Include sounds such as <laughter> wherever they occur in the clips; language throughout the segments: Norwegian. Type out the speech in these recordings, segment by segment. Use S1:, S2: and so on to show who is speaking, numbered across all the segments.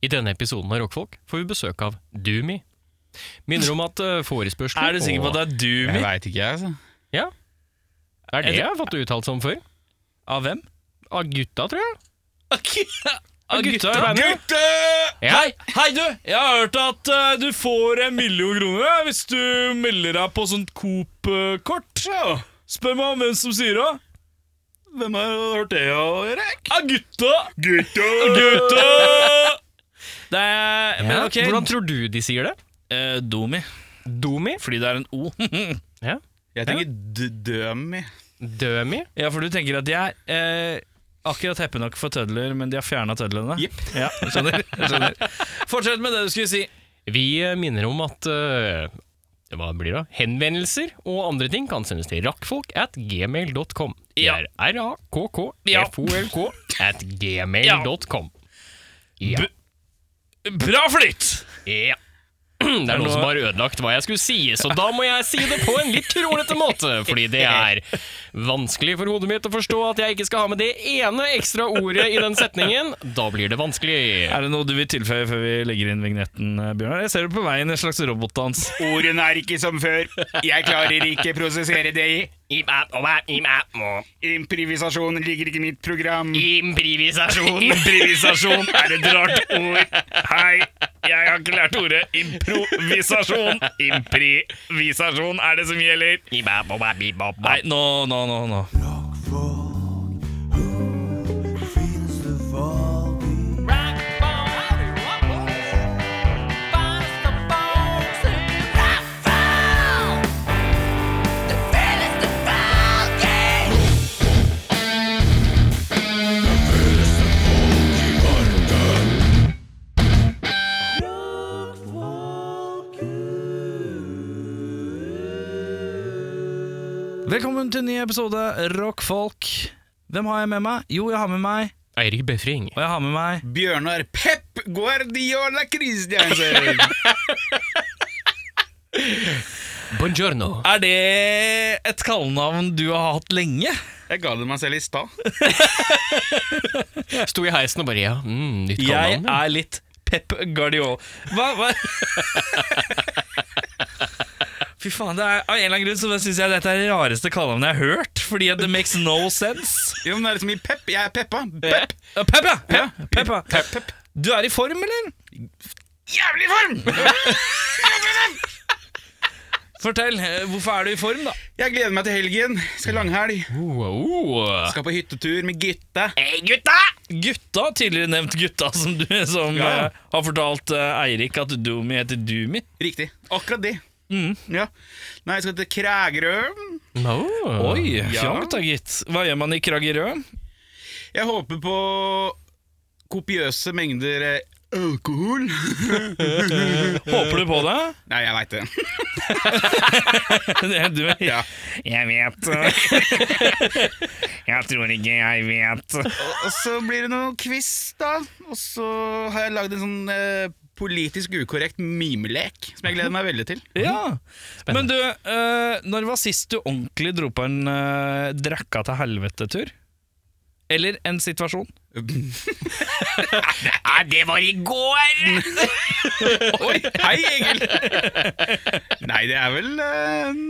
S1: I denne episoden av Rockfolk får vi besøk av Doomy. Minner om at eh, forespørsler
S2: Er du sikker på at det er
S3: Jeg
S2: Doomy?
S3: veit ikke, jeg. Altså.
S1: Ja. Er det
S2: Jeg-
S1: jeg har fått uttalt som før?
S2: Av hvem?
S1: Av gutta, tror jeg.
S2: Av gutta i
S1: Gutta!
S2: bandet?
S1: Ja.
S2: Hei, hei du! Jeg har hørt at eh, du får en million kroner eh, hvis du melder deg på sånt Coop-kort. Spør meg om hvem som sier det.
S3: Hvem har hørt det, Erik?
S2: Av gutta!
S3: Gutta!
S2: Gutta! Det er Men
S1: Ja,
S2: ok,
S1: Hvordan tror du de sier det?
S2: Eh, Domi.
S1: Doomy?
S2: Fordi det er en O.
S1: Ja.
S3: Jeg tenker d- dømi.
S1: Dømi?
S2: ja, for du tenker at de er eh, akkurat heppe nok for tødler, men de har fjerna tødlene.
S3: Jepp.
S2: Ja, skjønner, skjønner. Fortsett med det du skulle si.
S1: Vi eh, minner om at eh, hva blir det? henvendelser og andre ting kan sendes til rakkfolk at gmail.com. Det
S2: Ja.
S1: er r-a-k-k-f-o-l-k at gmail.com. Ja.
S2: Bra flytt!
S1: ja. <clears throat> Det er noen som har ødelagt hva jeg skulle si, så da må jeg si det på en litt kronglete måte. Fordi det er vanskelig for hodet mitt å forstå at jeg ikke skal ha med det ene ekstra ordet i den setningen. Da blir det vanskelig.
S2: Er det noe du vil tilføye før vi legger inn vignetten, eh, Bjørnar? Jeg ser du på veien en slags robotdans.
S3: Ordene er ikke som før. Jeg klarer ikke prosessere det. Improvisasjon ligger ikke i mitt program.
S1: Improvisasjon.
S2: Improvisasjon er et rart ord. Hei, jeg har ikke lært ordet improvisasjon. Improvisasjon er det som gjelder. Nei, nå, nå, nå. nå. Velkommen til en ny episode Rockfolk. Hvem har jeg med meg? Jo, jeg har med meg,
S1: Eirik Befring.
S2: og jeg har med meg
S3: Bjørnar Pep Guardiola Christiansen.
S1: Buongiorno.
S2: Er det et kallenavn du har hatt lenge?
S3: Jeg ga det meg selv i stad.
S1: Sto i heisen og bare ja, mm, nytt
S2: Jeg
S1: kallenavn.
S2: er litt Pep Guardiola. Hva, <laughs> hva? Fy faen, det er, Av en eller annen grunn så syns jeg dette er det rareste kallenavnet jeg har hørt. Fordi at det makes no sense.
S3: Jo, men det er liksom i pep. Jeg er peppa. Pep.
S2: Ja, Pep, ja! Pep,
S3: Ja.
S2: Pep, ja.
S3: Pep, pep.
S2: Du er i form, eller?
S3: Jævlig form!
S2: Fortell, eh, hvorfor er du i form, da?
S3: Jeg gleder meg til helgen. Skal langhelg.
S1: Oh, oh.
S3: Skal på hyttetur med gutta.
S2: Gutta, tidligere nevnt gutta, som, du, som
S3: Ja.
S2: eh, har fortalt eh, Eirik at Doomy heter Doomy.
S3: Riktig. Akkurat det. Ja. Nei, jeg skal til Krægerø.
S1: No.
S2: Oi,
S3: Ja.
S2: fjangt da, gitt. Hva gjør man i Kragerø?
S3: Jeg håper på kopiøse mengder eh, alkohol.
S2: Håper du på det?
S3: Nei, jeg veit det.
S2: Det- du,
S3: Ja.
S2: Jeg vet. jeg tror ikke jeg vet.
S3: Eh, Og så blir det noe quiz, da. Og så har jeg lagd en sånn eh, politisk ukorrekt mimelek som jeg gleder meg veldig
S1: <laughs>
S3: til.
S2: Ja. Men du, eh, når var sist du ordentlig dro på en eh, drakka til helvete-tur? Eller en situasjon?
S1: Nei, det var i går!
S3: <laughs> Oi, hei, Egil! Nei, det er vel eh,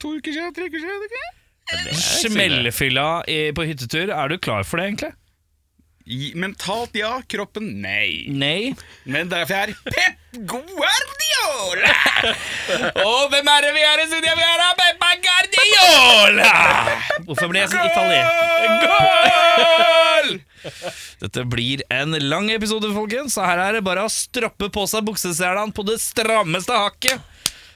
S3: to uker siden, tre uker siden. er det ikke?
S2: Smellefylla i- på hyttetur, er du klar for det, egentlig?
S3: I- Mentalt ja, kroppen nei.
S2: Nei.
S3: Men derfor er jeg Pep Guardiola!
S2: Og hvem er det vi er i studio? Vi er Peppa Guardiola! Hvorfor blir jeg sånn italiener? Goal! Dette blir en lang episode, folkens. Så her er det bare å strappe på seg bukseselene på det strammeste hakket.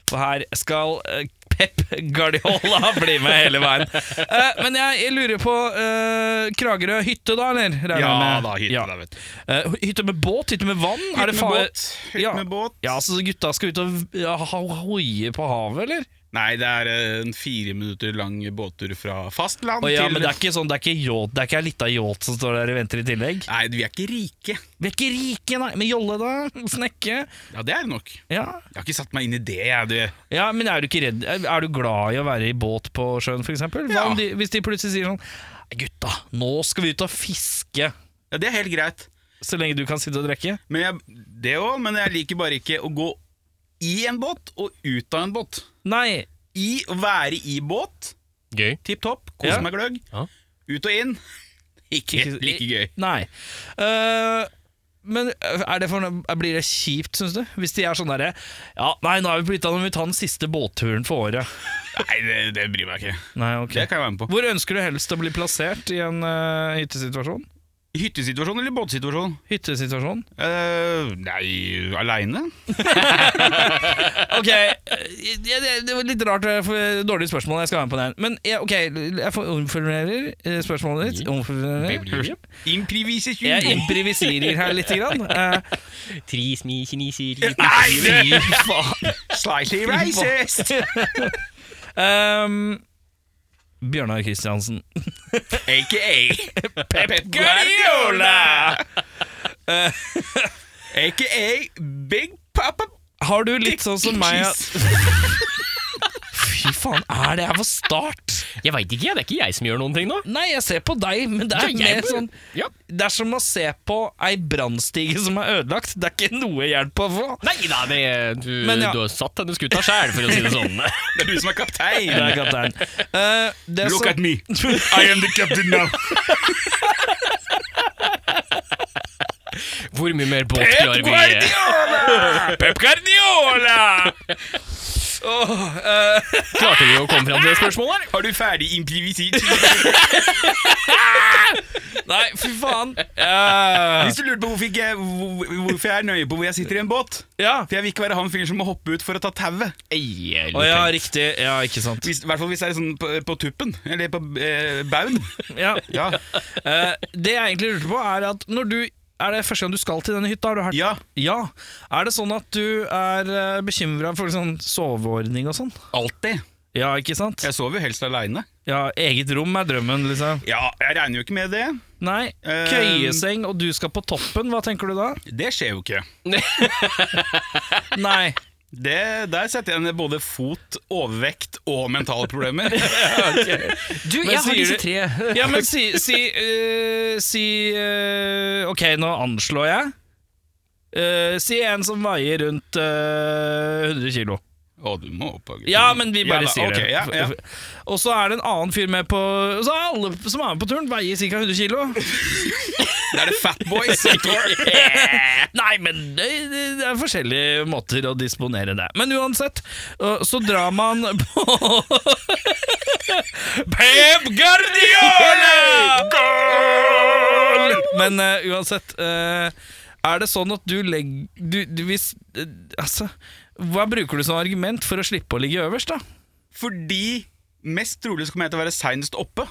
S2: For her skal eh, Pep Guardiola <laughs> bli med hele veien. Eh, men jeg, jeg lurer på eh, Kragerø hytte, da, eller? Regner jeg
S3: Ja
S2: med?
S3: da, hytte
S2: Ja.
S3: da, vet du.
S2: Eh, hytte med båt? Hytte med vann?
S3: Hytte
S2: Er det
S3: med
S2: fare-
S3: båt, hytte med båt.
S2: Ja, så gutta skal ut og ja, ho- hoie på havet, eller?
S3: Nei, det er eh, en fire minutter lang båttur fra fastland
S2: Å ja,
S3: til
S2: men det er ikke sånn, det er ikke yacht, det er ikke ei lita yacht som står der og venter i tillegg.
S3: Nei, vi er ikke rike.
S2: Vi er ikke rike, nei. Men jolle, da? <laughs> Snekke?
S3: Ja, det er det nok. Jeg
S2: Ja.
S3: har ikke satt meg inn i det, jeg. Du.
S2: ja, men er du ikke redd Er du glad i å være i båt på sjøen, for eksempel? Hva
S3: Ja.
S2: om de, hvis de plutselig sier sånn Gutta, nå skal vi ut og fiske.
S3: Ja, det er helt greit.
S2: så lenge du kan sitte og drikke.
S3: Men jeg, det òg, men jeg liker bare ikke å gå i en båt og ut av en båt.
S2: Nei,
S3: I å være i båt,
S1: Gøy.
S3: tipp topp, kose
S2: Ja.
S3: meg gløgg.
S1: Ja.
S3: Ut og inn, <laughs> ikke
S2: Ikke-
S3: like gøy.
S2: Nei. Eh, men eh, er det for, blir det kjipt, syns du? Hvis de er sånn derre Ja, nei, nå er vi på hytta, nå må vi ta den siste båtturen for året.
S3: Nei, det, det bryr meg ikke.
S2: Nei, ok
S3: Det kan jeg være med på.
S2: Hvor ønsker du helst å bli plassert i en eh, hyttesituasjon?
S3: Hyttesituasjon eller båtsituasjon?
S2: Hyttesituasjon?
S3: Eh, nei, aleine? <laughs>
S2: Ok, eh, det, det, det var litt rart, eh, for- dårlig spørsmål, jeg skal være med på den. Men ja, ok, jeg får omformulerer eh, spørsmålet ditt.
S3: Mm.
S2: Omformulerer. Jeg
S3: Improvisasjon!
S2: improviserer her lite grann. Eh,
S1: Trismi kinesier
S3: Nei, fy faen! Slightly racist!
S2: ehm, Bjørnar Kristiansen.
S3: AKA
S2: <laughs>
S3: Pep
S2: Eh,
S3: AKA Big Papa
S2: Har du litt sånn som meg at-
S3: Cheese.
S2: <laughs> Fy faen, er det her for start?
S1: Jeg veit ikke, jeg. det er ikke jeg som gjør noen ting nå.
S2: Nei, jeg ser på deg, men det er
S1: Ja,
S2: mer
S1: jeg-
S2: sånn
S1: Ja.
S2: Det er som å se på ei brannstige som er ødelagt. Det er ikke noe hjelp å få.
S1: Nei da, det, du,
S2: Men ja.
S1: du har satt denne skuta sjæl, for å si det
S2: <laughs>
S1: sånn.
S3: Det er du som
S2: Det
S3: er
S2: er
S3: kaptein.
S2: <laughs> kaptein. Eh, det
S3: Look
S2: som-
S3: at me. I am the captain now.
S1: Hvor mye mer båt klarer vi?
S2: Pep Guardiola! <laughs> Åh, eh,
S1: Klarte vi å komme fram til det spørsmålet? her?
S3: Har du ferdig improvisert?
S2: nei, fy faen. Eh,
S3: Hvis du lurte på hvorfor, ikke, hvor- hvorfor jeg er nøye på hvor jeg sitter i en båt
S2: ja.
S3: For jeg vil ikke være han fyren som må hoppe ut for å ta tauet.
S1: Ei, jeg
S2: Å ja,
S1: lurer.
S2: riktig. Ja, ikke sant.
S3: Hvis- I hvert fall hvis jeg er sånn på, på tuppen. Eller på eh, baugen.
S2: Ja.
S3: Ja.
S2: Eh, det jeg egentlig lurte på, er at når du er det første gang du skal til denne hytta? Har du hørt?
S3: ja.
S2: Ja. Er det sånn at du er bekymra for sånn soveordning og sånn?
S3: Alltid.
S2: Ja, ikke sant?
S3: Jeg sover jo helst aleine.
S2: Ja, Eget rom er drømmen, liksom.
S3: Ja, jeg regner jo ikke med det.
S2: Nei,
S3: Eh,
S2: køyeseng og du skal på toppen, hva tenker du da?
S3: Det skjer jo ikke.
S2: Nei.
S3: Det, der setter jeg ned både fot, overvekt og mentale problemer.
S1: Du,
S2: Men
S1: jeg har
S2: sier
S1: disse
S2: du-
S1: tre.
S2: Ja, men si Si, eh, si eh, Ok, nå anslår jeg. Eh, si en som veier rundt eh, 100 kilo.
S3: Å, du må opp og-
S2: Ja, men vi bare
S3: da,
S2: sier
S3: ok,
S2: det.
S3: Ja, ja.
S2: Og så er det en annen fyr med på og Så er alle som er med på turen, veier ca. 100
S3: <laughs>
S2: kilo.
S3: Da er det Fat Boys.
S2: Nei, men det, det- det er forskjellige måter å disponere det. Men uansett, øh, så drar man <laughs> på Pep Guardiola! Men øh, uansett, øh, er det sånn at du legger du, du, hvis, øh, Altså, hva bruker du som argument for å slippe å ligge øverst, da?
S3: Fordi mest trolig så kommer jeg til å være seinest oppe.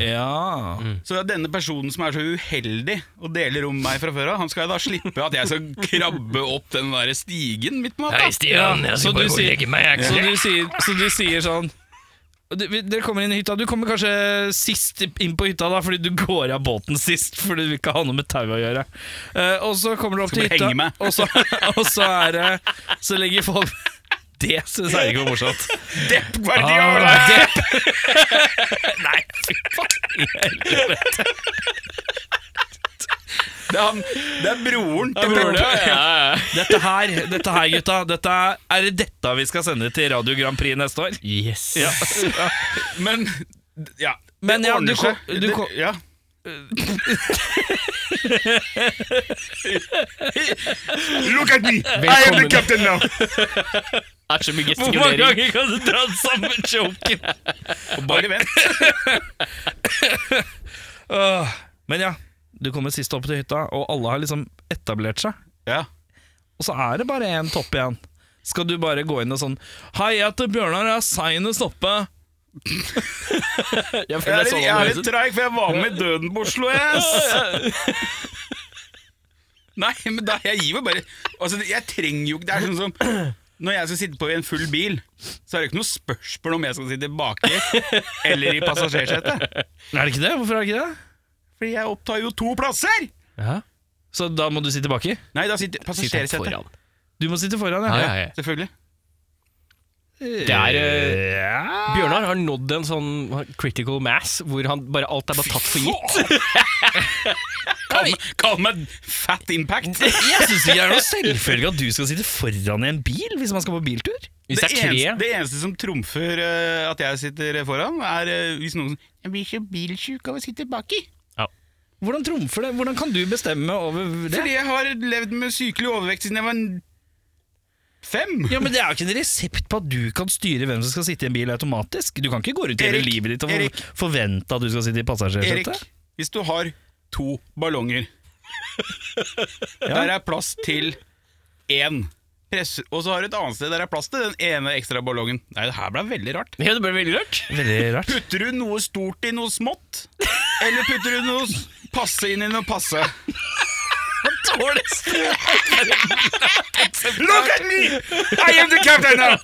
S2: Ja
S3: Så det er denne personen som er så uheldig og deler rom med meg fra før av, han skal da slippe at jeg skal krabbe opp den der stigen midt på natta.
S1: Hei, Stian.
S2: Ja,
S1: Jeg
S2: så
S1: skal
S2: du
S1: bare gå og
S2: sier-
S1: legge meg. jeg er
S2: Så
S1: ikke
S2: du sier, så du sier sånn du- vi- Dere kommer inn i hytta Du kommer kanskje sist inn på hytta da Fordi du går av båten sist Fordi du vil ikke ha noe med tau å gjøre Eh, Og så kommer du opp til
S3: Skal bare
S2: hytta
S3: henge meg.
S2: Og så, <laughs> og så er det Så legger folk <laughs> Det synes jeg ikke var morsomt
S3: Depp Guardiola!
S2: Ah, det-
S3: <laughs> Nei, fy
S2: <laughs>
S3: faen. Det er, han, det er broren til
S2: broren,
S3: Peppe.
S1: så- Ja, ja.
S2: Dette her, dette her gutta dette er, er det dette vi skal sende til Radio Grand Prix neste år?
S1: Yes.
S2: Ja
S3: Men ja,
S2: Men
S3: det
S2: ja, du
S3: ordner
S2: kom-
S3: seg.
S2: du
S3: Det-
S2: kom-
S3: <laughs> ja. Look at me! I am the
S1: Velkommen.
S3: captain now!
S1: Det er så mye
S2: <laughs> Hvor mange
S1: gestikulering.
S2: ganger kan du dra den samme joken?
S3: Bare vent.
S2: Åh, Men ja, du kommer sist opp til hytta Og alle har liksom etablert seg
S3: Ja.
S2: Og så er det bare en topp igjen. Skal du bare gå inn og sånn Hei, jeg heter Bjørnar, jeg er seinest oppe.
S1: <laughs> Jeg
S3: Jeg
S1: føler sånn jeg så
S3: er, jeg er
S1: noe
S3: litt treig, for jeg var med i Døden på Oslo S. <laughs> Nei, men da, jeg gir meg bare Altså, Jeg trenger jo ikke Det er sånn som når jeg skal sitte på i en full bil, så er det ikke noe spørsmål om jeg skal sitte baki eller i passasjersetet.
S2: Er det ikke det? Hvorfor er det ikke det?
S3: Fordi jeg opptar jo to plasser!
S1: Ja.
S2: Så da må du sitte baki?
S3: Nei, da sitter
S1: Sitter
S3: passasjersetet.
S1: foran.
S2: Du må sitte foran,
S1: Ja,
S2: ja.
S1: ja, ja.
S3: Selvfølgelig.
S1: Det er eh, Bjørnar har nådd en sånn critical mass hvor han bare, alt er bare tatt for gitt.
S3: Kall, meg- kall meg Fat Impact.
S2: Jeg syns ikke det er noe selvfølge at du skal sitte foran i en bil hvis man skal på biltur.
S1: Hvis det er
S3: eneste,
S1: tre
S3: det eneste som trumfer eh, at jeg sitter foran, er eh, hvis noen sier 'Jeg blir så bilsjuk av å sitte baki'.
S2: Hvordan trumfer det? Hvordan kan du bestemme over det?
S3: Fordi jeg har levd med sykelig overvekt siden jeg var n- fem.
S2: Ja, men Det er jo ikke en resept på at du kan styre hvem som skal sitte i en bil automatisk. Du kan ikke gå rundt hele
S3: Erik,
S2: livet ditt og
S3: Erik.
S2: for- forvente at du skal sitte i
S3: Erik,
S2: passasjersetet.
S3: hvis du har to ballonger Der er plass til én. Press, og så har du et annet sted der er plass til den ene ekstra ballongen. Nei, det her ble veldig rart.
S1: Ja, det ble veldig rørt.
S2: <laughs> Veldig rart.
S3: Putter du noe stort i noe smått? Eller putter du noe s- passe inn i noe passe? Look at me! I am the captain now!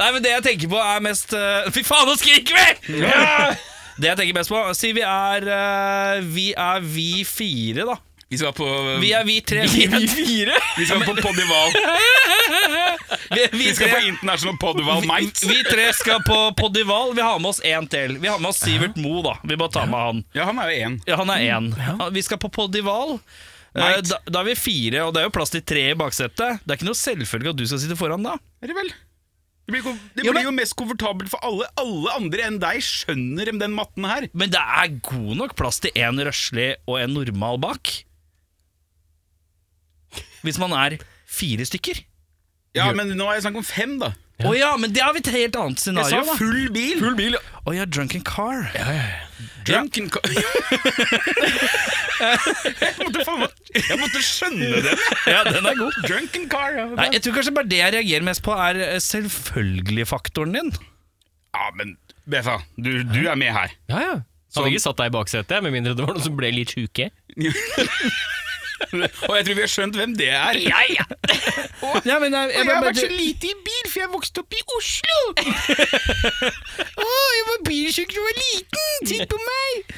S2: Nei, men Det jeg tenker på, er mest eh, Fy faen, nå skriker vi! Ja! <laughs> Det jeg tenker mest på, si vi er eh, Vi er vi fire, da.
S3: Vi skal på
S2: Vi er vi tre. Vi <laughs> er fire?
S3: vi skal på
S2: <laughs>
S3: Podival.
S2: Vi, vi,
S3: Vi skal på International Podival Night.
S2: vi tre skal på Podival. Vi har med oss én til. Vi har med oss Sivert Mo, da. Vi må ta med han.
S3: Ja, han er jo én.
S2: Mm, Ja, han er én. Han- Vi skal på Podival. Eh,
S3: Night.
S2: Da, da er vi fire, og det er jo plass til tre i baksetet. Det er ikke noe selvfølge at du skal sitte foran da.
S3: Er det vel? Det blir, kom- det
S2: Ja,
S3: blir
S2: men-
S3: jo mest komfortabelt for alle. Alle andre enn deg skjønner den matten her.
S2: Men det er god nok plass til én røslig og en normal bak. Hvis man er fire stykker.
S3: Ja, men nå er jeg snakk om fem, da.
S2: Å ja. men det har vi et helt annet
S3: Jeg
S2: scenario.
S3: sa
S2: da.
S3: full bil. Full bil,
S2: Å ja, drunken car.
S3: Drunken co- <laughs> jeg, måtte faen, meg- jeg måtte skjønne det.
S2: <laughs> Ja, den er god.
S3: Drunken car. Ja,
S2: Nei, jeg tror kanskje bare det jeg reagerer mest på, er eh, selvfølgelig-faktoren din.
S3: ja men Befa, du, du er
S2: <laughs>
S3: med her.
S1: Ja, ja. Hadde ikke satt deg i baksetet, med mindre det var noen som ble litt sjuke.
S3: Og jeg tror vi har skjønt hvem det er.
S1: Ja, ja.
S2: Ja, men eh, jeg,
S3: Og jeg har vært så lite i bil, for jeg vokste opp i
S2: <laughs>
S3: Oslo.
S2: jeg var bilsjuk da jeg var liten! Titt på meg!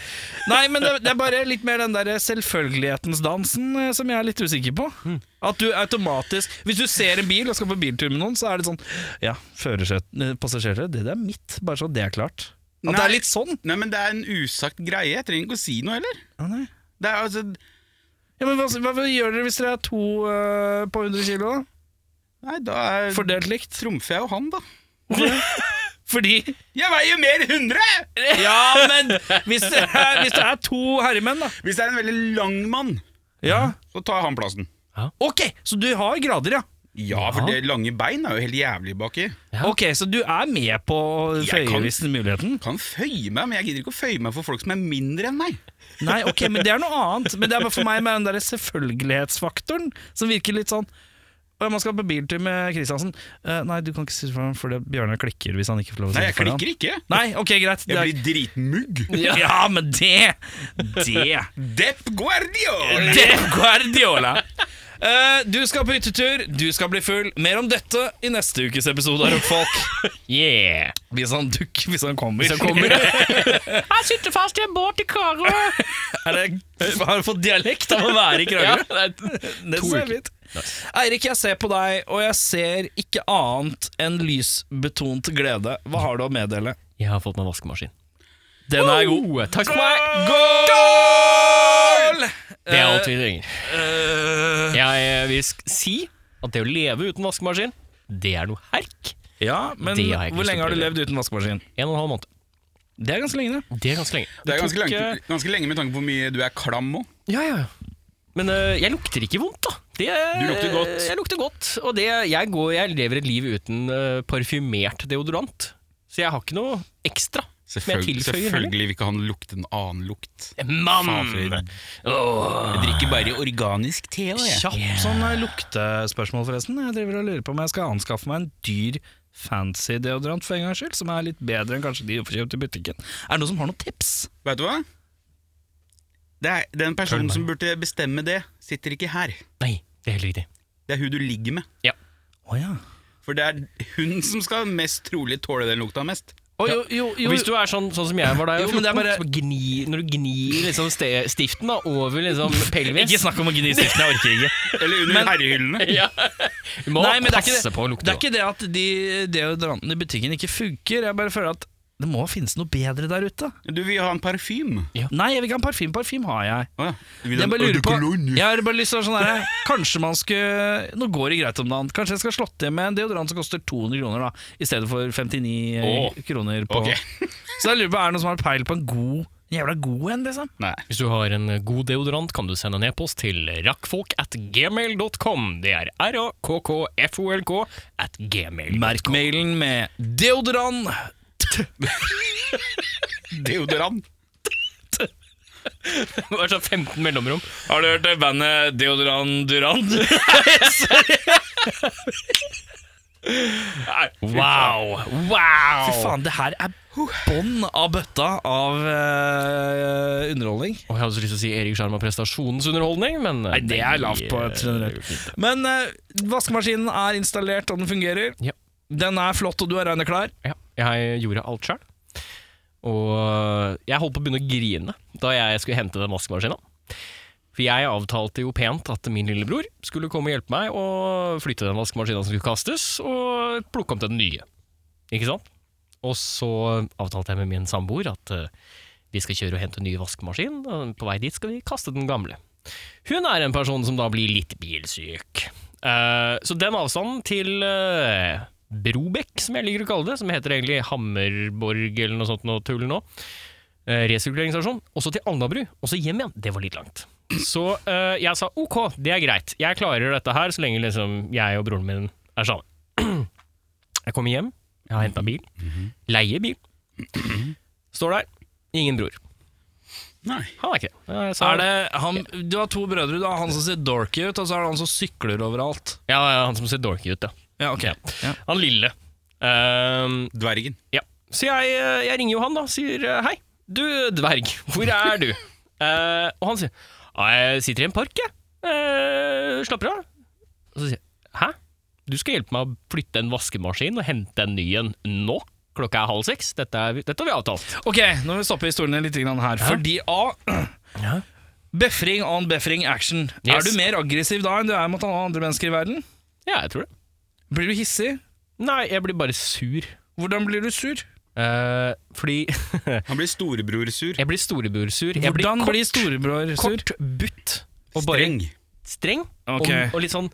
S2: Nei, men det, det er bare litt mer den der selvfølgelighetens dansen eh, som jeg er litt usikker på.
S3: Hmm.
S2: At du automatisk Hvis du ser en bil og skal på biltur med noen, så er det sånn Ja, førerset- eh, passasjerer, det der er mitt. Bare så det er klart. At det
S3: Nei.
S2: er litt sånn.
S3: Nei, men det er en usagt greie. Jeg trenger ikke å si noe heller.
S2: Ja, nei.
S3: Det er altså
S2: Ja, men hva, hva gjør dere hvis dere er to eh, på 100 kilo?
S3: Nei, da er
S2: Fordelt likt?
S3: trumfer jeg jo han, da.
S2: Fordi
S3: Jeg veier jo mer enn 100!
S2: Ja, men hvis det er, hvis det er to herremenn, da
S3: Hvis det er en veldig lang mann,
S2: ja.
S3: så tar han plassen.
S2: Ok, så du har grader, ja.
S3: Ja, for det lange bein er jo helt jævlig baki.
S1: Ja.
S2: Ok, Så du er med på å
S3: Jeg
S2: føye
S3: kan-
S2: hvis den muligheten?
S3: Kan føye meg, men jeg gidder ikke å føye meg for folk som er mindre enn meg.
S2: Nei, ok, men det er noe annet. Men det er bare for meg med den der selvfølgelighetsfaktoren som virker litt sånn «Å, Man skal på biltur med Kristiansen. Eh, nei, du kan ikke sitte foran, for det- Bjørnar klikker hvis han ikke får lov å
S3: Nei,
S2: sitte
S3: jeg
S2: foran.
S3: klikker ikke.
S2: Nei, ok, greit. Det
S3: Jeg
S2: er-
S3: blir dritmugg.
S2: <laughs> ja. men det Det
S3: Depp Guardiola!
S2: Pep Guardiola. Eh, du skal på hyttetur, du skal bli full. Mer om dette i neste ukes episode av Rockfolk.
S1: Yeah.
S2: Hvis han dukker, hvis han kommer.
S1: Så kommer det.
S4: <laughs> Jeg sitter fast i en båt i Karøy.
S2: Er det, har du fått dialekt av å
S1: <laughs>
S2: være i
S1: Ja,
S2: Kragerø?
S1: det er-
S2: Det ser jeg fint. Eirik, jeg ser på deg, og jeg ser ikke annet enn lysbetont glede. Hva har du å meddele?
S1: Jeg har fått meg vaskemaskin.
S2: Den er god.
S1: Oh, takk for meg.
S2: Goal!
S1: Det er alt vi trenger.
S2: Eh,
S1: Jeg vil sk- si at det å leve uten vaskemaskin, det er noe herk.
S2: ja, men
S1: Det har jeg ikke
S2: hvor
S1: lyst til
S2: lenge
S1: å
S2: har du
S1: prøve.
S2: levd uten vaskemaskin?
S1: En og en halv måned.
S2: Det er ganske lenge, det.
S1: Det er ganske lenge.
S3: Det er ganske,
S1: tok,
S3: lang- ganske lenge med tanke på hvor mye du er klam òg.
S1: Ja, ja. Men øh, jeg lukter ikke vondt, da. Det,
S3: Du lukter godt.
S1: Jeg lukter godt. Og det, jeg, går, jeg lever et liv uten øh, parfymert deodorant. Så jeg har ikke noe ekstra som jeg
S3: Selvfølgelig,
S1: tilføyer. heller.
S3: selvfølgelig vil ikke han lukte en annen lukt. Faen, for
S1: Mann!
S3: en-
S1: Åh.
S3: Jeg drikker bare organisk te. også, jeg.
S2: Kjapt sånn eh, luktespørsmål, forresten. Jeg driver og lurer på om jeg skal anskaffe meg en dyr, fancy deodorant for en gangs skyld, som er litt bedre enn kanskje de du får kjøpt i butikken. Er det noen som har noen tips?
S3: Vet du hva? Det er Den personen som burde bestemme det, sitter ikke her.
S1: Nei, det er helt riktig.
S3: Det er hun du ligger med.
S1: Ja.
S2: Å ja.
S3: For det er hun som skal mest trolig tåle den lukta mest.
S2: Og jo, jo, jo,
S1: Hvis du er sånn, sånn som jeg var da jeg
S2: Jo, men det er
S1: var 14,
S2: bare-
S1: så gni, når du gnir liksom ste- stiften da, over
S2: <laughs>
S1: liksom pelvis
S2: Ikke snakk om å gni <laughs> stiften, jeg orker ikke.
S3: Eller under
S2: <laughs>
S3: herrehyllene.
S1: ja. Du må
S2: Nei, men det er
S1: passe
S2: ikke det,
S1: på å lukte.
S2: det, er ikke det at de deodorantene i butikken ikke funker. Jeg bare føler at det må finnes noe bedre der ute.
S3: Du vil ha en parfyme?
S2: Nei, jeg vil ikke ha en parfyme. Parfyme har jeg.
S3: Å ja. Du vil ha
S2: Jeg
S3: en
S2: bare lurer
S3: eau de
S2: på
S3: cologne.
S2: Jeg har bare lyst til å være sånn her Kanskje man skulle Nå går det greit om dagen. Kanskje jeg skal slå til med en deodorant som koster 200 kroner, da i stedet for 59
S3: Åh,
S2: kroner på
S3: ok.
S2: Så jeg lurer på er det noen som har peil på en god en jævla god en, liksom?
S3: Nei.
S1: Hvis du har en god deodorant, kan du sende en e-post til rakkfolk at gmail.com. Det er r-a-k-k-f-o-l-k at gmail.
S2: Merk mailen med deodorant.
S3: Deodorant.
S1: <laughs> Det var sånn 15 mellomrom.
S2: Har du hørt det bandet Deodorant Durand?
S1: Wow! Wow!
S2: Fy faen, det her er bånn av bøtta av eh, underholdning.
S1: Og jeg hadde så lyst til å si Erik Skjerm har prestasjonens underholdning, men eh,
S2: Nei, det er lavt på et generelt. Men eh, vaskemaskinen er installert, og den fungerer.
S1: Ja.
S2: Den er flott, og du er reine klar.
S1: Ja, jeg gjorde alt sjøl. Og jeg holdt på å begynne å grine da jeg skulle hente den vaskemaskina. For jeg avtalte jo pent at min lillebror skulle komme og hjelpe meg å flytte den vaskemaskina som skulle kastes, og plukke opp den nye. Ikke sant? Og så avtalte jeg med min samboer at eh, vi skal kjøre og hente en ny vaskemaskin, og på vei dit skal vi kaste den gamle. Hun er en person som da blir litt bilsyk. Eh, så den avstanden til eh, Brobekk, som jeg liker å kalle det, som heter egentlig Hammerborg eller noe sånt noe tull nå, eh, resirkuleringsstasjon, også til Alnabru, og så hjem igjen, det var litt langt. Så eh, jeg sa ok, det er greit, jeg klarer dette her så lenge liksom jeg og broren min er sammen. <clears throat> Jeg kommer hjem, jeg har henta bil, leier bil, står der, ingen bror.
S3: Nei.
S1: Han er ikke det. Jeg sa-
S2: Er det han, du har to brødre. Du har han som ser dorky ut, og så er det han som sykler overalt.
S1: Ja, ja, han som ser dorky ut, ja.
S2: Ja, ok. Ja.
S1: Han lille. Ehm,
S3: Dvergen.
S1: ja. Så jeg, eh, jeg ringer jo han, da. Sier eh, hei. Du dverg, hvor er
S2: <laughs>
S1: du? Eh, og han sier «Ja, jeg sitter i en park, jeg. Eh, slapper av. Og så sier jeg hæ? Du skal hjelpe meg å flytte en vaskemaskin og hente en ny en nå? Klokka er halv seks. Dette, er, vi- dette har vi avtalt.
S2: Ok, nå må vi stoppe historiene litt grann her. Fordi A.
S1: Ja.
S2: Befring on befring action.
S1: Yes.
S2: Er du mer aggressiv da enn du er mot alle andre mennesker i verden?
S1: Ja, jeg tror det.
S2: Blir du hissig?
S1: Nei, jeg blir bare sur.
S2: Hvordan blir du sur?
S1: Eh, fordi <laughs> jeg
S3: Han blir storebrorsur.
S1: blir storebrorsur. Jeg blir
S2: Hvordan
S1: kort,
S2: blir storebror sur?
S1: kort butt. Og bare
S3: Streng.
S1: streng
S2: Ok.
S1: og, og litt sånn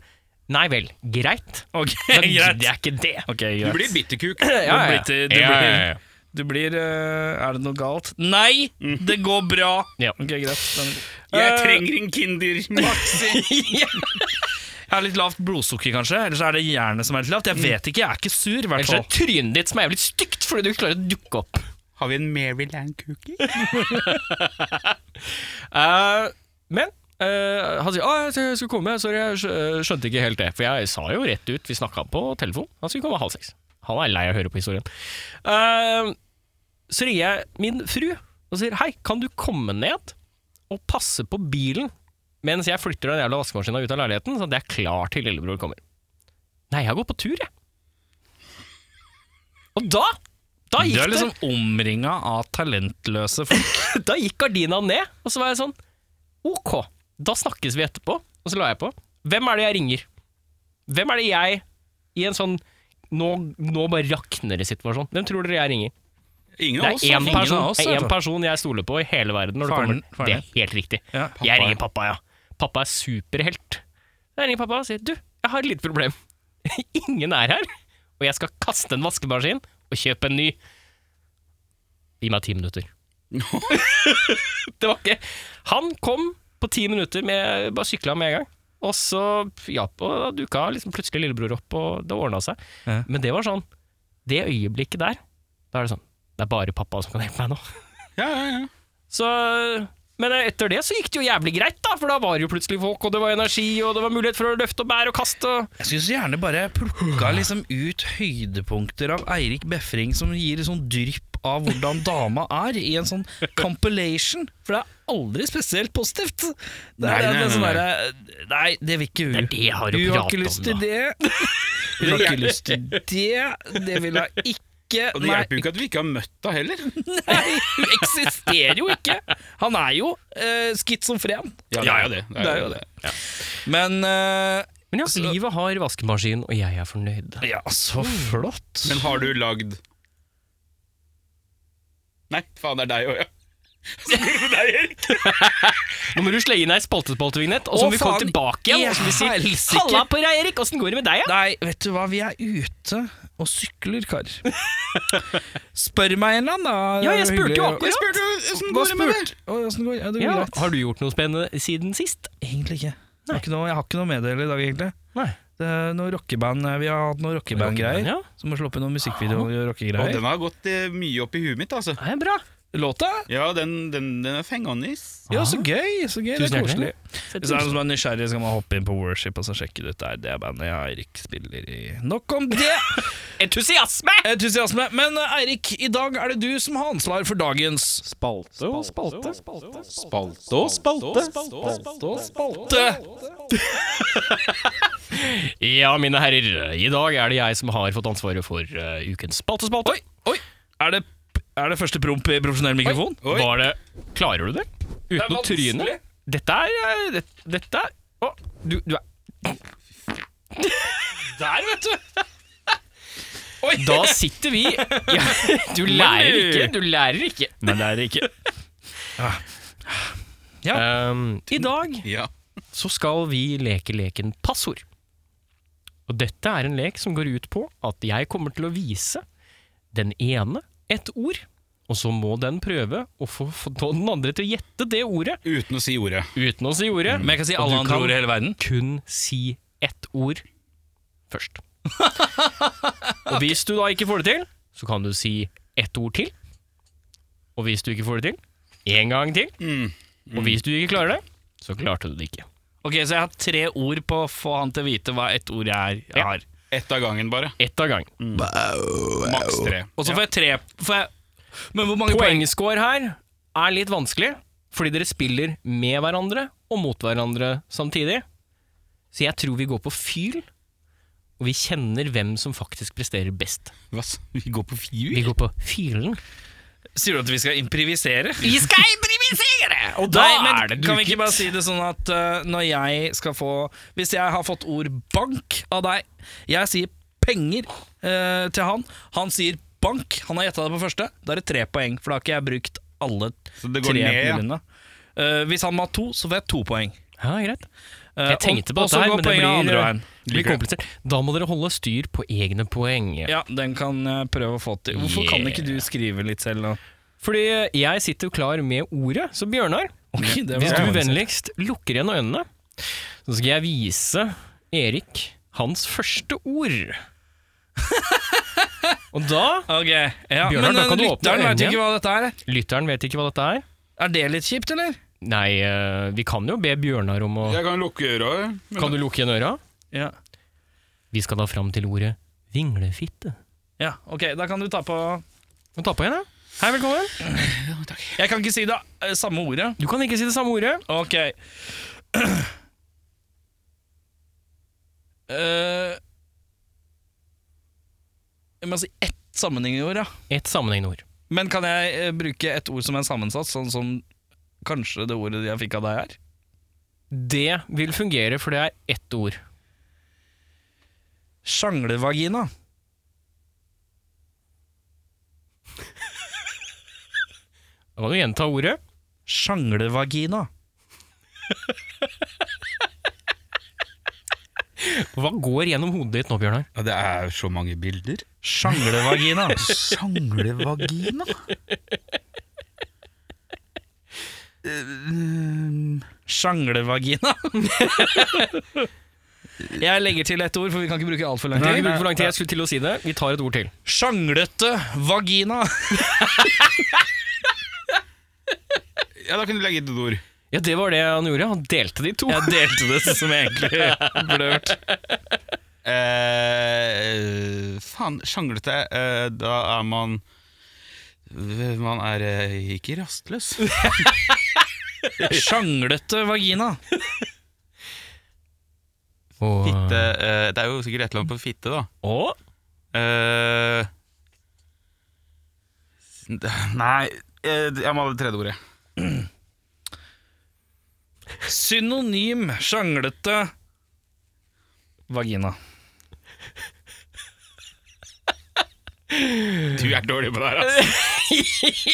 S1: Nei vel, <laughs> greit.
S2: Ok,
S1: Men
S2: <laughs> greit.
S1: det er ikke <laughs> det.
S2: Ok,
S3: Du
S2: greit.
S3: blir bitterkuk.
S1: Ja, ja.
S2: blir til- du
S1: Ja,
S2: blir-
S1: ja, ja.
S2: Du blir eh, Er det noe galt? Nei, det går bra!
S1: Ja.
S2: Ok, greit. Den er god.
S3: Jeg
S2: Eh,
S3: trenger en Kinder Maxi.
S2: Jeg har litt lavt blodsukker, kanskje. Eller så er det hjernen som er litt lavt. Jeg vet ikke, jeg Mm. er ikke sur, i hvert
S1: Ellers er
S2: fall.
S1: det trynet ditt som er jævlig stygt fordi du ikke klarer å dukke opp.
S3: Har vi en Maryland-cookie?
S1: Eh, men eh, han sier «Å, jeg skulle- jeg skulle komme, sorry, jeg skjø- eh, skjønte ikke helt det. For jeg sa jo rett ut, vi snakka på telefon, han skulle komme halv seks. Han er lei av å høre på historien. Eh, så ringer jeg min fru og sier hei, kan du komme ned og passe på bilen mens jeg flytter den jævla vaskemaskina ut av leiligheten, sånn at jeg er klar til lillebror kommer? Nei, jeg går på tur, jeg. Og da, da gikk
S2: Du
S1: det
S2: er liksom omringa av talentløse folk.
S1: da gikk gardina ned, og så var jeg sånn Ok, da snakkes vi etterpå. Og så la jeg på. Hvem er det jeg ringer? Hvem er det jeg i en sånn nå, nå bare rakner det-situasjon? Hvem tror dere jeg ringer?
S3: Ingen
S1: Det
S3: av oss.
S1: er én
S2: ingen av
S1: person,
S2: oss,
S1: det er
S2: vet
S1: én
S2: du.
S1: person jeg stoler på i hele verden. Når det
S2: Faren-
S1: kommer.
S2: faren
S1: Det er helt riktig.
S2: Ja,
S1: jeg ringer pappa, ja. Pappa er superhelt. Jeg ringer pappa og sier du, jeg har et lite problem. <laughs> Ingen er her, og jeg skal kaste en vaskemaskin og kjøpe en ny. Gi meg ti minutter. det var ikke Han kom på ti minutter, med, bare sykla med en gang. Og så ja, og da dukka liksom plutselig lillebror opp, og det ordna seg.
S2: Ja.
S1: Men det var sånn Det øyeblikket der, da er det sånn Det er bare pappa som kan hjelpe meg nå.
S3: Ja, ja, ja.
S1: Så, men etter det så gikk det jo jævlig greit, da, for da var det jo plutselig folk, og det var energi, og det var mulighet for å løfte og bære og kaste.
S2: <laughs> Jeg syns gjerne bare jeg plukka liksom ut høydepunkter av Eirik Befring som gir sånn drypp av hvordan dama er, i en sånn compilation. For det er aldri spesielt positivt. Det er,
S3: Nei, nei,
S2: det er sånn
S3: nei,
S2: derre Nei, det vil ikke hun.
S1: Det er det jeg har å
S2: hun har
S1: prate
S2: ikke
S1: om,
S2: lyst
S1: da.
S2: til det. Hun har ikke lyst til det. Det vil hun ikke. ikke
S3: Og det hjelper jo ikke at vi ikke har møtt deg heller.
S2: Nei, <laughs> hun eksisterer jo ikke. Han er jo uh, skizofren.
S3: Ja, det er jo det. Det er jo det.
S2: Men eh,
S1: Men ja,
S2: Så-
S1: livet har vaskemaskin, og jeg er fornøyd. Mm.
S2: Ja, så flott.
S3: Men har du lagd Nei, faen, det er deg òg, ja.
S1: Nå må du slenge inn ei spaltespaltevignett, og så
S2: Å,
S1: må vi komme
S2: faen,
S1: tilbake igjen.
S2: i
S1: Og så må vi si
S2: helsike.
S1: 'Halla på deg, Erik, åssen går det med deg', ja?
S2: Nei, vet du hva, vi er ute og sykler, kar. Spør meg en eller annen, da.
S1: Ja, jeg
S2: Det er
S1: spurte jo
S2: hyggelig.
S1: akkurat.
S3: Spurte du åssen
S2: Hva
S3: går det med det?
S2: spurt? Å, Åssen går det? Ja, det går
S1: Ja,
S2: greit.
S1: har du gjort noe spennende siden sist?
S2: Egentlig ikke. Jeg har ikke, noe, jeg har ikke noe å meddele i dag, egentlig.
S1: Nei.
S2: Det er noe rockeband, eh, Vi har hatt noen rockeband-greier.
S1: Ja.
S2: Som har sluppet noen musikkvideoer og
S3: Og
S2: rockegreier.
S3: den har gått eh, mye opp i huet mitt, altså.
S1: Det er bra.
S2: Låta?
S3: Ja, den, den, den er fengende.
S2: Ja, så gøy! så gøy, Det
S1: Tusen
S2: er
S1: hjertelig.
S2: koselig. Hvis det
S1: sånn
S2: er noen som er nysgjerrig, så kan man hoppe inn på Worship og så sjekke det ut der. Det er bandet jeg og Eirik spiller i. Nok om det! <laughs>
S1: Entusiasme!
S2: Entusiasme. Men eh, Eirik, i dag er det du som har ansvar for dagens
S5: Spalte og spalte. Spalte og spalte. Spalte og spalte.
S2: spalte.
S1: Ja, mine herrer, i dag er det jeg som har fått ansvaret for eh, ukens spaltespalte.
S2: Oi, oi! Er det, er det første promp i profesjonell mikrofon?
S3: Oi.
S1: Var det Klarer du det? Uten å tryne?
S2: vanskelig.
S1: Dette er eh, det, Dette er Å, du, du
S2: <laughs>
S1: er
S2: Der, vet du! <laughs> Oi!
S1: Da sitter vi ja, <laughs> Du lærer ikke, du lærer ikke.
S2: Men det er det ikke. Ehm,
S1: Um, I dag
S3: Ja.
S1: så skal vi leke leken passord. Og dette er en lek som går ut på at jeg kommer til å vise den ene et ord, og så må den prøve å få, få den andre til å gjette det ordet
S3: Uten å si ordet.
S1: uten å si ordet.
S2: Men jeg kan si
S1: Og du
S2: alle andre
S1: kan
S2: ord i hele verden.
S1: kun si ett ord <laughs> først. Og hvis du da ikke får det til, så kan du si ett ord til. Og hvis du ikke får det til, én gang til. Og hvis du ikke klarer det, så klarte du det ikke.
S2: Ok, Så jeg har tre ord på å få han til å vite hva ett ord jeg, er, jeg
S1: Ja.
S2: har.
S3: Ett av gangen, bare.
S1: Ett av gangen.
S3: Maks tre.
S2: Og så får jeg tre får jeg, Men hvor mange poeng?
S1: Poengscore her er litt vanskelig, fordi dere spiller med hverandre og mot hverandre samtidig. Så jeg tror vi går på fyl, og vi kjenner hvem som faktisk presterer best.
S3: Hva, s- vi går på
S1: Vi
S3: fjur?
S1: går på fylen.
S2: Sier du at vi skal improvisere?
S1: Vi skal improvisere! Og da
S2: Nei, men
S1: er det
S2: Kan vi ikke bare si det sånn at eh, når jeg skal få Hvis jeg har fått ord bank av deg Jeg sier penger eh, til han Han sier bank Han har gjettet det på første Da er det tre poeng For da har ikke jeg brukt alle
S3: Så det går
S2: tre
S3: ned, ja.
S2: mulighetene Eh, Hvis han må ha to Så får jeg to poeng
S1: Ja, greit.
S2: Eh,
S1: Jeg tenkte på
S2: og- og så
S1: dette her,
S2: går
S1: men det
S2: poenget
S1: blir,
S2: andre veien.
S1: det blir komplisert. Da må dere holde styr på egne poeng.
S2: Ja, den kan jeg prøve å få til Hvorfor kan
S1: Yeah.
S2: ikke du skrive litt selv nå?
S1: Fordi eh, jeg sitter jo klar med ordet, så Bjørnar, <laughs>
S2: Ok, det var
S1: hvis du
S2: vanskelig.
S1: vennligst lukker igjen øynene, så skal jeg vise Erik hans første
S2: <laughs>
S1: ord. Og da
S2: Ok, ja
S1: Bjørnar,
S2: Men
S1: da kan
S2: eh,
S1: du åpne
S2: lytteren vet
S1: øynene
S2: jo ikke hva dette er
S1: Lytteren vet ikke hva dette er.
S2: Er det litt kjipt, eller?
S1: Nei, eh, vi kan jo be Bjørnar om å
S3: Jeg kan lukke øra.
S1: Kan du lukke igjen øra?
S2: Ja
S1: Vi skal da fram til ordet vinglefitte.
S2: Ja, ok, da kan du ta på
S1: Må Ta på igjen, ja. Hei, velkommen.
S2: Jeg kan ikke si det eh, samme ordet
S1: Du kan ikke si det samme ordet.
S2: Ok <clears throat> Eh, Jeg må si ett sammenhengende ord, ja
S1: Et sammenhengende ord.
S2: Men kan jeg eh, bruke et ord som er sammensatt Sånn som kanskje det ordet jeg fikk av deg her
S1: Det vil fungere, for det er ett ord.
S2: Sjanglevagina
S1: Da kan du gjenta ordet.
S2: Sjanglevagina
S1: Hva går gjennom hodet ditt nå, Bjørnar?
S3: Ja, det er så mange bilder.
S2: Sjanglevagina
S3: Sanglevagina? <laughs> Eh,
S2: Sjanglevagina <laughs> Jeg legger til et ord For vi kan ikke bruke alt for lang
S1: Jeg
S2: tid
S1: bruker for lang tid, jeg skulle til å si det. Vi tar et ord til.
S2: Sjanglete vagina
S3: Ja, da kan du legge til et ord.
S1: Ja, det var det han gjorde. Han delte de to.
S2: Jeg delte det som jeg egentlig burde hørt.
S3: Eh, faen, sjanglete eh, Da er man Man er eh, ikke rastløs.
S2: Sjanglete vagina.
S1: Og,
S3: Fitte eh, Det er jo sikkert et eller annet på fitte, da.
S1: og
S3: Eh, Nei, eh, jeg må ha det tredje ordet.
S2: Synonym sjanglete vagina.
S3: Du er dårlig på det her, ass.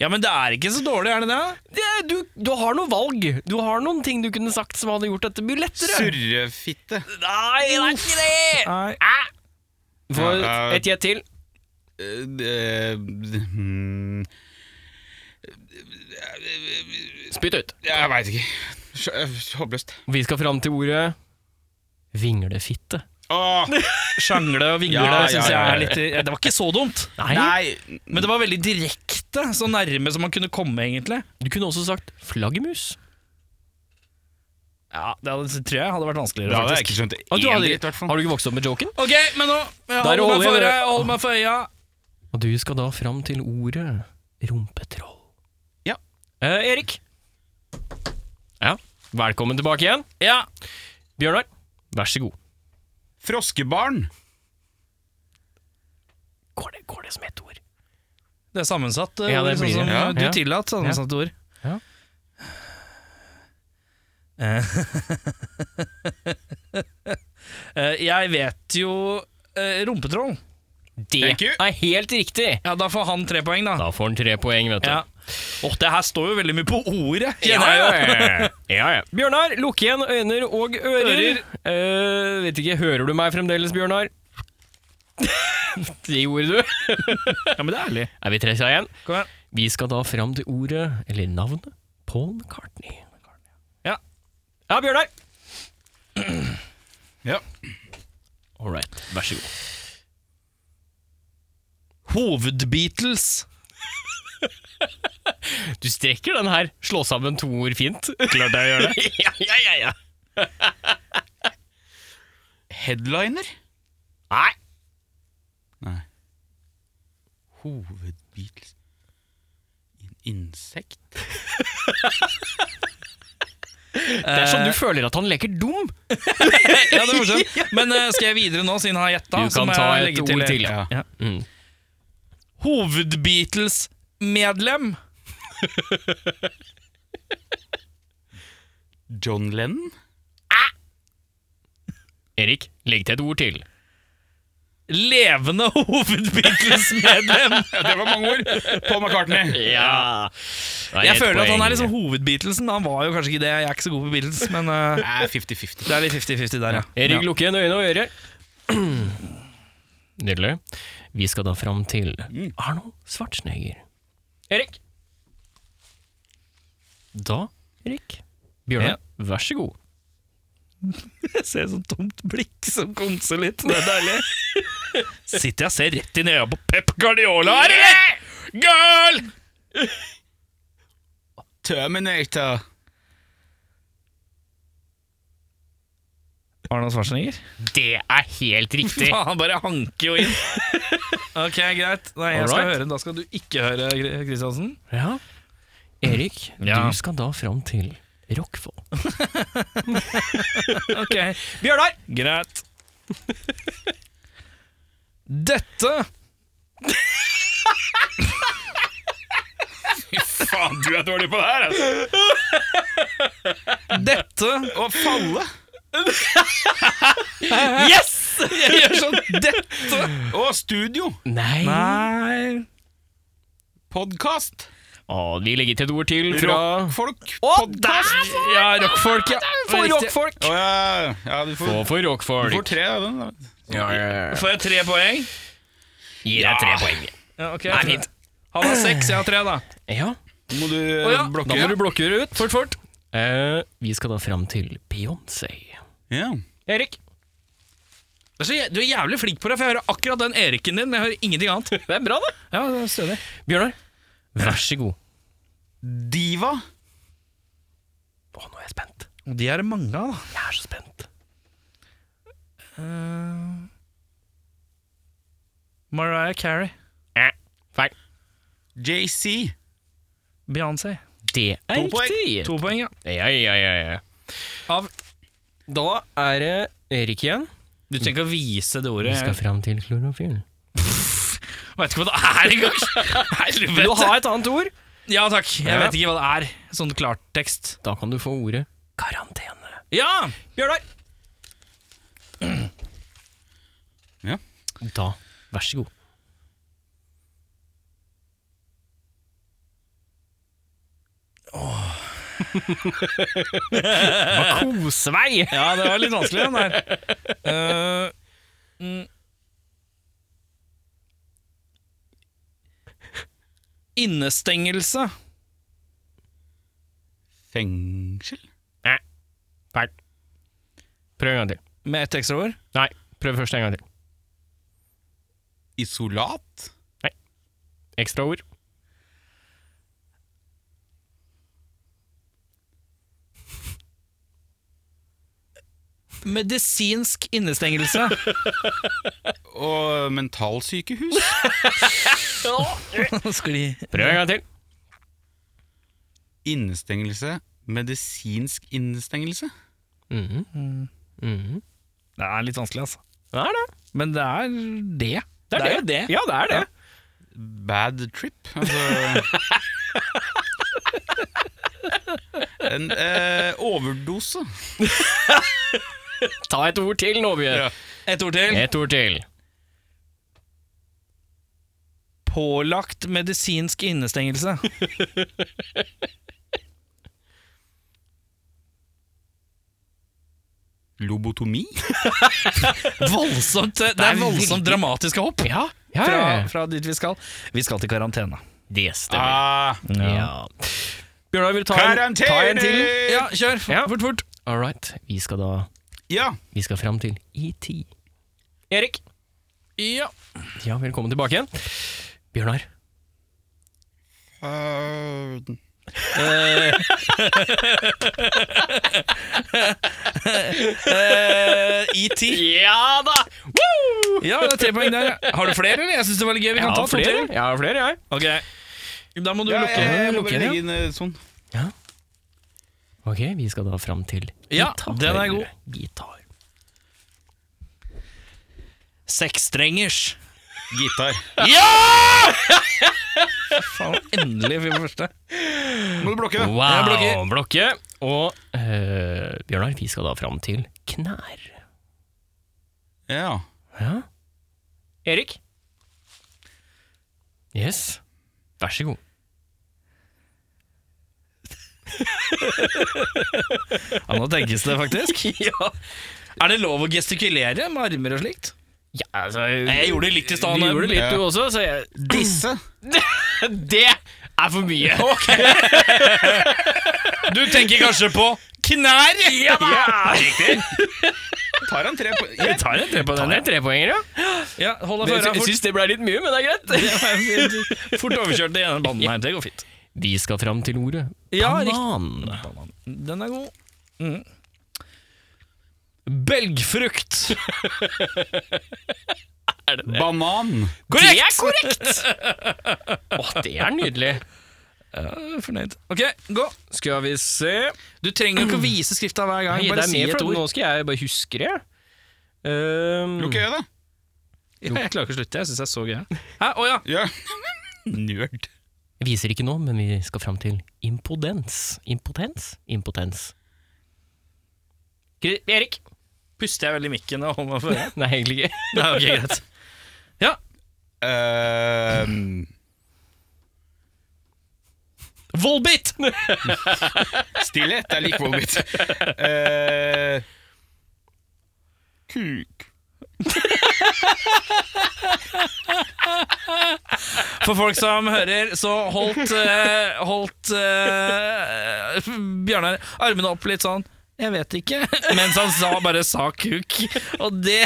S2: Ja, men det er ikke så dårlig, er det det?
S1: Det, du, du har noe valg. Du har noen ting du kunne sagt som hadde gjort dette mye lettere.
S3: Surrefitte.
S1: Nei, det er ikke det!
S2: Nei.
S1: Få
S3: Ja, eh,
S1: et gjett til.
S3: Eh, det- mm,
S1: Spytt ut.
S3: Jeg veit ikke. Sj- eh, Håpløst.
S1: Vi skal fram til ordet vinglefitte.
S3: Åh,
S2: Sjangle og vingle
S3: Ja, ja,
S2: syns
S3: ja, ja.
S2: jeg er litt ja, Det var ikke så dumt,
S3: nei!
S2: men det var veldig direkte. Så nærme som man kunne komme, egentlig.
S1: Du kunne også sagt flaggermus.
S2: Ja, Det hadde, tror jeg hadde vært
S3: Det
S2: vanskeligere,
S3: hadde jeg
S2: faktisk.
S3: ikke skjønt
S1: Ah, du
S3: én
S1: hadde-
S3: dritt, i hvert fall.
S1: Har du ikke vokst opp med joken?
S2: Ok, men nå jeg
S1: Der
S2: holder meg for
S1: holder jeg-
S2: øya. Hold meg for øya.
S1: Og du skal da fram til ordet rumpetroll.
S3: Ja.
S1: Eh, Erik. Ja, velkommen tilbake igjen.
S2: Ja.
S1: Bjørnar, vær så god.
S3: Froskebarn.
S1: Går det, går det som ett ord?
S2: Det er sammensatt eh,
S1: Ja,
S2: ord,
S1: det blir
S2: sånn som
S1: det. Ja,
S2: du
S1: ja.
S2: tillater sammensatte ord.
S1: Ja.
S2: <laughs> Eh, jeg vet jo eh, rumpetroll.
S1: Det
S3: Thank you.
S1: er helt riktig!
S2: Ja, Da får han tre poeng, da.
S1: Da får han tre poeng, vet du.
S2: Ja. Åh, det her står jo veldig mye på ordet.
S1: Ja,
S2: kjenner jeg
S3: <laughs>
S2: jo.
S1: ja, ja, ja. Bjørnar, lukk igjen øyne og ører. Eh, vet ikke, hører du meg fremdeles, Bjørnar? det gjorde du.
S2: ja, men det er ærlig.
S1: Er vi tre seg igjen?
S2: Kom igjen.
S1: Vi skal da fram til ordet, eller navnet, Paul McCartney.
S2: Ja.
S1: Ja, <clears throat> Bjørnar.
S3: Ja.
S1: All right, vær så god.
S2: Hovedbeatles.
S1: Du strekker den her. Slå sammen to ord fint. <laughs> Klart jeg gjør det. ja, ja, ja, ja.
S3: Headliner?
S1: Nei,
S3: Nei. Hovedbeatles In Insekt?
S1: det er sånn du føler at han leker dum.
S2: Eh, <laughs> Ja, det er morsomt. Men eh, skal jeg videre nå, siden han har gjetta?
S1: Du
S2: så
S1: kan
S2: må
S1: ta
S2: jeg
S1: et
S2: legge
S1: ord til,
S2: ja.
S1: ja. Mm.
S2: Hovedbeatles-medlem.
S3: John Lennon?
S1: Erik, legg til et ord til.
S2: Levende <laughs> hovedbeatles-medlem.
S3: <laughs> Ja, det var mange ord! Paul
S1: <laughs>
S3: McCartney.
S1: Ja.
S2: Jeg føler at han er liksom hovedbeatlesen. men Han var jo kanskje ikke det. Jeg er ikke så god på Beatles, men eh,
S3: Nei, 50-50.
S2: det er litt 50-50 der, ja.
S1: Erik,
S2: ja.
S1: lukk igjen øyne og ører. <clears throat> Nydelig. Vi skal da fram til Arno Schwarzenegger. Erik! Da, Erik Bjørnar, vær så god.
S2: Jeg <laughs> ser sånn tomt blikk som konser litt. Det er deilig. <laughs> Sitter jeg og ser rett inn i øya på Pep Guardiola her, eller? Girl!
S3: Terminator.
S2: Arnold Schwarzenegger?
S1: Det er helt riktig!
S2: Faen, han bare hanker <laughs> jo inn. ok, greit. Nei, jeg skal
S1: Alright.
S2: høre den. Da skal du ikke høre Gr- Kristiansen.
S1: <laughs> Ja. Erik,
S2: Ja.
S1: du skal da fram til Rockfold.
S2: Ok,
S1: Bjørnar!
S2: greit. <laughs> Dette
S3: Faen, du er dårlig på det her, altså!
S2: Dette
S3: Å falle!
S1: Yes!
S2: Jeg gjør sånn Dette
S3: Å, studio!
S1: Nei
S2: Nei
S3: Podkast!
S1: Å, Vi legger til et ord til fra
S3: Rockfolk.
S1: Å,
S3: Podcast.
S1: der!
S2: Ja, rockfolk, ja.
S1: For
S2: Riktig.
S1: rockfolk!
S3: Å ja, ja, du
S1: Og
S3: får,
S1: for
S3: du får
S1: rockfolk.
S3: tre av den. da.
S1: Ja, ja, ja.
S2: Får jeg tre poeng?
S1: Gir deg tre poeng.
S2: Ja, ok.
S1: Nei, fint.
S2: Han har seks, jeg har tre, da.
S1: Ja.
S3: Nå må du eh,
S2: Å ja,
S1: Da
S3: blokke.
S1: må du blokkere ut. Fort, fort. Eh, vi skal da fram til Beyoncé.
S3: Ja.
S1: Erik.
S2: Det er så jæ- Du er jævlig flink på det, for jeg hører akkurat den Eriken din. men Jeg hører ingenting annet.
S1: Det er bra, det.
S2: Ja, det er stødig.
S1: Bjørnar, vær så god.
S3: Diva.
S1: Å, nå er jeg spent.
S2: Og de er det mange av, da.
S1: Jeg er så spent.
S2: Mariah Carey,
S1: Feil.
S3: JC.
S2: Beyoncé.
S1: Det er
S3: To poeng.
S1: riktig.
S2: To poeng, ja.
S1: Ja, ja, ja, ja.
S2: Av
S1: Da er det Erik igjen.
S2: Du trenger ikke å vise det ordet.
S1: Vi skal fram til klorofyll.
S2: Veit ikke hva det er engang. <laughs>
S1: Vil du
S2: Helvete.
S1: ha et annet ord?
S2: Ja takk. Jeg
S1: Ja.
S2: vet ikke hva det er. Sånn klartekst.
S1: Da kan du få ordet karantene.
S2: Ja!
S1: Bjørnar!
S3: <clears throat> Ja.
S1: Da, vær så god. Åh Kosevei!
S2: <laughs> Ja, det var litt vanskelig, den der. Eh, mm. Innestengelse.
S3: Fengsel?
S1: Feil. Prøv en gang til.
S2: Med ett ekstra ord.
S1: Nei, prøv først en gang til.
S3: Isolat?
S1: Ekstra ord.
S2: Medisinsk
S1: <laughs>
S2: innestengelse.
S3: Og mentalsykehus?
S2: Skli.
S1: Prøv en gang til.
S3: Innestengelse? Medisinsk innestengelse?
S2: Det er litt vanskelig, altså.
S1: Det er det.
S2: Men det er det.
S1: Det er,
S2: jo det.
S1: Ja, det er det.
S3: Bad trip? Altså En eh, overdose.
S1: Ta et ord til nå, Bjørn.
S3: Ja.
S2: Et ord til.
S1: Et ord til.
S2: Pålagt medisinsk
S1: <laughs>
S2: innestengelse.
S3: Lobotomi?
S2: Voldsomt, det er voldsomt dramatiske hopp
S1: Ja, ja,
S2: fra,
S1: ja.
S2: fra dit vi skal. Vi skal til karantene.
S1: Det stemmer.
S3: Ah,
S1: Ja. Bjørnar, vil du ta en, ta en til?
S3: karantene!
S2: Ja, kjør!
S1: Ja.
S2: Fort, fort.
S1: All right. Vi skal da
S3: Ja.
S1: Vi skal fram til E E10. Erik.
S2: Ja.
S1: Ja, velkommen tilbake igjen. Bjørnar.
S3: Eh,
S2: Eh, ET.
S1: Ja da! Woo!
S2: <laughs> Ja, det er tre poeng der. ja. Har du flere, eller? Jeg syns det var litt gøy. Vi
S1: Jeg
S2: kan ta
S1: har
S2: to
S1: flere,
S2: til.
S1: jeg. har flere, jeg.
S2: Ok. Da må du
S3: ja,
S2: lukke.
S3: jeg, jeg må
S1: lukke
S3: bare
S1: den, ja.
S3: legge inn eh, sånn.
S1: Ok, vi skal da fram til
S2: Ja,
S1: gitar.
S2: den er god.
S1: Gitar.
S2: Seksstrengers.
S3: Gitar.
S2: <laughs> Faen, endelig fikk vi første.
S3: Må du blokke?
S1: Wow.
S2: blokker.
S1: Blokke. Og eh, Bjørnar, vi skal da fram til knær.
S3: Ja.
S1: Ja. Erik? Yes. Vær så god.
S2: Ja, nå tenkes det, <laughs> faktisk.
S1: ja.
S2: Er det lov å gestikulere med armer og slikt?
S1: ja, altså
S2: Jeg gjorde det litt i stad.
S1: Du gjorde litt,
S3: Ja.
S1: du også, så jeg
S3: Disse.
S1: Det er for mye!
S2: Du tenker kanskje på knær? Ja da!
S3: Tar han tre på
S2: Jeg tar en tre på
S1: Ta
S2: den.
S1: ned trepoengere, ja.
S2: Ja, hold
S1: Jeg sy-
S2: deg for øra.
S1: jeg
S2: Fort,
S1: syns det ble litt mye, men det er greit.
S2: Det var fint. <laughs> fort overkjørt i ene banden her. Det går fint.
S1: Vi skal fram til ordet
S2: Ja,
S1: banan.
S2: Den er god. Mm. Belgfrukt.
S3: Banan.
S1: Det er korrekt! Åh, Ah, det er nydelig.
S2: <laughs> Fornøyd. Ok, gå.
S1: Skal vi se
S2: Du trenger jo ikke å vise skrifta hver gang.
S1: Nei, det
S2: bare
S1: er
S2: si
S1: mer
S2: et
S1: for
S2: ord.
S1: Nå skal jeg bare huske det. Um,
S3: Lukk øya, da.
S2: Ja, jeg klarer ikke å slutte. Jeg syns det er så gøy. Hæ? Å ja.
S3: Ja. Nerd.
S1: jeg viser ikke nå, men vi skal fram til impotens. Impotens? Impotens. Kri- Erik?
S2: Puster jeg veldig i mikken og holder meg for øret? <laughs>
S1: Nei, egentlig ikke. <laughs>
S2: Nei, ok, greit.
S3: Ehm,
S2: Volbit!
S3: stillhet er lik volden mitt. Eh, kuk.
S2: For folk som hører, så <laughs> holdt, eh, holdt eh, Bjørnar armene opp litt sånn Jeg vet ikke. <laughs> Mens han sa, bare sa kuk. Og det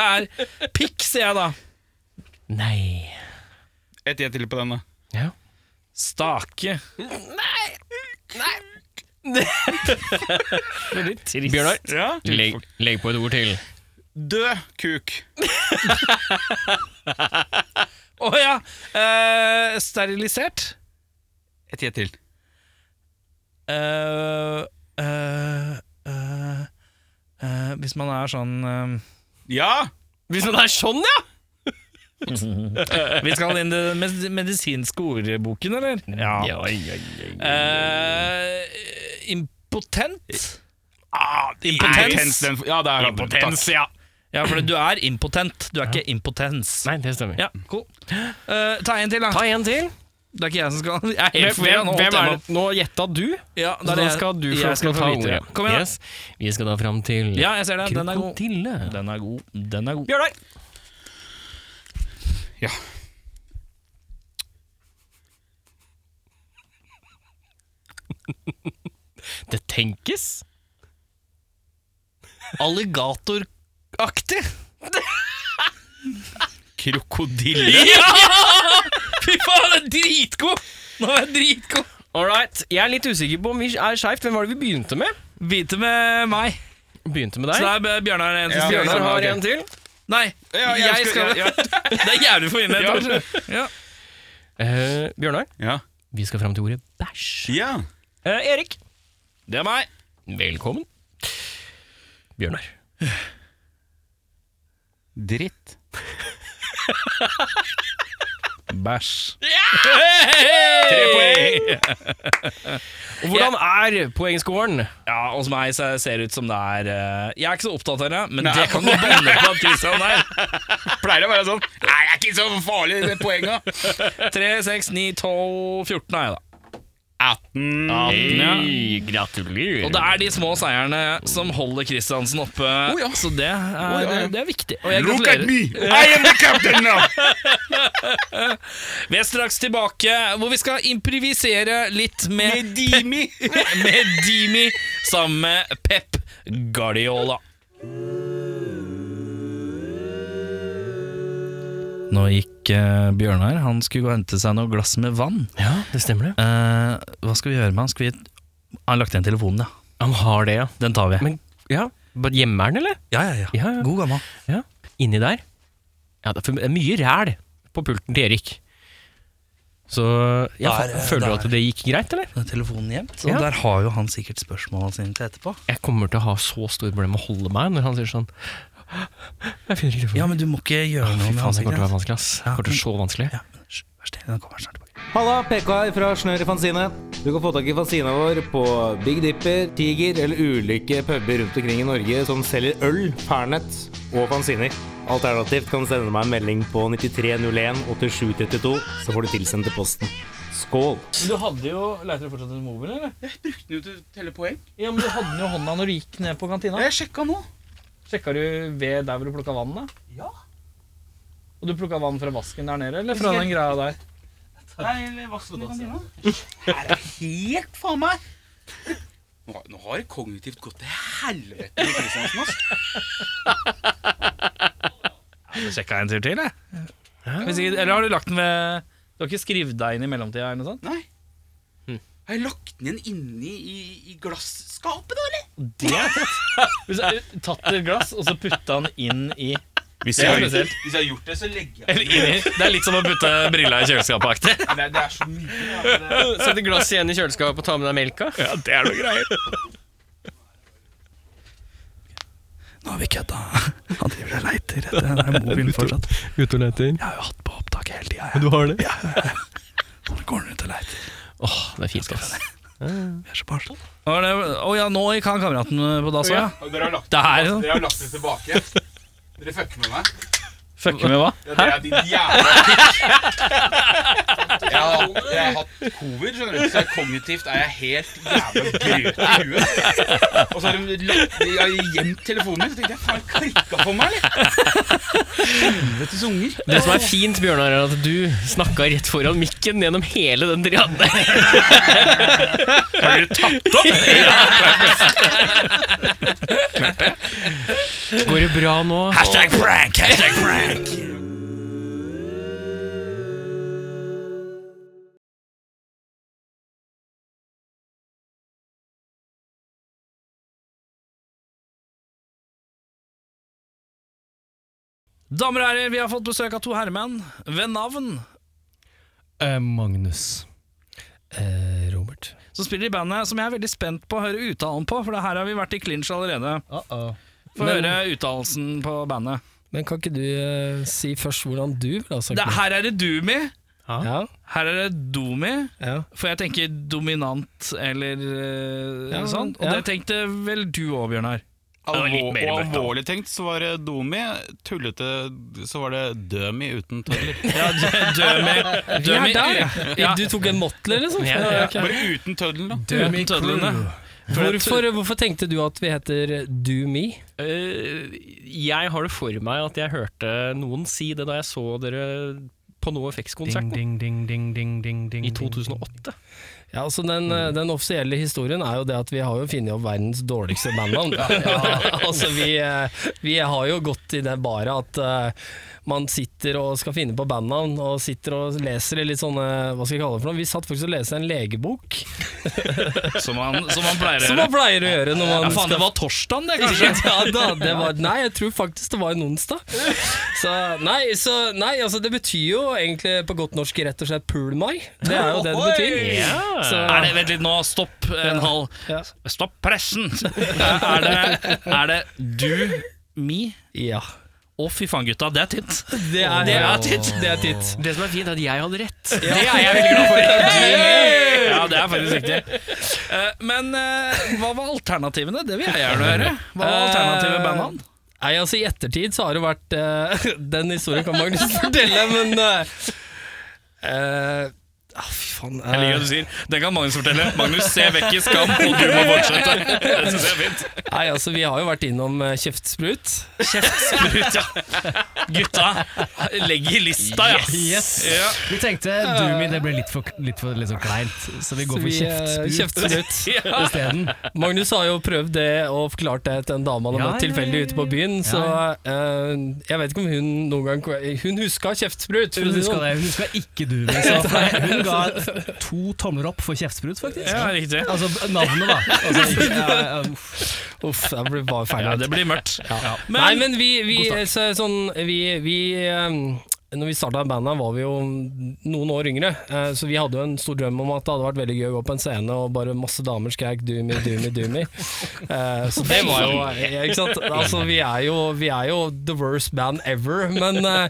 S2: er pikk, sier jeg da.
S1: Nei.
S3: Et gjett til på den, da.
S1: Ja.
S2: Stake. <laughs>
S1: Bjørnar,
S3: Ja.
S1: legg, legg på et ord til.
S3: Død kuk.
S2: Å ja! Eh, sterilisert.
S3: Et gjett til.
S2: Eh, eh, eh, eh, hvis man er sånn eh,
S3: Ja!
S1: Hvis det er sånn, ja!
S2: Vi skal inn i den med- medisinske ordboken, eller? Ja. Eh, impotent? impotens.
S3: den, ja, det er han.
S1: Impotens,
S3: Takk.
S1: ja.
S2: Ja, for du er impotent. Du er ikke impotens.
S1: Nei, det stemmer.
S2: Ja, cool. Eh, ta en til, da.
S1: Ta en til.
S2: Det er ikke jeg som skal Jeg er
S1: Hvem,
S2: helt forvirra.
S1: hvem, hvem er det? Nå gjetta du,
S2: Ja,
S1: så da
S2: det er jeg-
S1: skal du få
S2: jeg
S1: lov til
S2: skal
S1: å
S2: få
S1: ta
S2: vite det.
S1: ordet.
S2: Kom igjen, da.
S1: Yes. Vi skal da fram til
S2: Ja, jeg ser det. Den er god.
S1: krokodille.
S2: Den er god. Den er god.
S1: Bjørnar!
S3: Ja.
S1: Det tenkes.
S2: Alligatoraktig!
S3: Krokodille.
S2: Fy faen, den er dritgod! Nå er den dritgod.
S1: All right. Jeg er litt usikker på om vi er skeivt. Hvem var det vi begynte med?
S2: Begynte med meg.
S1: Begynte med
S2: Så
S1: deg.
S2: det er Bjørnar en som
S3: Ja,
S2: spiller.
S1: Bjørnar har
S3: ok.
S1: en til.
S2: Nei,
S3: Ja,
S2: jeg,
S3: jeg
S2: skal
S3: skal- ja,
S2: <laughs> Det er jævlig forvirrende. kanskje. Ja.
S1: Eh, Bjørnar,
S3: Ja.
S1: vi skal fram til ordet bæsj.
S3: ja.
S1: Eh, Erik,
S2: Det er meg.
S1: velkommen. Bjørnar.
S3: Dritt.
S2: Bæsj.
S1: Tre poeng! Og hvordan er poengscoren?
S2: Ja, hos meg så ser det ut som det er eh, Jeg er ikke så opptatt av det, men det kan du banne på at Christian er.
S3: Pleier å være sånn. Nei, det er ikke så farlig, det poenget.
S2: 3, 6, 9, 12, 14 er jeg, da.
S3: 18.
S1: Hey, gratulerer.
S2: Og det er de små seierne som holder Kristiansen oppe, så det er,
S3: ja.
S2: det er viktig. Og jeg
S3: Look at
S2: gratulerer.
S3: me. I am the captain now.
S2: Vi er straks tilbake, hvor vi skal improvisere litt med,
S3: Med Dimi.
S2: <laughs> med Dimi sammen med Pep Guardiola. Nå gikk eh, Bjørnar. Han skulle gå og hente seg noe glass med vann.
S1: Ja, det stemmer det.
S2: Eh, hva skal vi gjøre med han? Skal vi Han har lagt igjen telefonen, ja.
S1: Han har det, ja.
S2: Den tar vi.
S1: Men ja, bare gjemmer han, eller?
S2: ja, ja, ja.
S1: Ja, ja.
S2: God gammel.
S1: Ja. Inni der. Ja, det er for- det er mye ræl på pulten til Erik. Så ja,
S2: Der, eh,
S1: føler du
S2: der.
S1: at det gikk greit, eller?
S2: Den er telefonen gjemt, og
S1: Ja.
S2: der har jo han sikkert spørsmålene sine til etterpå.
S1: Jeg kommer til å ha så store problemer med å holde meg når han sier sånn <laughs> Jeg finner ikke telefonen.
S2: Ja, men du må ikke gjøre noe
S1: Fy
S2: med
S1: faen, det kommer til å
S2: ansiktet.
S1: være vanskelig, ass. Det kommer til å være så vanskelig.
S2: Ja, men hysj, vær stille, den kommer snart tilbake.
S6: Halla, PK her fra Snør i fanzine. Du kan få tak i fanzina vår på Big Dipper, Tiger eller ulike puber rundt omkring i Norge som selger øl, pernett og fanziner. Alternativt kan du sende meg en melding på 9301 8732, så får du tilsendt til posten. Skål!
S2: Du hadde jo Leiter du fortsatt etter mobilen, eller?
S3: Brukte den jo til å telle poeng.
S2: Ja, men du hadde den jo i hånda når du gikk ned på kantina.
S3: Jeg sjekka nå.
S2: Sjekka du ved der hvor du plukka vann, da? Ja. Og du plukka vann fra vasken der nede, eller fra den greia der?
S3: Nei, vasken i kantina. Er det helt faen meg Nå har- Nå har det kognitivt gått til helvete med Kristiansen, ass.
S2: Sjekka en tur til, jeg. Hvis ikke, eller har du lagt den ved Du har ikke skrevet deg inn i mellomtida? eller noe sånt?
S3: Nei. Har jeg lagt den igjen inni i, i glasskapet, da, eller?
S2: Det er tatt. Hvis jeg tatt et glass, og så putta den inn i
S3: Hvis
S2: jeg har- spesielt.
S3: hvis jeg har gjort det, så legger jeg
S2: Eller inni. Det er litt som å putte brilla i
S1: <laughs>
S2: kjøleskapet aktig.
S3: det. er- Det er så mye. da, det-
S1: Sett et glass igjen i kjøleskapet og ta med deg melka.
S2: Ja, det er noe greier. Nå har vi kødda. Han driver og leiter etter den der mobilen fortsatt.
S1: Ute og leter.
S2: Jeg har jo hatt på opptak hele tida.
S1: Du har det?
S2: Nå går han ut og leiter.
S1: Åh, det er fint, ass.
S2: Vi er så barnslige. Å ja, nå gikk han kameraten på dass òg, ja.
S3: Og Dere har lagt
S2: Det er
S3: dere har lagt det tilbake. Dere fucker med meg.
S2: Fucker med hva?
S3: Ja, dere er din jævla jeg har, jeg har hatt covid, skjønner du. Så kognitivt er jeg helt jævla grøt i huet. Og så har de lagt de har gjemt telefonen min, så tenkte jeg faen, klikka for meg, eller? Helvetes unger.
S1: Det som er fint, Bjørnar, er at du snakka rett foran mikken gjennom hele den driaden. <laughs> Går det bra nå?
S2: Hashtag prank! Hashtag prank! Damer og herrer, vi har fått besøk av to herremenn ved navn
S1: Eh, Magnus. Eh, Robert.
S2: som spiller i bandet som jeg er veldig spent på å høre uttalen på, for det her har vi vært i clinch allerede. Få
S1: Men-
S2: høre uttalelsen på bandet.
S7: Men kan ikke du eh, si først hvordan du vil ha sagt
S2: Det,
S7: det?
S2: her er det du med.
S7: Ja,
S2: Her er det do med.
S7: ja.
S2: For jeg tenker dominant eller eh,
S7: Ja,
S2: sånn. Og
S7: ja.
S2: det tenkte vel du òg, Bjørnar.
S1: litt
S8: Alvor,
S1: mer
S8: og
S1: mørkt, da.
S8: alvorlig tenkt så var det domi, tullete så var det dømi uten tøyler.
S2: Ja, dø med,
S7: <laughs>
S2: dø
S7: Ja,
S2: med
S7: der, ja.
S2: ja.
S7: Du tok en Mottler, liksom?
S1: Ja, ja.
S7: ok.
S8: Bare uten tøddelen, da.
S7: Døm i
S2: Uten tødlene.
S7: Hvorfor, hvorfor tenkte du at vi heter Do Me?
S1: Eh, jeg har det for meg at jeg hørte noen si det da jeg så dere på NoFX-konserten i 2008.
S7: Ja, altså den,
S2: Mm.
S7: eh, den offisielle historien er jo det at vi har jo funnet opp verdens dårligste
S2: <laughs>
S7: bandnavn. altså vi, eh, vi har jo gått i det bare at eh, man sitter og skal finne på bandnavn, og sitter og leser i litt sånne Hva skal jeg kalle det for noe? Vi satt faktisk og leste en legebok,
S2: Som han, som han pleier å gjøre.
S7: som man pleier å gjøre når man
S2: Ja, faen, det var torsdagen, det, kanskje.
S7: Ikke sant? Ja, da, det var, nei, jeg tror faktisk det var en onsdag. Så nei, så, nei altså, det betyr jo egentlig på godt norsk rett og slett pool mai. Det er jo det det betyr. Så,
S2: Er det, vent litt nå, stopp en halv
S7: Ja.
S2: Stopp pressen! <laughs> Er det, er det du, me?
S7: ja.
S2: Å, fy faen, gutta, det er tynt.
S7: Det er,
S2: Det er titt.
S7: Det er titt.
S1: Det som er fint, er at jeg hadde <laughs> rett.
S7: Det er jeg veldig glad
S2: Ja, det er faktisk riktig. Eh, Men eh, hva var alternativene? Det vil jeg gjerne høre. Hva var alternativet bandnavn?
S7: Nei, altså I ettertid så har det vært eh, <laughs> Den historien kan Magnus <laughs> fortelle, men eh, eh, ah, Fy faen. eh,
S2: Jeg liker at du sier Den kan Magnus fortelle. Magnus, se vekk i skam, og du må fortsette. Det synes jeg er fint.
S7: nei, altså Vi har jo vært innom eh, kjeftsprut.
S2: Kjeftsprut, ja. Gutta, legg i lista, ja.
S5: Yes.
S2: ja.
S5: Vi tenkte Doomy, det ble litt for, litt for liksom kleint, så vi går for
S7: Så vi, eh,
S5: kjeftsprut <laughs>
S7: <laughs> kjeftsprut.
S5: isteden.
S7: Magnus har jo prøvd det og forklart det til en dame han har
S5: Ja, ja,
S7: møtt
S5: ja,
S7: tilfeldig ute på byen, så eh, jeg vet ikke om hun noen gang Hun huska kjeftsprut, for
S5: Hun
S7: å si det
S5: huska
S7: sånn.
S5: det, hun huska ikke du, men så
S2: <laughs>
S5: hun ga to tomler opp for kjeftsprut, faktisk.
S2: ja riktig.
S5: Altså navnet, da. Altså, ikke, ja,
S7: <laughs>
S5: ja, uff.
S7: Uff, jeg ble bare ferdig.
S2: Ja, det blir mørkt. Ja. Men,
S7: Nei, men vi, vi, så, sånn, vi, vi ehm, Når vi starta bandet, var vi jo noen år yngre. eh, Så vi hadde jo en stor drøm om at det hadde vært veldig gøy å gå på en scene og bare masse damer skrek 'doomy, doomy,
S5: <laughs>
S7: doomy'. Eh, Så det var jo ja, Ikke sant? Altså, vi er jo, vi er jo the worst band ever, men, eh,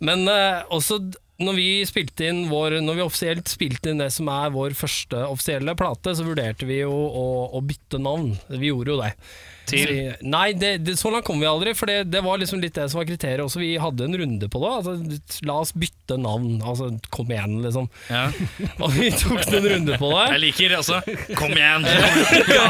S7: men eh, også d- når vi, spilte inn vår, når vi offisielt spilte inn det som er vår første offisielle plate, så vurderte vi jo å, å bytte navn. Vi gjorde jo det.
S2: Til?
S7: Så- Nei, det, det, så langt kom vi aldri, for det, det var liksom litt det som var kriteriet også. Vi hadde en runde på det. Altså, la oss bytte navn. Altså, kom igjen, liksom.
S2: ja.
S7: <laughs> Og vi tok en runde på det.
S2: Jeg liker altså Kom igjen!
S7: ja,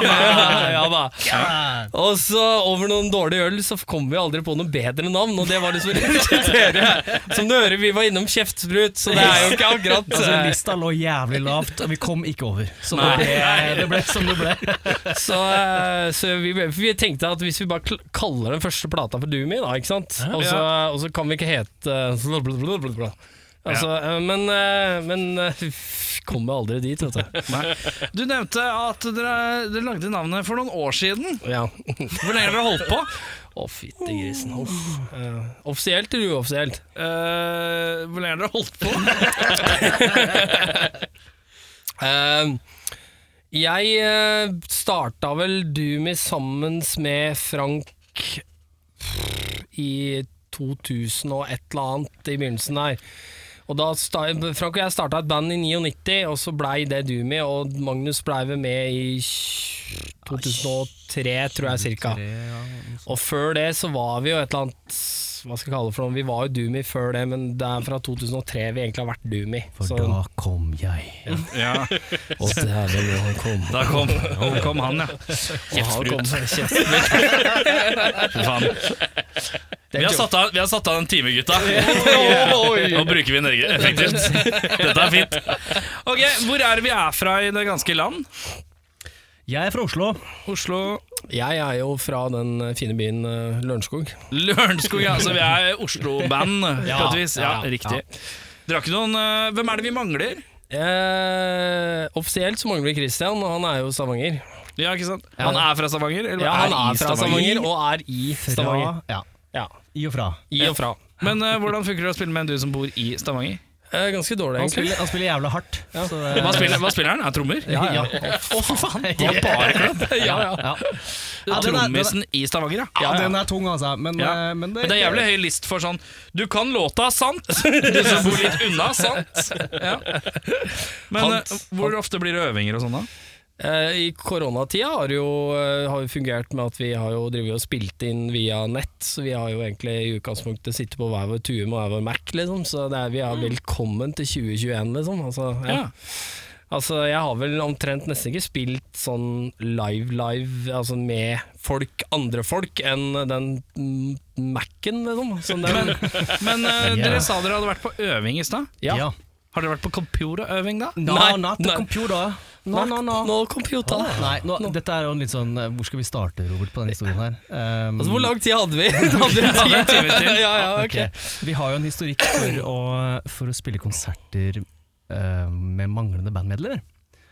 S7: ja, da. Og så over noen dårlige øl så kom vi aldri på noe bedre navn, og det var liksom kriteriet. Som du hører, vi var innom kjeftsprut, så det er jo ikke akkurat
S5: Altså,
S7: eh,
S5: lista lå jævlig lavt, og vi kom ikke over. Så det
S2: Nei.
S5: ble, det ble som det ble.
S7: Så, eh, så vi, vi tenkte at hvis vi bare kl- kaller den første plata for Doomy, da, ikke sant? Og så, og så kan vi ikke hete blablabla. Altså, eh, Men, eh, men eh, vi kommer aldri dit, vet du.
S2: Du nevnte at dere, dere lagde navnet for noen år siden.
S7: Ja.
S2: Hvor lenge har dere holdt på?
S7: Å, fytti grisen. Uff. Eh, Offisielt eller uoffisielt?
S2: Eh, hvor lenge har dere holdt på?
S7: <laughs> Eh, jeg eh, starta vel Doomy sammen med Frank i 2000 og et eller annet i begynnelsen der. Og da sta Frank og jeg starta et band i 99, og så blei det Doomy, og Magnus blei vel med i 2003, tror jeg cirka. Og før det så var vi jo et eller annet Hva skal jeg kalle det for noe? Vi var jo Doomy før det, men det er fra 2003 vi egentlig har vært Doomy.
S5: For
S7: Så-
S5: da kom jeg.
S7: Å, dæven, hvor han kom.
S2: Da kom, kom han, ja.
S7: Kjeftsprut.
S2: Fy faen. Vi har, satt av, vi har satt av en time, gutta. Nå bruker vi Norge effektivt. Dette er fint. Ok, Hvor er det vi er fra i det ganske land?
S5: Jeg er fra Oslo.
S2: Oslo
S7: Jeg er jo fra den fine byen eh, Lørenskog.
S2: Lørenskog, ja. Så vi er Oslo-band, på et vis. Ja,
S7: ja, ja.
S2: riktig. Dere har ikke noen eh, Hvem er det vi mangler?
S7: Eh, offisielt så mangler vi Christian, og han er jo Stavanger.
S2: Ja, ikke sant? Han er fra Stavanger? Eller
S7: Ja, han
S2: i
S7: er fra Stavanger og er i Stavanger.
S5: Fra, ja.
S7: Ja,
S5: I og fra.
S7: I og fra.
S2: Men eh, hvordan funker det å spille med en du som bor i Stavanger?
S7: Eh, Eh, Ganske dårlig,
S1: Han
S7: egentlig.
S1: spiller, han spiller jævla hardt. Så det,
S2: Hva spiller, hva spiller han? Er trommer?
S1: Eh. Ja, ja. Å, fy faen!
S2: Det er bare klubb.
S1: ja, ja. ja. ja den, er, den, er,
S2: Trommisen i Stavanger, ja.
S1: ja, <laughs> den er tung, altså. Men,
S2: Ja.
S1: eh, men det,
S2: Men det er jævlig høy list for sånn Du kan låta,
S1: <laughs>
S2: sant? Du som bor litt unna, sant? Ja. Men
S7: Sant.
S2: eh, hvor ofte blir det øvinger og sånn, da?
S7: Eh, I koronatida har det jo eh, har jo fungert med at vi har jo drevet og spilt inn via nett. Så vi har jo egentlig i utgangspunktet sittet på hver vår tue med hver vår Mac, liksom. Så det er, vi
S1: Mm.
S7: er velkommen til 2021, liksom. Altså, ja. altså, jeg har vel omtrent nesten ikke spilt sånn live-live, altså med folk, andre folk, enn den mm, Mac-en, liksom. Så den,
S2: Men eh,
S1: Ja.
S2: dere sa dere hadde vært på øving i stad.
S1: ja. ja.
S2: Har dere vært på Computerøving da?
S1: No,
S7: Nei,
S1: not the
S7: nei.
S1: computer. No, no, no.
S7: Nå computer.
S1: Nei, nå, dette er jo en litt sånn eh, Hvor skal vi starte, Robert, på denne historien her? Um,
S7: <laughs> Altså, hvor lang tid hadde vi? <laughs> Hadde vi
S2: timer til.
S7: ja, ja, ok.
S1: ok. Vi har jo en historikk for å, for å spille konserter eh, med manglende bandmedlemmer.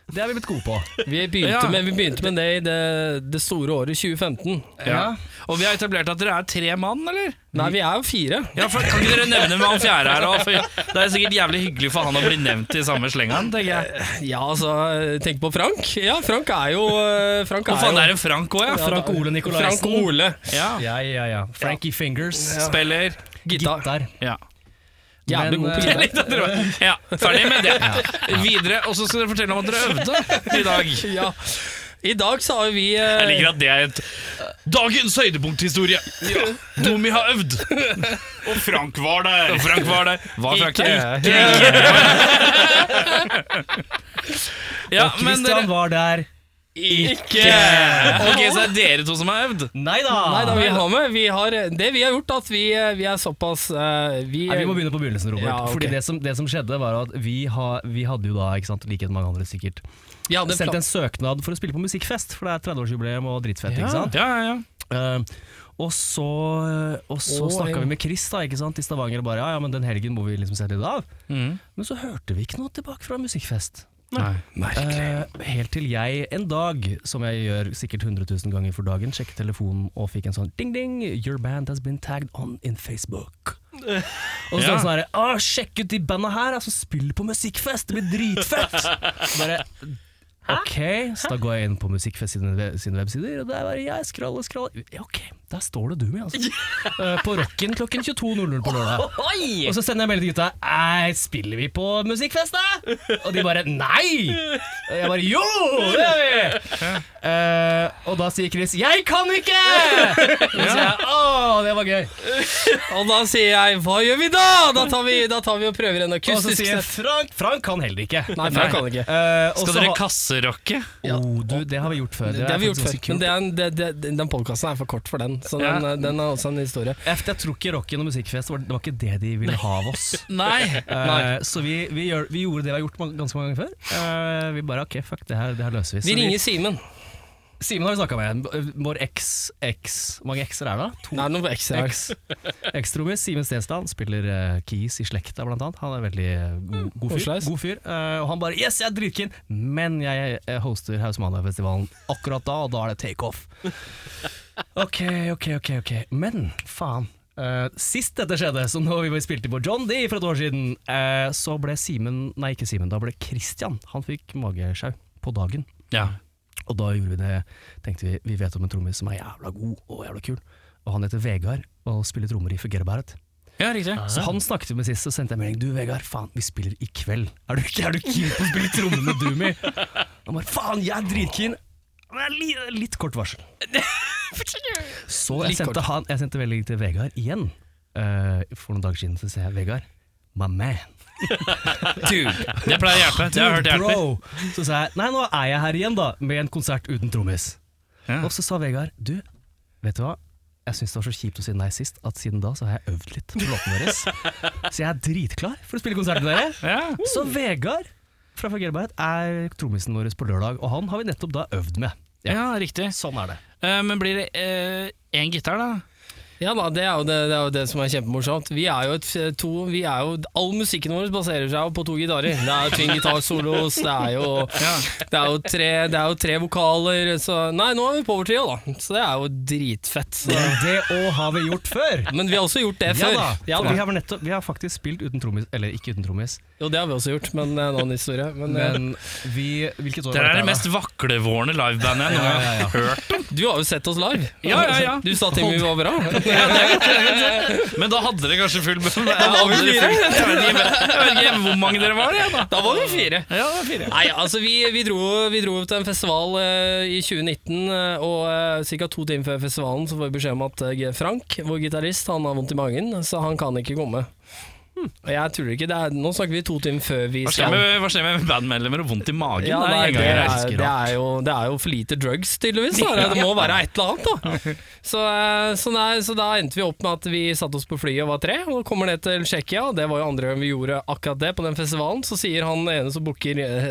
S1: Det er vi blitt gode på.
S7: Vi begynte,
S2: Ja.
S7: med, vi begynte med det i det, det store året 2015.
S2: Ja. Og vi har etablert at dere er tre mann, eller?
S7: Nei, vi er jo fire.
S2: Ja, for Kan ikke dere nevne med han fjerde her òg? Det er sikkert jævlig hyggelig for han å bli nevnt i samme slengen, tenker jeg.
S7: Ja, altså, tenk på Frank. Ja, Frank er jo eh, Frank
S2: Å
S7: er
S2: faen, det
S7: jo,
S2: er en Frank òg, ja.
S1: Frank Ole Nikolaisen.
S7: Frank Ole.
S2: ja.
S1: Ja, ja, ja. Frankie Fingers.
S2: Spiller
S1: Gitar.
S7: Gitar.
S2: Ja.
S7: Jævlig god på
S2: <laughs>
S1: eh,
S7: gitar.
S2: Ja, ferdig med det. Videre, og så skal dere fortelle om at dere øvde i dag.
S7: Ja. <laughs> I dag så har vi eh,
S2: Jeg liker at det er et dagens høydepunkthistorie. Ja. Tommy har øvd.
S3: Og Frank var der!
S2: Og Frank var der. Var Frank
S7: Ikke-
S2: Ja,
S1: Og
S2: men
S1: Christian
S2: dere
S1: var der.
S2: Ikke! Ok, så det er dere to som har øvd?
S1: Nei da!
S7: Nei da, vi har med vi har, eh, Det vi har gjort, at vi, eh, vi er såpass eh, vi,
S1: Nei, vi må begynne på begynnelsen, Robert.
S7: Ja, ok.
S1: Fordi det som, det som skjedde, var at vi, ha, vi hadde jo da, ikke sant, like mange andre sikkert,
S7: vi hadde en
S1: sendt
S7: plan.
S1: en søknad for å spille på musikkfest, for det er 30-årsjubileum og drittfett, ikke sant?
S2: Ja, ja, ja.
S1: Eh, og så, eh, og så
S7: Og
S1: snakka
S7: en-
S1: vi med Chris da, ikke sant, i Stavanger og bare ja, ja, men den helgen må vi liksom se litt av.
S7: Mm.
S1: Men så hørte vi ikke noe tilbake fra musikkfest. Eh, helt til jeg en dag, som jeg gjør sikkert 100 000 ganger for dagen, sjekket telefonen og fikk en sånn ding-ding, your band has been tagged on in Facebook. Og så
S2: Ja.
S1: ja. sånn her, «Å, sjekk ut de banda her, altså spill på musikkfest, det blir dritfett! Så bare, ok, så da går jeg inn på musikkfest sine, we- sine websider, og der var jeg, skraller, skraller. Ja, ok, der står det du med, altså. Eh, på rocken klokken 22.00 på lørdag. Og så sender jeg melding til gutta, «Ei, spiller vi på musikkfest da? Og de bare, nei! Og jeg bare, jo, det gjør vi! Eh, og da sier Chris, jeg kan ikke! Og så sier jeg, å, det var gøy.
S7: Og da sier jeg 'hva gjør vi da?' Da tar vi, da tar vi og prøver en
S1: Og så
S7: akustisk
S1: sier
S7: sett.
S1: Frank Frank kan heller ikke.
S7: Nei, Frank kan ikke.
S1: Eh, og så
S2: Skal dere
S1: har-
S2: kasserocke?
S1: Oh, du, det har vi gjort før.
S7: Det har vi gjort før, men
S1: det er
S7: det
S1: faktisk ganske kult.
S7: er en, det, det, den podkasten er for kort for den. Så den, den er også en historie.
S1: Jeg, jeg tror ikke rocken og musikkfest var, det var ikke det de ville ha av oss.
S7: <laughs>
S2: Nei.
S1: Eh, så vi, vi, gjør, vi gjorde det vi har gjort mange- ganske mange ganger før. Eh, vi bare ok, fuck, det her, det her løser vi. Så
S7: Vi ringer Simen.
S1: Simen har vi snakka med. eh, Vår eks eks Hvor mange ekser er det? da? To
S7: Det er noe ekstra her.
S1: eks. <laughs> Ekstrommer Simen Stensland spiller eh, keys i Slekta, blant annet. Han er veldig eh, god, god fyr.
S7: Osleis.
S1: God fyr. Eh, og han bare 'yes, jeg er dritkeen', men jeg eh, hoster Hausmandag-festivalen akkurat da, og da er det <laughs> takeoff. Ok, ok, ok. ok Men faen. Eh, sist dette skjedde, så når vi spilte på John D for et år siden, eh, så ble Simen Nei, ikke Simen, da ble Christian. Han fikk magesjau på dagen.
S2: Ja.
S1: Og da gjorde vi det, tenkte vi vi vet om en trommis som er jævla god og jævla kul. Og han heter Vegard og spiller trommer i Forget About It.
S2: ja, riktig.
S1: Så han snakket vi med sist, så sendte jeg melding. Du Vegard, faen, vi spiller i kveld. Er du, er du keen på å spille trommer med Doomy? Han bare faen, jeg er dritkeen. Men jeg er li- Litt kort varsel. Så jeg sendte, han, jeg sendte melding til Vegard igjen eh, for noen dager siden. Så sier jeg Vegard, my man.
S2: Dude. Det pleier å hjelpe. Det har jeg hørt
S1: Dude,
S2: hjelper.
S1: Bro. Så sa jeg nei, nå er jeg her igjen, da, med en konsert uten trommis.
S2: Ja.
S1: Og så sa Vegard du, vet du hva? Jeg syns det var så kjipt å si nei sist, at siden da så har jeg øvd litt på låtene deres. Så jeg er dritklar for å spille konsert med dere.
S2: Ja.
S1: Så Vegard fra Fagerberget er trommisen vår på lørdag, og han har vi nettopp da øvd med.
S2: ja, riktig.
S1: Sånn er det.
S2: Eh, men blir det én eh, gitar, da?
S7: Ja da, det er jo det, det, er jo det som er kjempemorsomt. Vi er jo et, f- to vi er jo, All musikken vår baserer seg jo på to gitarer. Det er jo twin gitarsolos, det, er jo- det, er jo tre- det er jo tre vokaler så, Nei, nå er vi på overtrio, da. Så det er jo dritfett. Så.
S9: Men det òg har vi gjort før!
S7: Men vi har også gjort det
S9: Ja
S7: før.
S9: da,
S7: Ja
S9: for
S7: da.
S9: Vi, har nettopp, vi har faktisk spilt uten trommis, eller ikke uten trommis,
S7: Jo, det har vi også gjort, men det er en annen historie. Men, eh,
S9: men vi Hvilket år
S2: Dere er det
S9: da?
S2: mest vaklevårende livebandet jeg noen gang har hørt.
S7: du har jo sett oss live.
S2: Ja, ja, ja.
S7: Du sa til meg vi var bra.
S2: Men da hadde dere kanskje full bønn. Jeg
S7: var vi
S2: hadde
S7: fire.
S2: full- Jeg vet ikke- jeg vet ikke hvor mange dere var, jeg, da.
S7: Da var vi fire. Nei, altså vi, vi, dro, vi dro til en festival eh, i 2019, eh, og uh, ca. to timer før festivalen så får vi beskjed om at eh, Frank, vår gitarist, han har vondt i magen, så han kan ikke komme. Og jeg tuller ikke, det er, nå snakker vi to timer før vi
S2: Hva skjer
S7: skal.
S2: med, hva skjer med bandmedlemmer og vondt i magen?
S7: Ja, nei, det,
S2: jeg
S7: er,
S2: elsker
S7: det,
S2: da.
S7: er jo, det er jo for lite drugs, tydeligvis. Da. Det må være et eller annet, <laughs> da. Så, eh, så, nei, så da endte vi opp med at vi satte oss på flyet og var tre, og kommer ned til Tsjekkia. og Det var jo andre gang vi gjorde akkurat det på den festivalen. Så sier han ene som booker eh,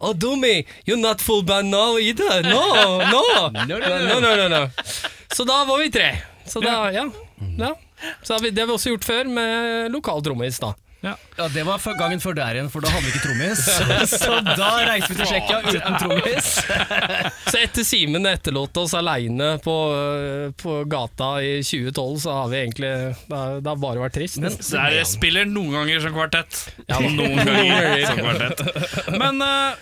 S7: Oh, dummy, you're not full band now either. No, no. <laughs> no, no, no, no, no. Så da var vi tre. Så da, ja. ja. Så har vi, det har vi også gjort før, med lokal trommis, da.
S9: Ja, Det var før- gangen før der igjen, for da hadde vi ikke trommis. <laughs> Så da reiste vi til Tsjekkia uten trommis.
S7: Så etter Simen etterlot oss aleine på, øh, på gata i 2012, så har vi egentlig Det har det har bare vært trist.
S2: Så er det spiller noen ganger som kvartett.
S7: Ja, da.
S2: noen ganger som kvartett. Men uh,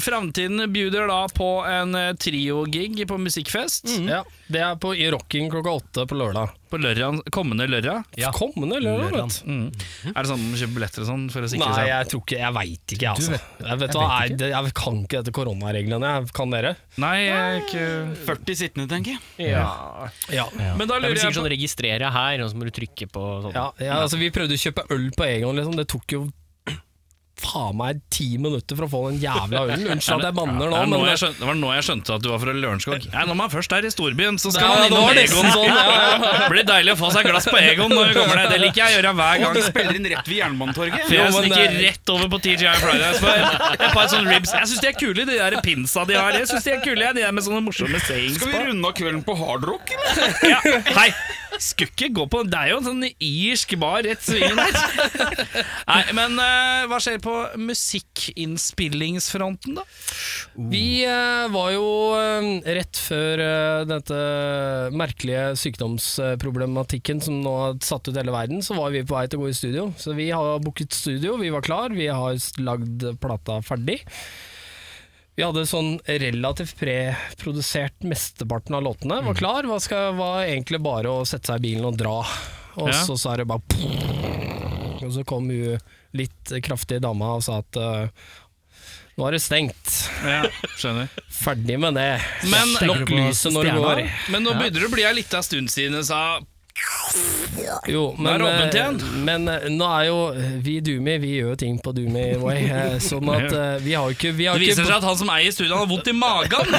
S2: framtiden bjuder da på en eh, trio-gig på musikkfest
S7: ja, det er på i Rocking klokka åtte på lørdag.
S2: på lørdag, kommende lørdag.
S7: Kommende lørdag,
S9: Lørdag.
S7: vet du.
S2: Mm. Er det sånn at man kjøper billetter og sånn for å sikre
S7: Nei,
S2: seg?
S7: jeg tror ikke Jeg veit ikke, jeg, altså.
S9: vet-
S7: jeg, vet
S9: jeg
S7: hva,
S9: vet
S7: jeg, det- jeg kan ikke dette koronareglene. Jeg Kan dere?
S2: Nei, jeg er ikke
S3: 40 Eh, sittende, tenker jeg.
S7: Ja.
S2: Men da
S1: Det er vel
S2: lurer jeg
S1: sikkert
S2: på
S1: sånn 'registrere her', og så må du trykke på sånn.
S7: Ja, ja, altså, vi prøvde å kjøpe øl på egen hånd, liksom. Det tok jo faen meg ti minutter for å få den jævla ølen. Unnskyld at jeg banner nå,
S2: det, er nå
S7: men
S2: jeg skjønte, det var nå jeg skjønte at du var fra Lørenskog. Nei, Når man først er i storbyen, så skal man
S7: Ja, det var
S2: innom
S7: nesten
S2: Egon.
S7: sånn. Ja, ja.
S2: Det blir deilig å få seg et glass på Egon når vi kommer der. Det liker jeg å gjøre hver gang.
S3: Spiller inn rett ved Jernbanetorget.
S2: For jeg
S7: Jo, men
S2: sniker
S7: det-
S2: rett over på TGI Fridays for et par sånne ribs. Jeg syns de er kule, de der pinsa de har. Jeg synes de er kule, jeg, de der med sånne morsomme sayings
S3: Skal
S2: på.
S3: vi runde av kvelden på hardrock, eller?
S2: Ja. Hei, skulle ikke gå på Det er jo en sånn irsk bar rett svingen der. Nei, men eh, hva skjer på musikkinnspillingsfronten, da?
S7: Vi eh, var jo eh, rett før eh, dette merkelige sykdomsproblematikken som nå har satt ut hele verden, så var vi på vei til å gå i studio. Så vi har booket studio, vi var klar, vi har s- lagd plata ferdig. Vi hadde sånn relativt preprodusert mesteparten av låtene, var klar. Hva skal, var egentlig bare å sette seg i bilen og dra. Og
S2: Ja.
S7: så sa det bare Og så kom hun litt kraftige dama og sa at eh, nå er det stengt.
S2: Ja, skjønner.
S7: Ferdig med det.
S2: Men-
S7: Slokk lyset når du
S9: Stjerna?
S7: går.
S2: Men nå begynner det å bli ei lita stund siden jeg sa
S7: Jo, men,
S2: er det åpent igjen.
S7: eh, men eh, nå er jo vi Doomy, vi gjør jo ting på Doomy way. eh, Sånn at eh, vi har jo ikke vi har
S2: Det
S7: ikke-
S2: viser seg at han som eier studioet, har vondt i magen.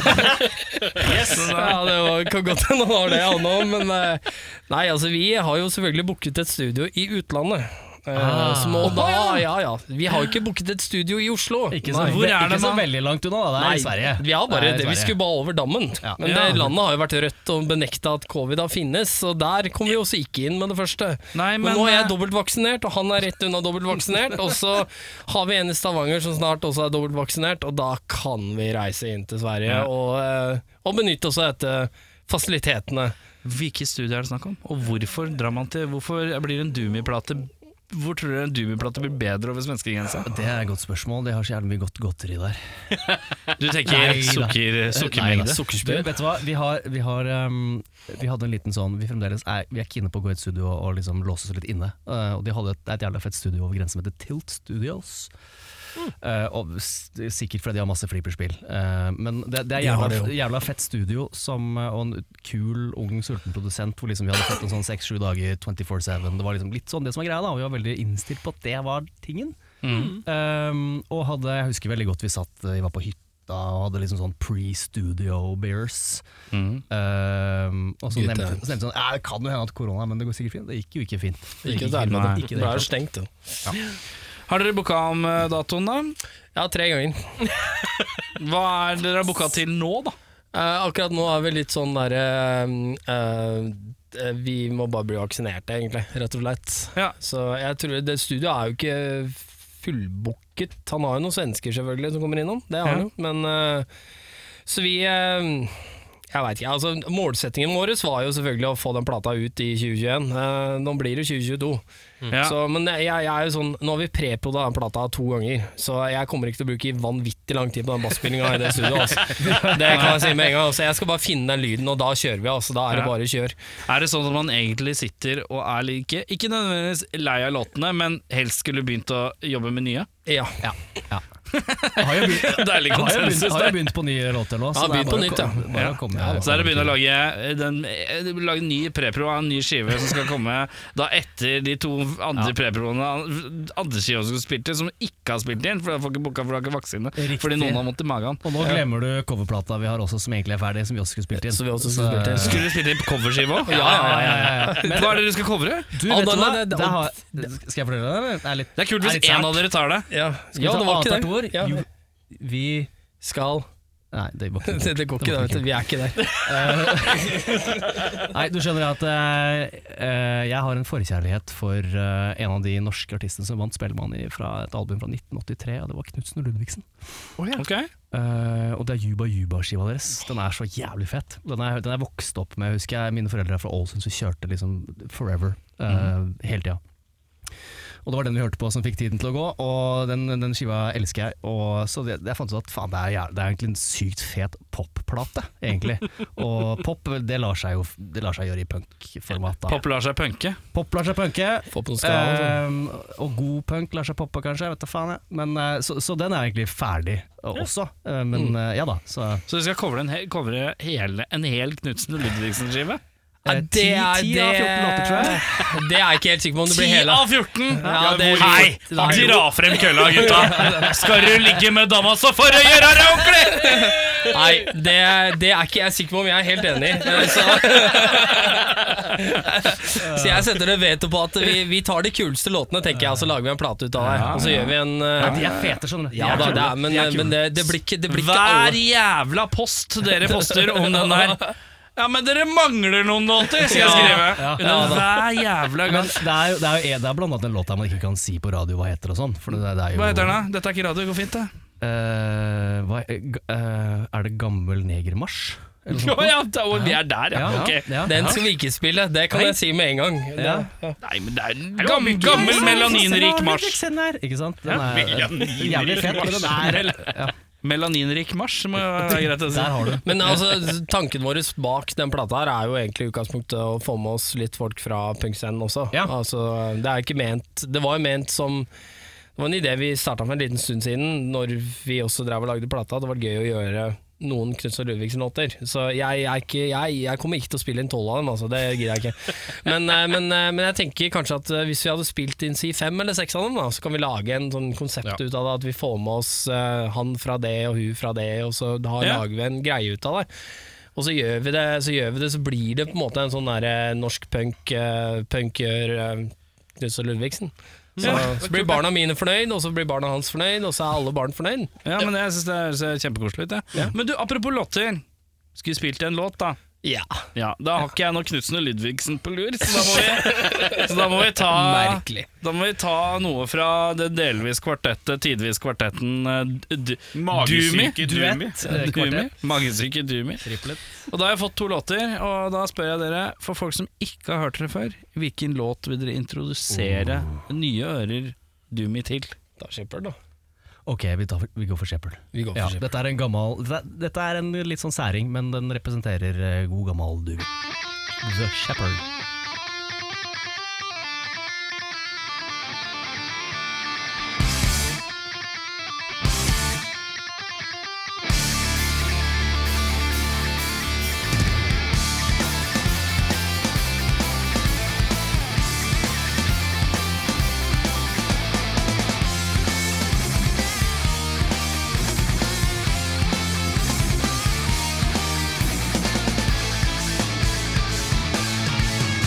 S2: Yes.
S7: <laughs> Ja, det var, kan godt hende han har det, han òg, men eh, Nei, altså, vi har jo selvfølgelig booket et studio i utlandet. Eh,
S2: Ah.
S7: Som og da, ja ja. Vi har jo ikke booket et studio i Oslo.
S9: Ikke så,
S7: Nei.
S2: Hvor er
S9: ikke
S2: det,
S9: så
S2: man?
S9: veldig langt unna, da. Det er i Sverige.
S7: Vi, har bare,
S9: Det
S7: det,
S9: er i
S7: vi
S9: Sverige.
S7: skulle bare over dammen.
S9: Ja.
S7: Men
S2: Ja.
S7: det landet har jo vært rødt og benekta at covid har finnes, og der kom vi også ikke inn med det første.
S2: Nei,
S7: men,
S2: men,
S7: nå er
S2: eh,
S7: jeg dobbeltvaksinert, og han er rett unna dobbeltvaksinert, og så har vi en i Stavanger som snart også er dobbeltvaksinert, og da kan vi reise inn til Sverige
S2: Ja.
S7: og, eh, og benytte oss av dette fasilitetene.
S2: Hvilke studier er det snakk om? Og hvorfor drar man til Hvorfor blir en Doomy-plate Hvor tror dere en Doomy-plate blir bedre over svenskegrensa?
S9: Det er et godt spørsmål. Det har så jævlig mye godt godteri der.
S2: Du tenker
S9: Nei da.
S2: sukker,
S9: Nei,
S2: sukkermengde?
S9: Du, vet du hva, vi har, vi, har um, vi hadde en liten sånn Vi fremdeles er, vi er kine på å gå i et studio og liksom låse oss litt inne. Eh, og de hadde et, det er et jævla fett studio over grensen som heter Tilt Studios.
S2: Mm.
S9: Eh, og s- sikkert fordi de har masse flipperspill. Eh, men det, det er
S7: De har
S9: jævla,
S7: det jo.
S9: jævla fett studio som, eh, og en kul, ung, sulten produsent hvor liksom vi hadde fått en sånn seks-sju dager 24-7. Det var liksom litt sånn det som var greia, da. og Vi var veldig innstilt på at det var tingen.
S7: Mm.
S9: Um, og hadde, jeg husker veldig godt vi satt eh, Vi var på hytta og hadde liksom sånn pre-studio beers.
S7: Mm.
S9: Um, og så
S7: Good
S9: nevnte
S7: times.
S9: så nevnte vi sånn «Ja, Det kan jo hende at korona, men det går sikkert fint. Det gikk jo ikke fint.
S7: Ikke
S9: Det gikk
S7: det
S9: fint.
S7: helvete. Det
S9: Ikke
S7: er
S9: det
S7: jo
S9: helt klart.
S7: stengt, jo.
S2: Har dere booka om eh, datoen, da?
S7: Ja, tre ganger.
S2: Hva er det dere har booka til nå, da?
S7: Eh, akkurat nå er vi litt sånn derre eh, eh, eh, vi må bare bli vaksinerte, egentlig, rett og slett.
S2: Ja.
S7: Så jeg tror det studioet er jo ikke fullbooket. Han har jo noen svensker selvfølgelig som kommer innom, det har han jo, men eh, Så vi eh, jeg vet ikke, altså Målsettingen vår var jo selvfølgelig å få den plata ut i 2021. Eh, nå blir det 2022.
S2: Mm. Ja.
S7: Så, men jeg, jeg er jo sånn, nå har vi preproda den plata to ganger, så jeg kommer ikke til å bruke vanvittig lang tid på den basspillinga i det studioet. Altså. Det kan jeg si med en gang. Altså. Jeg skal bare finne den lyden, og da kjører vi. Altså. Da er det
S2: Ja.
S7: bare kjør.
S2: Er det sånn at man egentlig sitter og er like- ikke, ikke nødvendigvis lei av låtene, men helst skulle begynt å jobbe med nye? <laughs>
S7: Ja.
S9: Har jo begynt,
S2: Deilig
S9: har jo begynt,
S2: konsensus
S9: har jo
S2: der.
S9: begynt på nye låter nå.
S7: Ja,
S9: det er
S7: begynt på
S9: bare å
S7: nytt, ja.
S9: kom- Bare å komme her.
S2: Så er det å begynne å lage, den, eh, lage en ny prepro av en ny skive som skal komme da etter de to andre preproene andre skiva som spilte, som ikke har spilt inn, for de får ikke booka for de har ikke vaksine.
S9: Riktig.
S2: Fordi noen har vondt i magen.
S9: Og nå glemmer du coverplata vi har også, som egentlig er ferdig, som vi også skulle spilt inn.
S7: Så vi også skulle
S9: Så-
S7: spilt inn.
S2: Skulle du spilt inn coverskive òg?
S9: Ja, ja, ja, ja, ja. Men-
S2: Hva er det du skal covre?
S9: Du,
S7: Ah,
S9: vet
S7: da-
S9: du hva?
S7: nei, det-
S9: Det har, det- skal jeg fortelle deg, eller? Det er litt
S2: Det er kult hvis
S9: Er det
S2: én av dere tar det.
S7: Ja,
S9: Skal vi
S7: ja
S9: ta
S7: det var
S9: annet
S7: ikke
S9: ord?
S7: det. Ja.
S9: Jo, vi
S7: Skal
S9: Nei, det går ikke.
S7: <laughs> Det, det går ikke, det. Vet du. Vi er ikke <laughs> der.
S9: Nei, du skjønner at eh, eh, jeg har en forkjærlighet for eh, en av de norske artistene som vant Spellemann i- fra et album fra 1983, og det var Knutsen og Ludvigsen.
S2: Ok.
S9: Eh, og det er Juba Juba-skiva deres. Den er så jævlig fett. Den er, den er vokst opp med, husker jeg, mine foreldre er fra Ålesund, så vi kjørte liksom forever. eh, Hele tida. Og det var den vi hørte på som fikk tiden til å gå, og den, den skiva elsker jeg. Og så det, jeg fant ut at faen, det er, jæv- det er egentlig en sykt fet popplate, egentlig. og pop, det lar seg jo det lar seg gjøre i punkformat. da.
S2: Pop lar seg punke.
S9: Pop lar seg punke,
S7: Få på noen skala. så.
S9: Ehm, og god punk lar seg poppe, kanskje. Jeg vet da faen, jeg. Men, eh, så, så den er egentlig ferdig eh, også. Eh, men eh, ja da. Så,
S2: Så du skal covre en, he- covre hele, en hel Knutsen og Ludvigsen-skive?
S7: Nei,
S9: eh,
S7: det
S9: ti-
S7: er
S9: ti
S7: det
S9: av 14 låter, tror jeg.
S7: Det er jeg ikke helt sikker på om det blir
S2: 10
S7: hele.
S2: av 14!
S7: Ja, det-
S2: Hei!
S7: Nei.
S2: Dra frem kølla, gutta! Skal du ligge med dama, så får du gjøre det ordentlig!
S7: Nei, det, det er ikke jeg sikker på om jeg er helt
S9: <laughs>
S7: enig i. Eh, Så, så jeg setter det veto på at vi, vi tar de kuleste låtene, tenker jeg, og så lager vi en plate ut av det. Og så gjør vi en eh,
S9: De er fete, skjønner du.
S7: Ja da,
S9: De er
S7: det
S9: kule.
S7: er, men,
S9: De er kule.
S7: men det, det blir ikke, det blir ikke
S2: Hver
S7: alle.
S2: jævla post dere poster om den der Ja, men dere mangler noen låter, skal jeg skrive. Under Hver jævla
S9: men
S2: gang.
S9: det er jo, det er jo en- det er blant annet en låt der man ikke kan si på radio hva heter og sånn. For det, det er jo
S2: Hva heter den, da? Dette er ikke radio, det går fint, det.
S9: Eh, hva, eh, g- eh, er det Gammel negermarsj?
S2: Å
S9: Eller
S2: <laughs>
S9: noe sånt?
S2: ja, da, vi er der, ja.
S9: Ja,
S2: Ok.
S9: ja,
S7: Den
S9: ja.
S7: skal vi ikke spille, det kan jeg si med en gang. Det,
S9: Ja.
S2: Nei, men det er en gam, gammel melaninrik marsj.
S9: Ikke sant? Den er jævlig fet, men den er
S2: Melaninrik marsj må jo være greit å si.
S9: Der har du den.
S7: Men altså, tanken vår bak den plata her er jo egentlig i utgangspunktet å få med oss litt folk fra punkscenen også.
S9: Ja.
S7: Altså, det er ikke ment Det var jo ment som Det var en idé vi starta for en liten stund siden, når vi også drev og lagde plata. at Det var gøy å gjøre noen Knutsen og Ludvigsen-låter. Så jeg, er ikke, jeg, jeg kommer ikke til å spille inn tolv av dem, altså. Det gidder jeg ikke. Men, eh, men, eh, men jeg tenker kanskje at eh, hvis vi hadde spilt inn si fem eller seks av dem, da, så kan vi lage en sånn konsept ut av det. At vi får med oss eh, han fra det og hun fra det, og så da
S2: Ja.
S7: lager vi en greie ut av det. Og så gjør vi det, så, gjør vi det, så blir det på en måte en sånn der, eh, norsk punk, eh, punker eh, Knut og Ludvigsen. Så, så blir barna mine fornøyd, og så blir barna hans fornøyd, og så er alle barn fornøyd.
S2: Ja, men jeg synes det er- ser kjempekoselig ut. jeg. Men du, apropos låter. Skulle spilt en låt, da.
S7: Ja.
S2: Ja, Da har ikke jeg noe Knutsen og Ludvigsen på lur, så da må
S7: <laughs>
S2: vi, så da må vi ta
S7: Merkelig.
S2: Da må vi ta noe fra det delvis kvartettet, tidvis kvartetten eh, d- d-
S3: Magesyke Dumi.
S2: Dumi. Dumi. Magesyke Dumi. Og da har jeg fått to låter, og da spør jeg dere, for folk som ikke har hørt dere før, hvilken låt vil dere introdusere nye ører Dumi til?
S7: Da skipper det, da.
S9: Ok, vi, tar, vi går for Shepherd.
S7: Vi går for
S9: Ja,
S7: Shepherd.
S9: dette er en gammel dette, er- dette er en litt sånn særing, men den representerer eh, god gammel du. The Shepherd.
S10: Shepherd,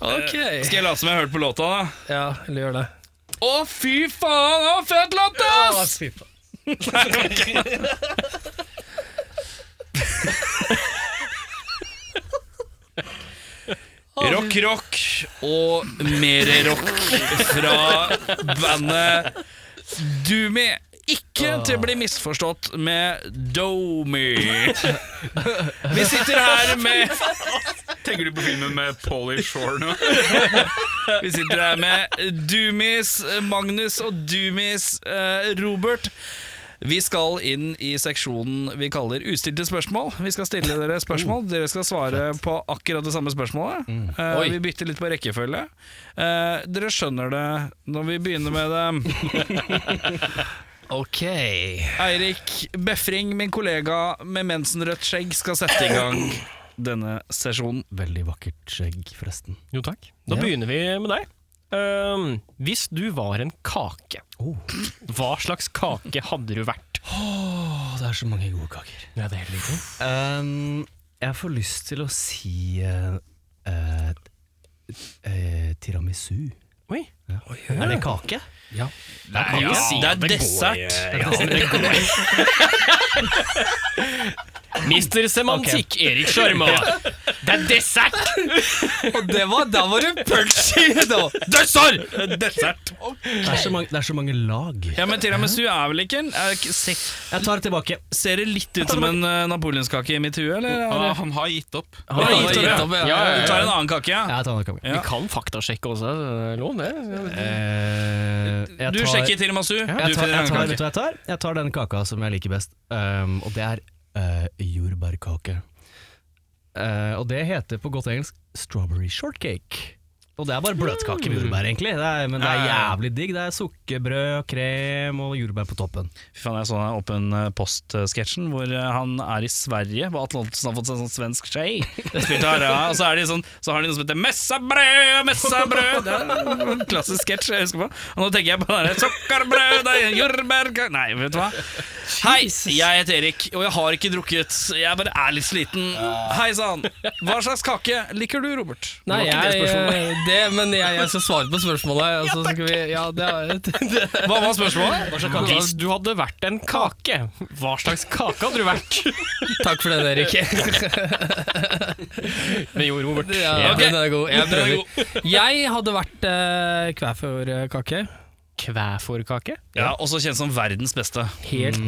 S7: Ok.
S2: Skal jeg late som jeg har hørt på låta, da?
S7: Ja, eller gjør det.
S2: Å, fy faen, å, fett låt, ass! Rock, rock og mere rock fra bandet Doomy. Ikke til å bli misforstått med Domi. Vi sitter her med
S8: Tenker du på filmen med Polly Shore nå?
S2: Vi sitter her med Dumis, Magnus og Dumis eh, Robert. Vi skal inn i seksjonen vi kaller ustilte spørsmål. Vi skal stille dere spørsmål. Dere skal svare på akkurat det samme spørsmålet.
S9: Mm.
S2: Eh,
S7: Oi.
S2: vi bytter litt på rekkefølge. Eh, dere skjønner det når vi begynner med det.
S9: <laughs>
S7: Ok.
S2: Eirik Befring, min kollega med mensenrødt skjegg, skal sette i gang denne sesjonen.
S9: Veldig vakkert skjegg, forresten.
S1: Jo takk. Da
S9: Ja.
S1: begynner vi med deg. Ehm, hvis du var en kake, hva slags kake hadde du vært?
S9: Å, det er så mange gode kaker.
S1: Ja, det er helt riktig.
S9: Ehm, jeg får lyst til å si eh, eh, eh, tiramisu.
S1: Oi.
S9: Ja. Er det kake?
S1: Nei, ja, si
S2: Det er dessert.
S1: <laughs> Mister semantikk, Erik Sjarma. Det er dessert!
S9: Det var, da var det punchy!
S2: Dessert! Dessert!
S9: Det er så mange, det er så mange lag.
S2: Ja, men tiramisu er vel ikke en er ikke- se-
S9: Jeg tar det tilbake.
S2: Ser det litt ut som en eh, napoleonskake i mitt hue, eller?
S8: Han, han har gitt opp.
S9: Han har gitt opp, ja.
S1: ja,
S2: Du tar en annen kake, ja?
S9: Jeg tar den tilbake.
S2: Ja.
S1: Vi kan faktasjekke også. det er Lov, det.
S9: Eh, jeg
S2: Du
S9: tar-
S2: sjekker tiramisu,
S9: Jeg
S2: du
S9: tar,
S2: finner
S8: Eh,
S2: en
S9: jeg, tar,
S2: annen
S9: vet du
S2: kake.
S9: hva jeg tar? Jeg tar den kaka som jeg liker best, ehm, og det er eh, jordbærkake. Eh, og det heter på godt engelsk strawberry shortcake. Og det er bare bløtkake med jordbær, egentlig. Det er, men det er jævlig digg. Det er sukkerbrød, krem og jordbær på toppen.
S2: Fy faen, jeg så den Åpen eh, post-sketsjen hvor eh, han er i Sverige, hvor Atle Antonsen har fått seg en sånn svensk skei. Spilt av Raa, Og så, er de sånn, så har de noe som heter 'Messabrød, messabrød'. Det er en klassisk sketsj jeg husker på. Og nå tenker jeg på det der 'Sukkerbrød det er jordbærkake' Nei, vet du hva. Hei, jeg heter Erik, og jeg har ikke drukket. Jeg bare er litt sliten. Hei sann. Hva slags kake liker du, Robert? Det var
S7: Nei,
S2: ikke det
S7: jeg,
S2: spørsmålet.
S7: eh, det, men jeg, jeg skal svare på spørsmålet. Og så skal vi, ja, det er, det,
S2: Hva var spørsmålet?
S1: Hvis du hadde vært en kake, hva slags kake hadde du vært?
S7: takk for den, Erik.
S1: Men jo, Robert.
S7: Ja,
S1: Ja.
S7: den er god. Jeg prøver. Jeg hadde vært eh, kvæfjordkake.
S1: Kvæfårkake?
S2: Ja, Også kjent som verdens beste.
S7: Helt,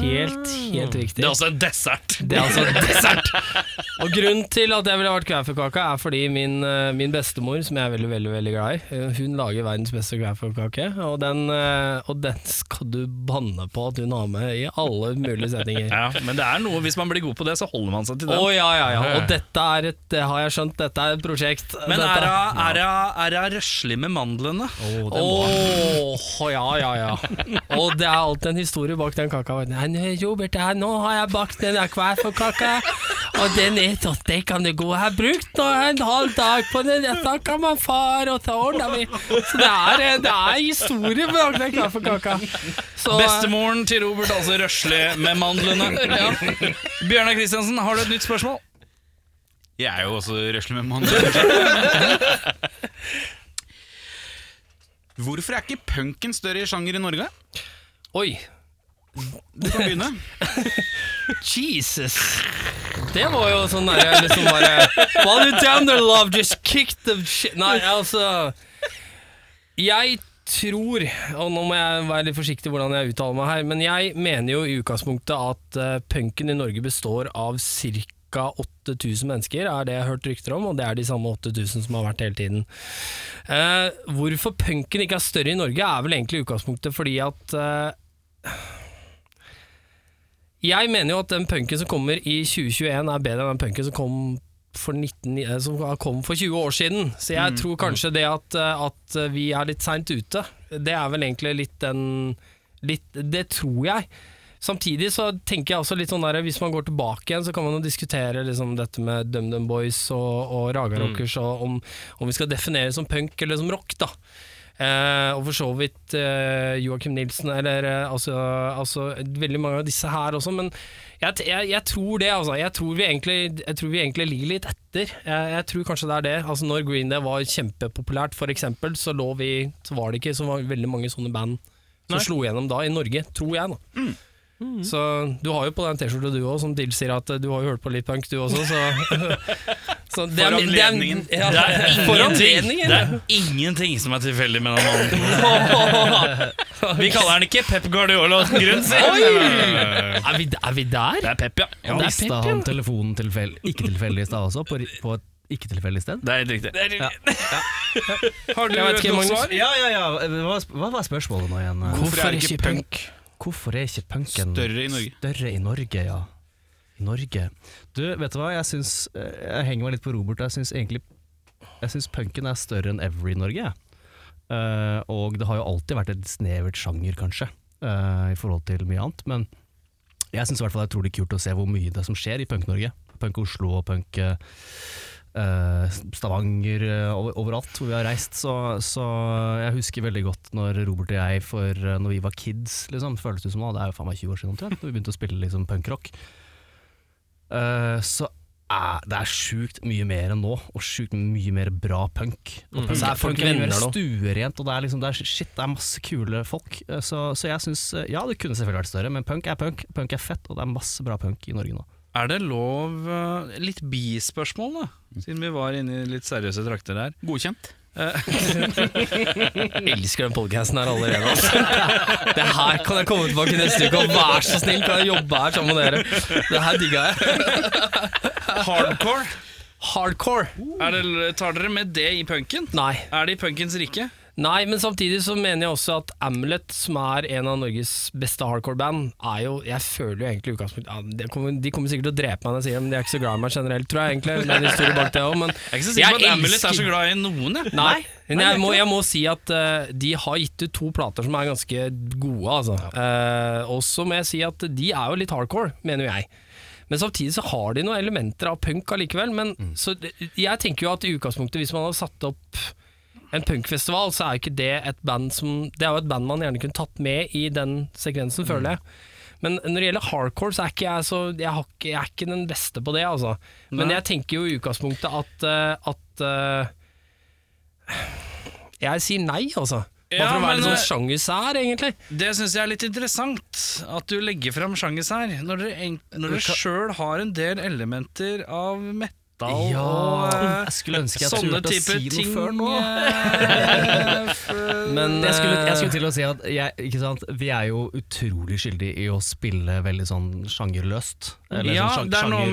S7: helt, helt
S2: Det
S7: riktig.
S2: er også en dessert.
S7: Det er altså dessert! Og grunnen til at jeg ville vært kvæfjordkake, er fordi min, eh, min bestemor, som jeg er veldig veldig, veldig glad i, eh, hun lager verdens beste kvæfjordkake. Og, den, eh, og den skal du banne på at hun har med i alle mulige settinger.
S2: Ja, men det er noe, hvis man blir god på det, så holder man seg til
S7: Å
S2: det.
S7: ja, ja, ja. Og dette er et, det har jeg skjønt, dette er et prosjekt.
S2: men
S7: dette.
S2: er hun- er hun- er hun røslig med mandlene?
S7: Åh, ja, ja, ja. Og det er alltid en historie bak den kaka. Nei, nei, eh, Robert, her, nå har jeg bakt den eh, der kvæfjordkaka, og den er så stikkende god. Jeg har brukt nå en halv dag på den, dette kan man far, og så ordna vi. Så det er, det er historie bak den kvæfjordkaka. Så-
S2: Bestemoren til Robert, altså røslig med
S7: <laughs>
S2: mandlene. Ja. Bjørnar Kristiansen, har du et nytt spørsmål?
S8: Jeg er jo også røslig med mannen. Hvorfor er ikke punken større i sjanger i Norge?
S7: eh, Oi,
S8: Du kan begynne.
S7: Jesus. Det var jo sånn der jeg liksom bare While you're down there, love, just kick the shit Nei, altså Jeg tror, og nå må jeg være litt forsiktig hvordan jeg uttaler meg her, men jeg mener jo i utgangspunktet at eh, punken i Norge består av ca. 8000 mennesker, er det jeg har hørt rykter om, og det er de samme 8000 som har vært hele tiden. Eh, hvorfor punken ikke er større i Norge, er vel egentlig utgangspunktet fordi at eh, jeg mener jo at den punken som kommer i 2021 er bedre enn den punken som kom for, 19, eh, som kom for 20 år siden. Så jeg tror kanskje det at, eh, at vi er litt seint ute, det er vel egentlig litt den litt, Det tror jeg. Samtidig så tenker jeg også litt sånn der, hvis man går tilbake igjen, så kan man jo diskutere liksom dette med DumDum Boys og, og Raga Rockers, og om, om vi skal definere som punk eller som rock, da. Eh, og for så vidt eh, Joakim Nilsen, eller eh, altså, altså veldig mange av disse her også, men jeg, t- jeg, jeg tror det, altså. Jeg tror vi egentlig, jeg tror vi egentlig ligger litt etter. Jeg, jeg tror kanskje det er det. Altså Når Green Day var kjempepopulært, for eksempel, så, lå vi, så var det ikke så var veldig mange sånne band som slo gjennom da, i Norge, tror jeg, da.
S2: Mm.
S7: Så Du har jo på deg en T-skjorte du òg, som tilsier at eh, du har jo hørt på litt punk, du også. Så, <laughs> så det er, det er-
S2: anledningen.
S7: Ja,
S2: Det er
S7: for
S2: ingenting,
S7: anledningen.
S2: det er ingenting som er tilfeldig med
S7: <laughs>
S2: den mannen. Vi kaller han ikke Pep Guardiola uten grunn, si.
S7: Er vi, er vi der?
S2: Det er Pep, ja.
S7: Ja, det er
S9: Mista
S7: Pep, ja.
S9: han telefonen tilfell, ikke tilfeldig i stad også, på, ri- på et ikke tilfeldig sted?
S2: Det er helt riktig.
S1: Har du
S7: Jeg vet ikke,
S1: noe
S7: Magnus.
S1: svar?
S9: Ja, ja, ja. Eh, Hva, hva var spørsmålet nå igjen?
S8: Hvorfor er ikke punk
S9: Hvorfor er ikke punken
S8: Større i Norge.
S9: Større i Norge, ja. I Norge. Du, vet du hva? Jeg, syns, eh, jeg henger meg litt på Robert. Jeg syns egentlig Jeg syns punken er større enn ever i Norge. jeg. Eh, og det har jo alltid vært et snevert sjanger, kanskje, eh, i forhold til mye annet. Men jeg syns det er utrolig kult å se hvor mye det er som skjer i Punk-Norge. Punk Oslo og punk eh, eh, Stavanger eh, over- overalt hvor vi har reist. Så, så jeg husker veldig godt når Robert og jeg for eh, Når vi var kids, liksom, føles det som nå, det er jo faen meg 20 år siden omtrent, da vi begynte å spille liksom punkrock. Eh, så er, det er sjukt mye mer enn nå, og sjukt mye mer bra punk. Og punk, er,
S7: Mm. Folk
S9: punk er mye mer
S7: vender nå.
S9: stuerent, og det er, liksom, det er, shit, det er masse kule folk. Eh, Så, så jeg syns Ja, det kunne selvfølgelig vært større, men punk er punk. Punk er fett, og det er masse bra punk i Norge nå.
S2: Er det lov eh, Litt bispørsmål, da? Siden vi var inne i litt seriøse trakter her.
S8: Godkjent.
S7: Jeg elsker den podcasten her allerede. Altså. <laughs> Det her kan jeg komme tilbake neste uke, og vær så snill, kan jeg jobbe her sammen med dere. Det her digga jeg.
S2: Hardcore?
S7: Hardcore.
S2: Er det, tar dere med det i punken?
S7: Nei.
S2: Er det i punkens rike?
S7: Nei, men samtidig så mener jeg også at Amulet, som er en av Norges beste hardcore-band, er jo Jeg føler jo egentlig i utgangspunktet ja, de, kommer, de kommer sikkert til å drepe meg når jeg sier det, men de er ikke så glad i meg generelt, tror jeg egentlig. Det er en historie bak det også, men
S2: Jeg er ikke så sikker på at Amulet er så glad i noen, jeg.
S7: Nei, men jeg må, jeg må si at eh, de har gitt ut to plater som er ganske gode, altså. Eh, og så må jeg si at de er jo litt hardcore, mener jeg. Men samtidig så har de noen elementer av punk allikevel. Men så det- jeg tenker jo at i utgangspunktet, hvis man hadde satt opp en punkfestival, så er jo ikke det et band som Det er jo et band man gjerne kunne tatt med i den sekvensen, føler jeg. Men når det gjelder hardcore, så er ikke jeg så Jeg, har ikke, jeg er ikke den beste på det, altså. Men jeg tenker jo i utgangspunktet at, eh, at eh, jeg sier nei, altså. Bare
S2: Ja,
S7: for å
S2: men,
S7: være litt
S2: eh,
S7: sånn sjangersær, egentlig.
S2: Det syns jeg er litt interessant, at du legger fram sjangers her. Når dere, eng- når dere sjøl har en del elementer av metal
S9: Ja,
S2: og eh,
S9: jeg skulle ønske jeg
S2: sånne
S9: turte å
S2: type
S9: si noe
S2: ting
S9: før nå.
S2: eh, for-
S7: Men
S9: Jeg skulle, jeg
S7: eh,
S9: skulle til å si at jeg, ikke sant? vi er jo utrolig skyldige i å spille veldig sånn sjangerløst. Eller
S2: ja,
S9: sånn sjang-
S2: det er noe
S9: sjanger,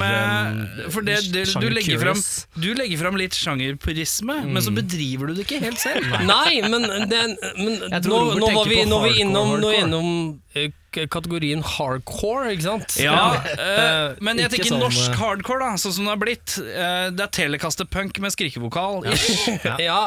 S2: med
S9: um,
S2: For det, det, du,
S9: sjanger
S2: legger fram,
S9: curious.
S2: du legger fram litt sjangerpurisme, men så bedriver du det ikke helt selv.
S7: Nei, men, det, men
S9: eh, <laughs> Jeg
S7: nå,
S9: tror Robert
S7: nå var
S9: tenker
S7: vi,
S9: på
S7: nå var vi
S9: hardcore,
S7: innom, nå er vi
S9: hardcore.
S7: innom eh, k- kategorien hardcore, ikke sant?
S2: Ja, eh,
S7: Eh,
S2: men jeg
S7: ikke
S2: tenker
S7: sånn,
S2: norsk
S7: eh,
S2: hardcore, da, sånn som det har blitt. eh, det er telekastepunk med skrikevokal.
S7: ja.
S2: <laughs>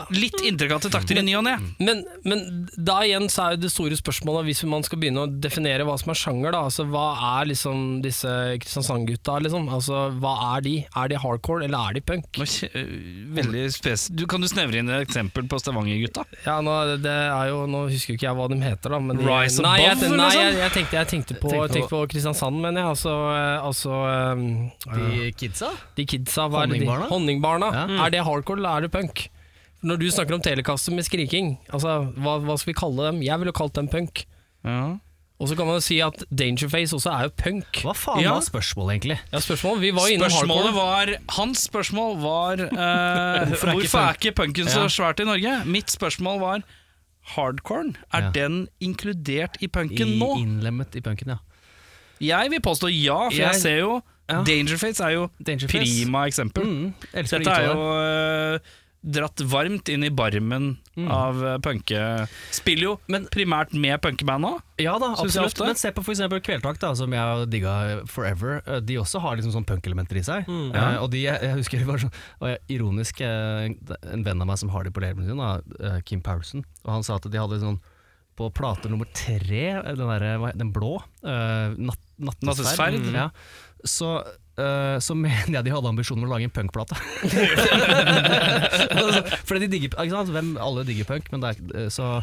S7: Mm.
S2: Litt intrikate takter i ny og ne.
S7: Men, men da igjen så er jo det store spørsmålet, hvis man skal begynne å definere hva som er sjanger, da, altså hva er liksom disse Kristiansand-gutta, liksom? Altså hva er de? Er de hardcore, eller er de punk?
S2: Nå kje- øh, Veldig spes du, Kan du snevre inn et eksempel på Stavanger-gutta?
S7: Ja, nå, det er jo, nå husker jo ikke jeg hva de heter, da. Men de,
S2: Rise
S7: nei, jeg,
S2: Above,
S7: nei,
S2: liksom?
S7: jeg, jeg, tenkte, jeg tenkte på,
S9: Tenkte på-
S7: jeg tenkte på Kristiansand, mener jeg. Altså, eh, altså eh,
S9: De kidsa?
S7: de kidsa. Hva er det
S9: Honningbarna?
S7: De, honningbarna.
S9: Ja.
S7: Er det hardcore, eller er det punk? Når du snakker om telekaster med skriking, altså, hva, hva skal vi kalle dem? Jeg ville kalt dem punk.
S2: Ja.
S7: Og så kan man jo si at Dangerface også er jo punk.
S9: Hva faen
S2: Ja.
S9: var spørsmålet, egentlig?
S7: Ja, spørsmål. Vi var jo innom
S2: Spørsmålet
S7: hardcore.
S2: var, hans spørsmål var eh, Hvorfor er ikke, punken så svært i Norge? Mitt spørsmål var Hardcorn, er
S9: Ja.
S2: den inkludert i
S9: I,
S2: punken nå?
S9: innlemmet i punken, ja.
S2: Jeg vil påstå ja, for jeg,
S9: Jeg-
S2: ser jo
S9: Ja.
S2: Dangerface er jo
S9: Dangerface.
S2: prima eksempel.
S9: Mm, elsker
S2: Dette er
S9: å
S2: jo
S9: uttale.
S2: eh, dratt varmt inn i barmen
S9: Mm.
S2: av uh, punke... Spiller jo primært med punkeband nå.
S9: Ja da,
S2: Synes jeg
S9: absolutt.
S2: ofte.
S9: Men se på for eksempel Kvelertak, da, som jeg har digga forever. Eh, De også har liksom sånn punkelementer i seg.
S2: Mm.
S9: Eh, og de, jeg, jeg husker det var sånn og jeg, Ironisk, eh, en venn av meg som har de på labelen sin, da, eh, Kim Powerson, og han sa at de hadde sånn på plate nummer tre, eh, den, der, hva- den blå, eh, natt, Nattesferd. Ja. Så, eh, så mener jeg de hadde ambisjoner om å lage en punkplate. <laughs> Fordi de digger ikke sant? Hvem, Alle digger punk, men det er, ikke- eh, så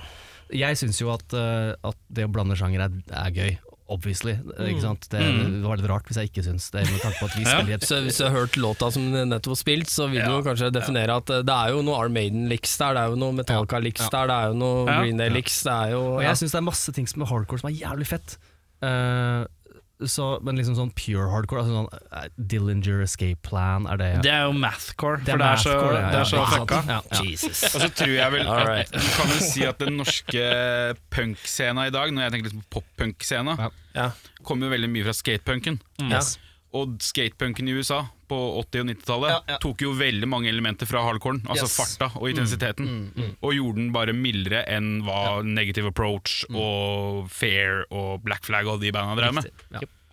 S9: jeg syns jo at, eh, at det å blande sjanger er, er gøy. Obviously. eh, Ikke sant? Det, det var litt rart hvis jeg ikke syns det, med tanke på at vi spiller i et
S7: Så hvis du har hørt låta som nettopp var spilt, så vil du jo kanskje definere at eh, det er jo noe Arm Maiden-liks der, det er jo noe Metallica-liks der, det er jo noe Green Day-liks, det er jo
S9: Og
S7: ja.
S9: jeg syns det er masse ting som er hardcore som er jævlig fett. Eh, så, men liksom sånn pure hardcore, altså sånn eh, Dillinger Escape Plan, er det
S2: Det er jo mathcore,
S9: Det er
S2: for det er så,
S9: mathcore, ja, ja,
S2: det er så
S9: ja, ikke sant?
S2: fucka. <laughs>
S9: Ja, ja.
S3: Og så Altså, tror jeg vel
S7: All
S3: at
S7: right.
S3: du kan vel si at den norske punkscena i dag, når jeg tenker liksom på pop-punk-scena,
S7: Ja.
S3: kommer jo veldig mye fra skatepunken.
S7: Ja.
S3: Og skatepunken i USA på 80- og 90-tallet tok jo veldig mange elementer fra hardcoren, altså
S9: Yes.
S3: farta
S2: Mm.
S3: og intensiteten, og gjorde den bare mildere enn hva Negative Approach
S2: Mm.
S3: og Fair og Black Flag og de banda drev med.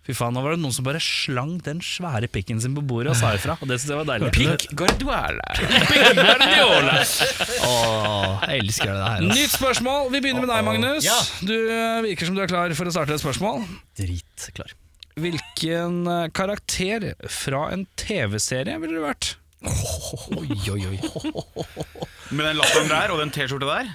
S2: Fy faen, nå var det noen som bare slang den svære pikken sin på bordet og sa ifra. Og det synes jeg var deilig.
S9: Åh, jeg elsker det her.
S2: Nytt spørsmål. Vi begynner med deg, Magnus. Du eh, virker som du er klar for å starte et spørsmål.
S9: Dritklar.
S2: Hvilken eh, karakter fra en TV-serie ville du vært?
S9: Oi, oi, oi.
S3: Med den latteren der og den T-skjorta der,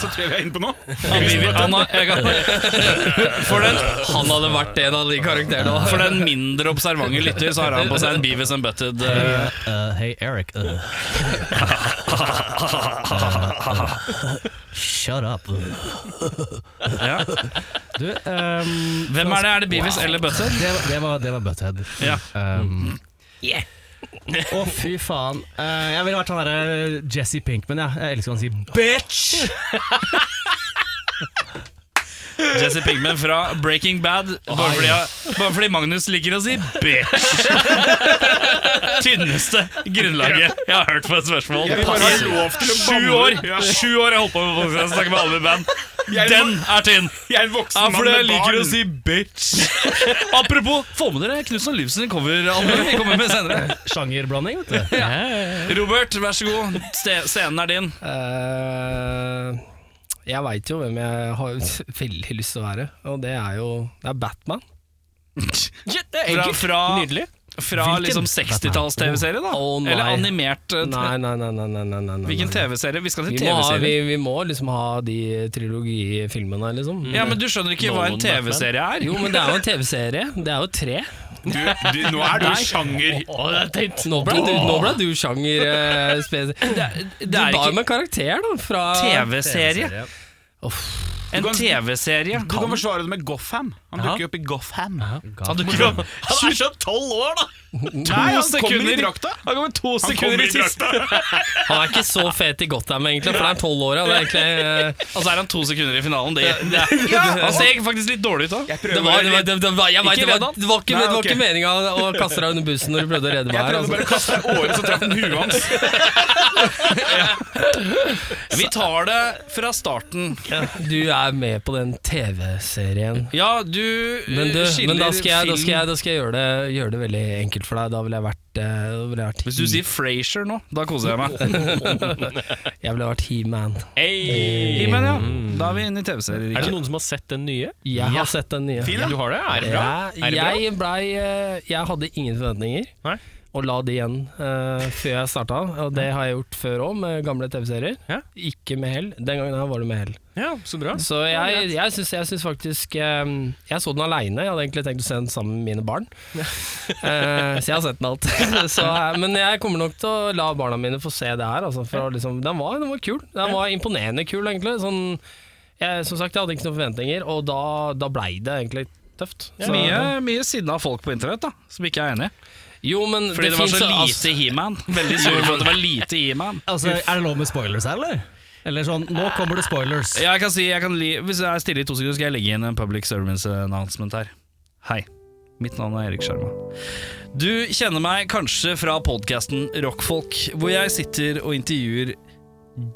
S3: så tror jeg vi er inne på noe.
S2: Anna, jeg kan, for, den,
S7: Han hadde vært en av de karakterene.
S2: for den mindre observante lytter, så har han på seg en Beavis and Butted. eh,
S9: Eh, Hei, Eric.
S2: <laughs>
S9: eh. Shut up.
S2: ja.
S9: Du, ehm,
S2: Hvem er det? Er det Beavis eller Butted?
S9: det, var- det, var, det var Butthead.
S2: Ja.
S9: Um, <laughs> Å, fy faen. Eh, jeg ville vært han derre Jesse Pinkman, jeg. Jeg elsker han sier
S2: Bitch! Jesse Pigman fra Breaking Bad. Bare fordi, jeg, bare fordi Magnus liker å si bitch. Tynneste grunnlaget jeg har hørt på et spørsmål.
S3: Jeg vil bare ha lov til å
S2: Sju
S3: banne.
S2: år
S3: Ja.
S2: Sju år jeg holdt på med å snakke med alle med band.
S3: Jeg-
S2: Den er tynn!
S3: Jeg er en voksen
S2: Ja,
S3: mann
S2: fordi jeg
S3: med
S2: liker å
S3: barn.
S2: si bitch. <laughs> Apropos, få med dere Knutsen og Livsen i coveralbumet vi kommer med senere.
S9: sjangerblanding, vet du.
S2: Robert, vær så god. Ste- Scenen er din.
S7: Eh, jeg veit jo hvem jeg har <laughs> veldig lyst til å være, og det er jo det er Batman.
S2: Fra, fra,
S7: Nydelig.
S2: fra liksom 60-talls-TV-serie, da?
S7: Å, nei.
S2: Eller animert eh,
S7: Nei, nei, nei. nei, nei, nei, nei, nei.
S2: Hvilken TV-serie? Vi skal til
S7: Vi må, ha, vi,
S2: TV-serie.
S7: vi må liksom ha de trilogifilmene, liksom.
S2: Ja, men du skjønner ikke hva en TV-serie er?
S7: Jo, men det er jo en TV-serie. Det er jo tre.
S3: Du, du, nå er du sjanger.
S7: Nå ble du, nå ble du sjanger eh, spes- Du
S2: er
S7: ba
S2: ikke-
S7: med karakter, da. Fra
S2: TV-serie. En
S3: kan-
S2: TV-serie.
S3: Du kan forsvare det med Gotham. Han dukker jo opp i Gotham.
S2: Han dukker opp Han er så tolv år, da! Nei, han
S3: kommer i
S2: sekunder
S3: drakta.
S2: Han kommer to sekunder
S3: kommer
S2: i
S3: i
S2: siste.
S7: Han er ikke så fet i Gotham, egentlig, for det er tolvåra. Det, er egentlig, eh,
S2: Og så er han to sekunder i finalen. Det, altså- det er, <laughs>
S1: <laughs>
S2: han ser faktisk litt dårlig ut òg.
S3: Jeg prøver
S7: det var, det var,
S3: bare
S7: det det var, jeg vet,
S2: Ikke
S7: det
S2: redd
S7: var,
S2: han.
S7: det var ikke,
S3: Nei,
S7: det var
S3: ok.
S7: ikke meninga å kaste deg under bussen når du prøvde å redde meg
S3: Jeg
S7: her.
S3: prøvde
S7: Altså.
S3: bare å kaste deg året, så traff den huet hans.
S2: Vi tar det fra starten.
S7: Du er med på den TV-serien.
S2: Ja, du, eh,
S7: Men, du, men da,
S2: skiller
S7: skal jeg, da, skal
S2: film
S7: jeg, da skal jeg gjøre det, gjøre det veldig enkelt for deg. Da ville jeg vært, eh, da ville jeg vært
S2: Hvis du
S7: He-
S2: sier Frasier nå, da koser jeg meg.
S7: Jeg ville vært He-Man.
S2: Men ja,
S1: Mm.
S2: da Mm. er vi inne i TV-serier.
S5: Er det
S2: ikke?
S5: noen som har sett den nye?
S7: Jeg har sett den nye.
S5: Du har det? Er det bra?
S7: Jeg, jeg blei eh, Jeg hadde ingen forventninger.
S5: Nei.
S7: Og la det igjen eh, før jeg starta, og det har jeg gjort før òg, med gamle TV-serier.
S5: Ja.
S7: Ikke med hell. Den gangen her var det med hell.
S5: Ja, så bra.
S7: Så jeg, jeg, syns, jeg syns faktisk eh, Jeg så den aleine, jeg hadde egentlig tenkt å se den sammen med mine
S5: <laughs>
S7: barn. Eh, så jeg har sett den alt. <laughs> så, eh, men jeg kommer nok til å la barna mine få se det her. Altså, for å liksom, den, var, den var kul. Den var imponerende kul, egentlig. Sånn, jeg, som sagt, jeg hadde ikke noen forventninger, og da, da blei det egentlig tøft.
S2: Så mye, mye sinna folk på internett da som ikke er enige.
S7: Jo, men
S2: Fordi det, var
S7: finnes
S2: så
S7: jo-
S2: lite
S7: altså,
S2: He-Man. Veldig sur for at det var lite He-Man. Ah.
S9: Altså, er det lov med spoilers her, eller? Eller sånn, nå kommer det spoilers.
S2: Ja, jeg kan si, jeg kan li Hvis jeg er stille i to sekunder, skal jeg legge inn en public service announcement her. Hei. Mitt navn er Erik Skjerma. Du kjenner meg kanskje fra podkasten Rockfolk, hvor jeg sitter og intervjuer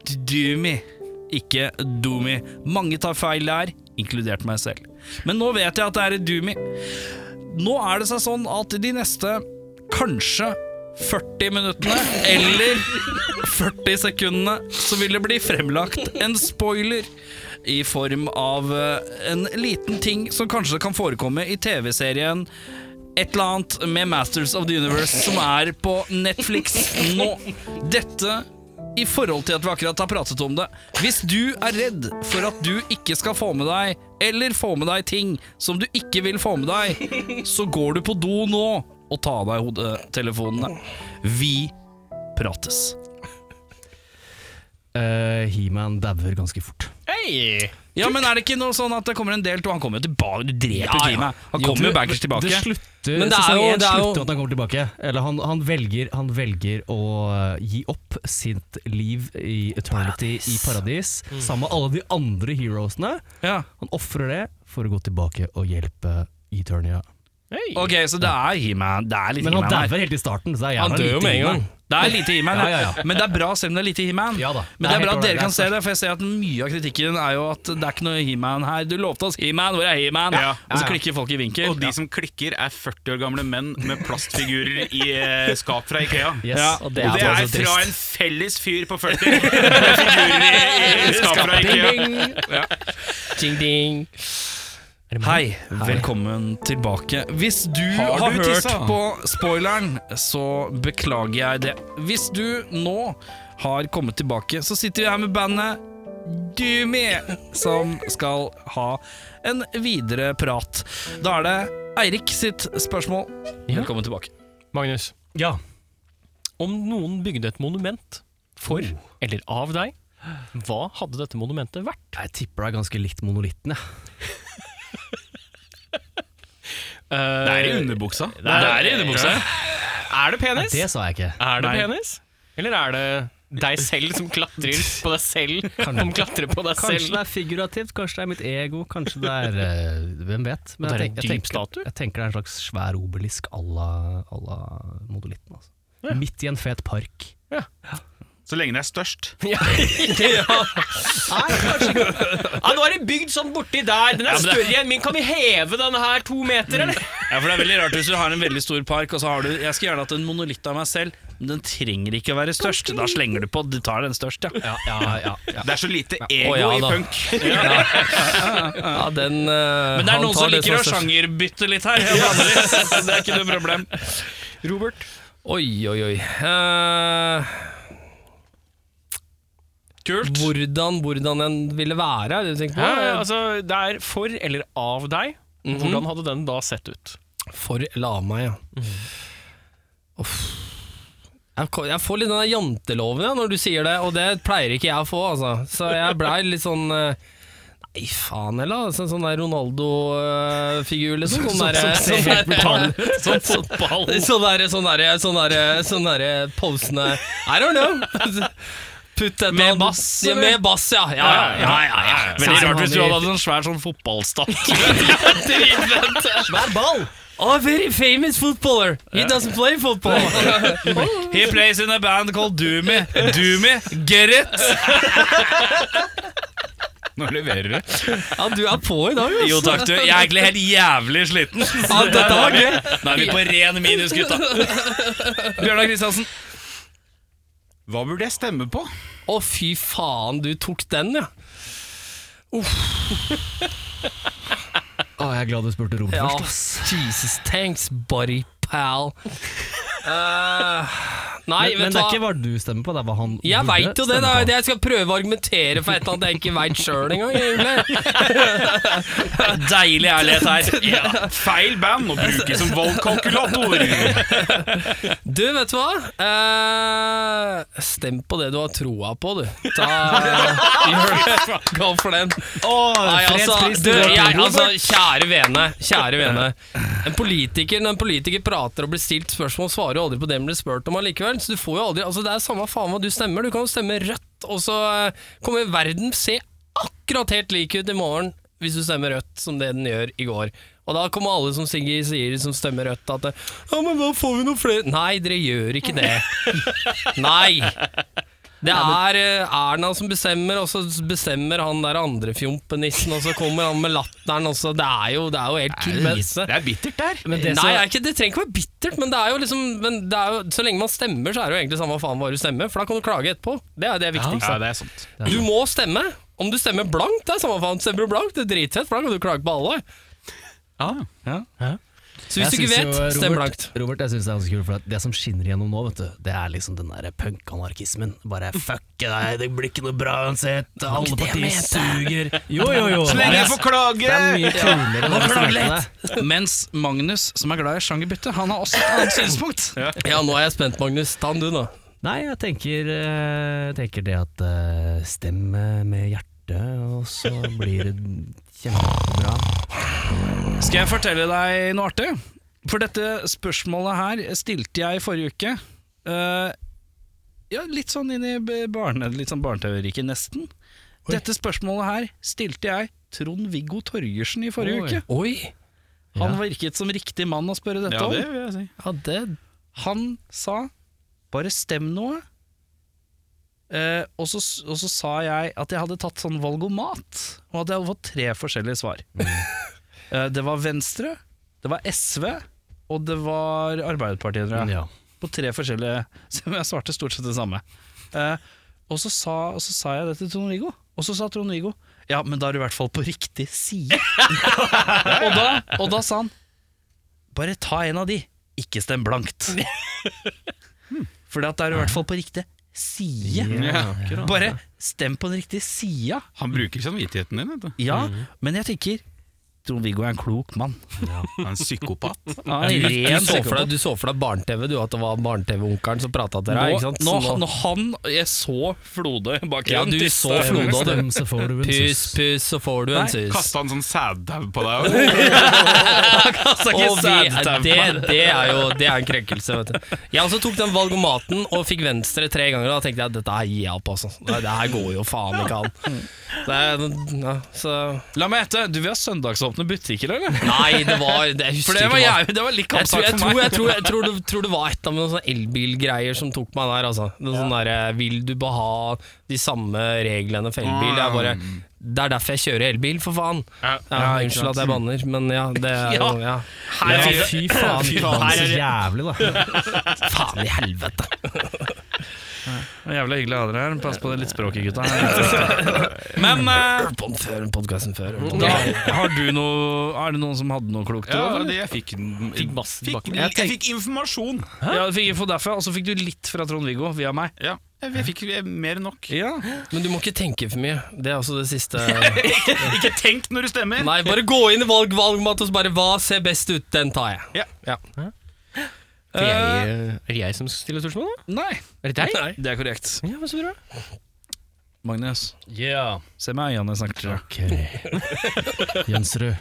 S2: D- Doomy, ikke Doomy. Mange tar feil der, inkludert meg selv. Men nå vet jeg at det er et Doomy. Nå er det seg sånn at de neste kanskje 40 minuttene, eller 40 sekundene, så vil det bli fremlagt en spoiler. i form av eh, en liten ting som kanskje kan forekomme i TV-serien et eller annet med Masters of the Universe som er på Netflix nå. Dette i forhold til at vi akkurat har pratet om det. Hvis du er redd for at du ikke skal få med deg, eller få med deg ting som du ikke vil få med deg, så går du på do nå og ta av deg hodetelefonene. Vi prates.
S9: Eh, He-Man dauer ganske fort.
S1: Hei!
S2: Ja, men er det ikke noe sånn at det kommer en del to? Han kommer jo tilbake, du dreper
S9: ja.
S2: teamet. Han kommer jo bankers tilbake.
S9: Det slutter,
S2: Men det er
S9: sesong
S2: jo-
S9: én
S2: det er jo-
S9: slutter at han kommer tilbake. Eller han, han, velger, han velger å eh, gi opp sitt liv i eternity i paradis, Mm. sammen med alle de andre heroesene.
S2: Ja.
S9: Han ofrer det for å gå tilbake og hjelpe Eternia.
S2: Ok, så det er He-Man. Det er litt
S9: Men han
S2: He-Man her.
S9: dauer helt i starten. Så det er
S1: Han
S9: jævla
S1: dør jo
S9: lite
S1: med en
S9: He-Man.
S1: gang.
S2: Det er lite He-Man,
S9: Ja, ja, ja.
S2: men det er bra selv om det er lite He-Man.
S9: Ja da.
S2: Men det er
S9: helt
S2: bra at
S9: ålreit,
S2: dere kan
S9: det
S2: se
S9: er
S2: det, for jeg ser at mye av kritikken er jo at det er ikke noe He-Man her. Du lovte oss He-Man, hvor er He-Man?
S8: Ja.
S2: Og så klikker folk i vinkel.
S8: Og de som klikker, er 40 år gamle menn med plastfigurer i eh, skap fra Ikea.
S9: Yes,
S2: Ja,
S9: og
S8: Og det er
S9: altså
S8: fra
S9: trist.
S8: en felles fyr på 40 med figurer i, i skap fra Ikea.
S1: Ding, ding.
S2: Hei, velkommen tilbake. Hvis du har,
S8: du
S2: hørt
S8: tissa?
S2: på spoileren, så beklager jeg det. Hvis du nå har kommet tilbake, så sitter vi her med bandet Doomy, som skal ha en videre prat. Da er det Eirik sitt spørsmål. Velkommen tilbake.
S1: Magnus,
S9: Ja.
S1: om noen bygde et monument for
S9: Oh.
S1: eller av deg, hva hadde dette monumentet vært?
S9: Jeg tipper det er ganske
S1: <laughs>
S9: likt monolitten, jeg.
S1: det
S8: Er i underbuksa.
S1: det er i underbuksa. Er det penis?
S9: Det sa jeg ikke.
S1: Er det penis? Eller er det deg selv som klatrer på deg selv? Som klatrer på deg
S9: Kanskje
S1: selv?
S9: det er figurativt, kanskje det er mitt ego, kanskje det er eh, Hvem vet?
S1: Og det er
S9: jeg
S1: en
S9: tenk- jeg
S1: dyp
S9: tenker-
S1: statue?
S9: Jeg tenker det er en slags svær obelisk à la, à la modellitten. Altså. Midt i en fet park.
S8: Så lenge det er størst.
S1: Ja. Nei, kanskje ikke. Ja, nå er det bygd sånn borti der. Den er større enn min. Kan vi heve denne her to
S9: Mm.
S1: meter, eller?
S2: Ja, for det er veldig rart hvis du har en veldig stor park, og så har du Jeg skulle gjerne hatt en monolitt av meg selv, men den trenger ikke å være størst. Da slenger du på. Du tar den størst, ja.
S9: Ja, ja, ja, ja.
S8: Det er så lite ego
S7: Å, ja
S8: i
S7: da.
S8: punk.
S7: Ja, den
S2: Men
S7: eh,
S2: det er noen som liker å sjangerbytte litt her. Ja, vanligvis. det er ikke noe problem.
S7: Oi, oi, oi. Eh,
S2: Kult.
S7: hvordan, hvordan den ville være, er det du tenker på?
S1: Ja, altså, det er for eller av deg.
S2: Mhm.
S1: Hvordan hadde den da sett ut?
S7: For eller av meg, ja.
S2: Mhm.
S7: Uff. Jeg ko- Jeg får litt den der janteloven ja, når du sier det, og det pleier ikke jeg å få, altså. Så jeg blei litt sånn eh, Nei, faen heller. Altså, sånn der Ronaldo-figur, liksom. Sånn der, sånn der,
S1: <laughs>
S7: sånn fotball. Sånn der, sånn der, sånn der, sånn der posene I don't know. Putt et med bass? Ja, med bass, ja. ja, ja, ja, ja, ja.
S2: Veldig
S7: Sånn
S2: rart hvis du
S7: han
S2: hadde
S7: i-
S2: hatt en svær sånn fotballstatt.
S7: Svær ball! Oh, very famous footballer. He doesn't play football.
S2: He plays in a band called Doomy. Doomy, get it?
S8: Nå leverer du.
S7: Ja, du er på i dag, ass.
S2: Jo takk, du. Jeg er egentlig helt jævlig sliten.
S7: Ja, dette var gøy.
S2: Nå er vi på ren minus, gutta. Bjørnar Kristiansen.
S8: Hva burde jeg stemme på?
S7: Å, fy faen, du tok den, ja.
S9: Å, jeg er glad du spurte Robert
S7: ja
S9: først.
S7: Jesus, thanks, buddy pal. Eh, nei,
S9: Men, men
S7: vet
S9: det
S7: du
S9: er ikke
S7: hva.
S9: hva du stemmer på, det er hva han
S7: Jeg
S9: burde
S7: veit jo det, da.
S9: stemme på.
S7: Jeg skal prøve å argumentere for et eller annet jeg ikke veit sjøl engang. egentlig.
S2: Deilig ærlighet
S7: <laughs>
S2: her.
S8: Ja. Feil band å bruke som valgkalkulator!
S7: Du, vet du hva? Eh, stem på det du har troa på, du. Ta, eh, gjør det. <laughs> Gå for den. Nei, altså,
S9: fredsprisen
S7: du,
S9: går til
S7: jeg,
S9: Robert.
S7: altså, kjære vene, kjære vene. En politiker, når en politiker prater og blir stilt spørsmål, svarer jo aldri på det han blir spurt om allikevel. Så du får jo aldri, altså, det er samme faen hva du stemmer. Du kan jo stemme rødt, og så eh, kommer verden se akkurat helt lik ut i morgen hvis du stemmer rødt, som det den gjør i går. Og da kommer alle som Siggy sier, som stemmer rødt, at eh, ja, men da får vi noen flere Nei, dere gjør ikke det. Nei. Det er eh, Erna som bestemmer, og så bestemmer han der andre fjompenissen, og så kommer han med latteren, og så Det er jo, det er jo helt krise.
S8: Det er bittert der.
S9: Men det
S7: Nei,
S9: som-
S7: er ikke, det trenger ikke være bittert, men det er jo liksom men det er jo, Så lenge man stemmer, så er det jo egentlig samme faen hva du stemmer, for da kan du klage etterpå. Det er det viktigste.
S8: det er sant.
S7: Du må stemme, Om du stemmer blankt, det er samme faen. Stemmer du blankt, det er dritfett, for da kan du klage på alle.
S8: Ja.
S7: Så hvis du ikke vet, stem blankt.
S9: Robert, jeg synes det er ganske kult, for at det som skinner gjennom nå, vet du, det er liksom den der punk-anarkismen. Bare fuck deg, det blir ikke noe bra uansett, alle partier suger. Jo, jo, jo.
S2: Så lenge jeg får klage!
S9: Det er mye kulere enn det snakkende.
S2: Mens Magnus, som er glad i sjangerbytte, han har også et annet synspunkt.
S7: Ja, nå er jeg spent, Magnus. Ta den du, nå.
S9: Nei, jeg tenker, eh, tenker det at eh, stem eh, med hjertet, og så blir det kjempebra.
S2: Skal jeg fortelle deg noe artig? For dette spørsmålet her stilte jeg forrige uke. Eh, ja, litt sånn inn i b- barne, litt sånn barneteoriket, nesten. Dette spørsmålet her stilte jeg Trond-Viggo Torgersen i forrige
S9: Oi.
S2: uke.
S7: Oi.
S2: Han virket som riktig mann å spørre dette
S8: ja, det
S2: om.
S8: vil jeg si.
S7: Ja, det
S2: Han sa 'bare stem noe'. Eh, og, så, s- og så sa jeg at jeg hadde tatt sånn valgomat, og at jeg hadde fått tre forskjellige svar. Eh, det var Venstre, det var SV, og det var Arbeiderpartiet, tror jeg.
S9: Ja.
S2: På tre forskjellige <laughs> Som jeg svarte stort sett det samme. Eh, og, så sa, og så sa jeg det til Trond-Viggo, og så sa Trond-Viggo ja, men da er du i hvert fall på riktig side. <laughs> og, da, og da sa han bare ta en av de, ikke stem blankt. For at da er du i hvert fall på riktig side.
S1: Ah, altså.
S2: Bare stem på den riktige sida.
S8: Han bruker samvittigheten din, vet du.
S2: Ja, men jeg tenker Trond-Viggo er en klok mann.
S8: Han er en psykopat.
S2: Han
S7: Du,
S2: er
S7: du,
S2: ren
S7: så for
S2: psykopat.
S7: deg, du så for deg barne-TV, du, at det var barne-TV-onkelen som prata til deg,
S2: Nå,
S7: ikke sant?
S2: nå,
S7: Så nå-
S2: når han Jeg så Flode bak
S7: ja,
S2: igjen.
S7: du
S2: Tyst,
S7: så Flode, og
S9: Stem, så får du en
S7: Puss,
S9: suss.
S7: puss, så får du en sus.
S8: Kasta en sånn sæddau på deg.
S2: altså, ikke
S7: Og vi,
S2: sædtau.
S7: det, det er jo det er en krenkelse, vet du. Jeg også tok den valgomaten og fikk venstre tre ganger, og da tenkte jeg dette her gir jeg opp, altså. Det det her går jo faen ikke an. Det er, ja, så
S2: La meg gjette, du vil ha søndagsåpne butikker, eller?
S7: Nei, det var det, Jeg
S2: For
S7: husker
S2: det var,
S7: ikke hva
S2: jævlig, det var litt
S7: jeg tror,
S2: kappsak
S7: jeg,
S2: for
S7: tror,
S2: meg.
S7: jeg, tror, jeg, tror, det, tror det var et av noen sånne elbilgreier som tok meg der. Altså. Noe sånn derre, Vil du bare ha de samme reglene for elbil? Jeg bare, det er derfor jeg kjører elbil, for faen. Ja, unnskyld at jeg banner, men ja, det er jo ja.
S2: Her er
S7: Ja,
S2: det-
S7: Fy faen, fy
S9: Faen,
S7: faen,
S9: så jævlig, da.
S7: faen i helvete.
S2: Det var Jævla hyggelig å ha dere her. Pass på det litt språket, gutta. Men eh,
S7: Hørt på den før, den podcasten før.
S2: da, har du noe, er det noen som hadde noe klokt?
S8: Ja,
S2: eller?
S8: det, jeg fikk,
S7: Fikk masse
S8: fikk,
S7: tilbake.
S8: jeg, fikk informasjon.
S2: Ja, du fikk info derfra, og så fikk du litt fra Trond-Viggo via meg.
S8: Ja, jeg, jeg fikk eh, mer enn nok.
S2: Ja.
S7: Men du må ikke tenke for mye. Det er også det siste.
S8: Ikke <laughs> tenk når du stemmer!
S7: Nei, bare gå inn i valg, valgmat og så bare Hva ser best ut? Den tar jeg.
S1: Er det jeg som stiller spørsmål, da?
S2: eh, Nei,
S1: Er det deg?
S2: det er korrekt.
S1: Ja, hva så bra.
S2: Magnus,
S9: Yeah.
S2: se meg i øynene jeg snakker til deg.
S9: Ok. Jønsrud.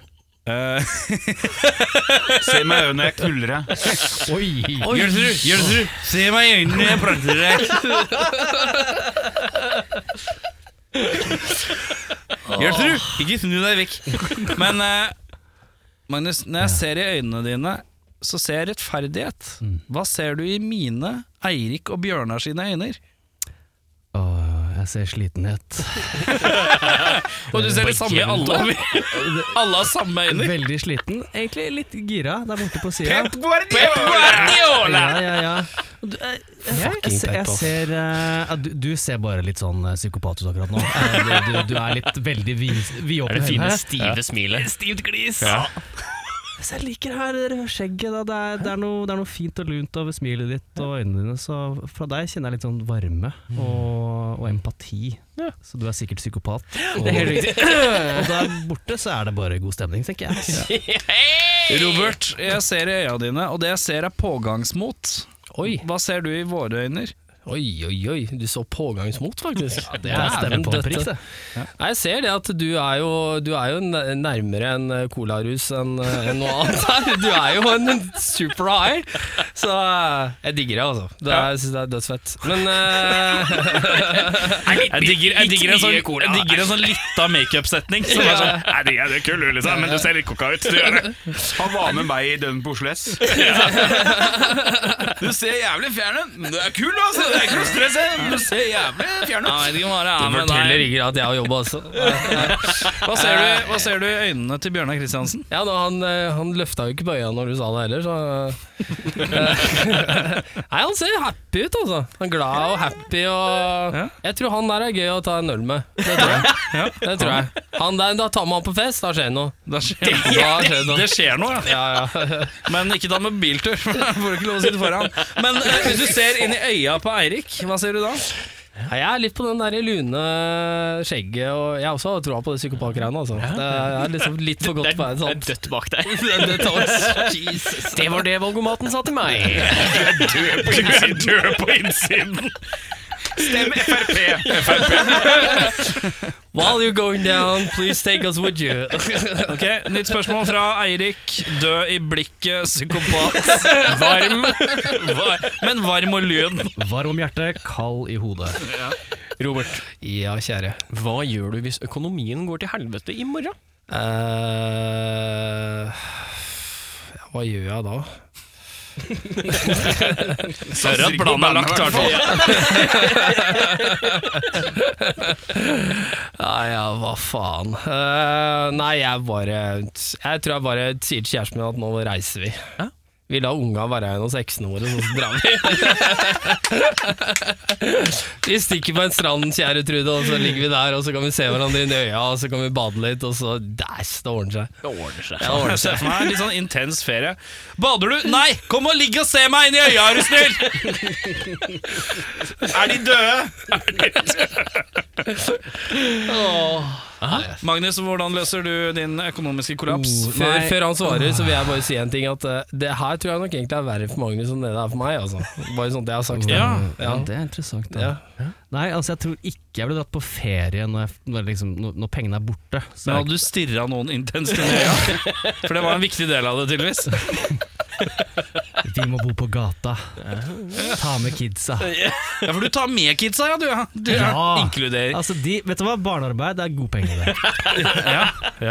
S8: Se meg i øynene, jeg knuller deg.
S9: Oi!
S1: <laughs>
S2: se meg i øynene jeg prater til deg. Hjørtrud, ikke snu deg vekk. Men eh, Magnus, når jeg ser i øynene dine, så ser jeg rettferdighet. Hva ser du i mine, Eirik og Bjørnar sine øyne?
S9: Åh, jeg ser slitenhet.
S2: Og du ser det samme i alle. Alle har samme øyne.
S9: Veldig sliten. Egentlig litt gira der borte på sida. Ja, ja, ja. Du, jeg, jeg, jeg, jeg, ser- jeg ser eh, ja, du, du ser bare litt sånn eh, psykopat ut akkurat nå. Eh, Du, du, du er litt veldig vid-
S1: Er
S9: vidåpen.
S1: det fine,
S9: Hæ?
S1: stive smilet?
S9: Stivt glis. Hvis jeg liker det her rødskjegget. Da. Det, er, det, er noe, det er noe fint og lunt over smilet ditt og øynene dine. Så fra deg kjenner jeg litt sånn varme og, og empati. Så du er sikkert psykopat. Og, <laughs> og der borte så er det bare god stemning, tenker jeg.
S2: Robert, jeg ser i øya dine, og det jeg ser er pågangsmot.
S7: Oi,
S2: Hva ser du i våre øyne?
S7: oi, oi. oi. Du så pågangsmot, faktisk. Ja,
S9: Det er stemmen på en prikk, det.
S7: Nei, Jeg ser det at du er jo, du er jo n- nærmere en eh, colarus enn eh, enn noe annet her. <laughs> Du er jo en super high, så eh, jeg digger det, altså. Det er, jeg synes det er dødsfett. Men eh,
S2: Jeg digger, jeg digger en sånn, jeg digger en sånn lita makeup-setning. Som er sånn
S8: Nei, det er kul, liksom, men du ser litt kokka ut. Du gjør det. Han var med <laughs> meg i Døden på Oslo S. Du ser jævlig fjern ut, men du er kul, altså!
S2: det er ikke noe stress. jeg. Du ser jævlig fjern ut. Jeg vet ikke hva det er med
S7: Forteller
S2: deg.
S7: ikke at jeg har jobba også.
S2: Hva ser, du, hva ser du i øynene til Bjørnar Kristiansen?
S7: Ja, da, han, eh, han løfta jo ikke på øya når du sa det heller, så eh, <laughs> Nei, han ser happy ut, altså. Han er glad og happy og
S2: Ja.
S7: Jeg tror han der er gøy å ta en øl med. Det tror
S1: <laughs>
S7: jeg. Det tror jeg. Han der, da tar man han på fest, da skjer det noe.
S2: Det skjer,
S7: Da skjer det noe.
S2: det skjer noe, ja.
S7: Ja, ja.
S2: Men ikke da med biltur. for da Får du ikke lov å sitte foran. Men eh, hvis du ser inn i øya på Eirik, hva ser du da?
S7: Nei, Jeg er litt på den der lune skjegget, og jeg også har troa på det psykopatgreiene. Altså. Det er liksom litt for sånn- godt på veien.
S1: Det er
S7: sant?
S1: dødt bak
S7: <laughs>
S1: deg. <laughs>
S2: Jesus.
S1: Det var det valgomaten sa til meg.
S7: While you're going down, please take us with you.
S2: Ok, Nytt spørsmål fra Eirik. Død i blikket, psykopat. Varm. Var, men varm og lun.
S9: Varm hjerte, kald i hodet.
S1: Robert,
S7: Ja, kjære.
S1: hva gjør du hvis økonomien går til helvete i morgen?
S7: Eh, ja, hva gjør jeg da?
S2: Hører at planen er lagt, i hvert fall.
S7: Nei, ja, hva faen. Eh, nei, jeg bare Jeg tror jeg bare sier til kjæresten min at nå reiser vi. Vi lar unga være igjen hos eksene våre, så drar
S9: <laughs>
S7: vi. vi stikker på en strand, kjære Trude, og så ligger vi der, og så kan vi se hverandre inn i øya, og så kan vi bade litt, og så Dæsj, det ordner seg.
S1: Det ordner seg.
S2: Ja, det ser jeg for meg. Litt sånn intens ferie. Bader du? Nei! Kom og ligg og se meg inn i øya, er du snill! er de døde? Magnus, hvordan løser du din økonomiske kollaps?
S9: Oh,
S7: Før, før han svarer, så vil jeg bare si en ting. At eh, det her tror jeg nok egentlig er verre for Magnus enn det det er for meg. Altså. Bare sånn at jeg har sagt det.
S2: Ja.
S9: Ja, det er interessant. Da.
S7: Ja.
S9: Nei, altså jeg tror ikke jeg ville dratt på ferie når, jeg, når, liksom, når, når pengene er borte. Så
S2: Men
S9: jeg-
S2: hadde du stirra noen intenst inn i øya? For det var en viktig del av det, tydeligvis.
S9: Vi må bo på gata. Ta med kidsa.
S2: Ja, For du tar med kidsa, ja, du. Ja. Du
S9: Ja.
S2: inkluderer.
S9: Altså de, vet du hva, Barnearbeid det er god penge, det.
S2: <laughs> ja.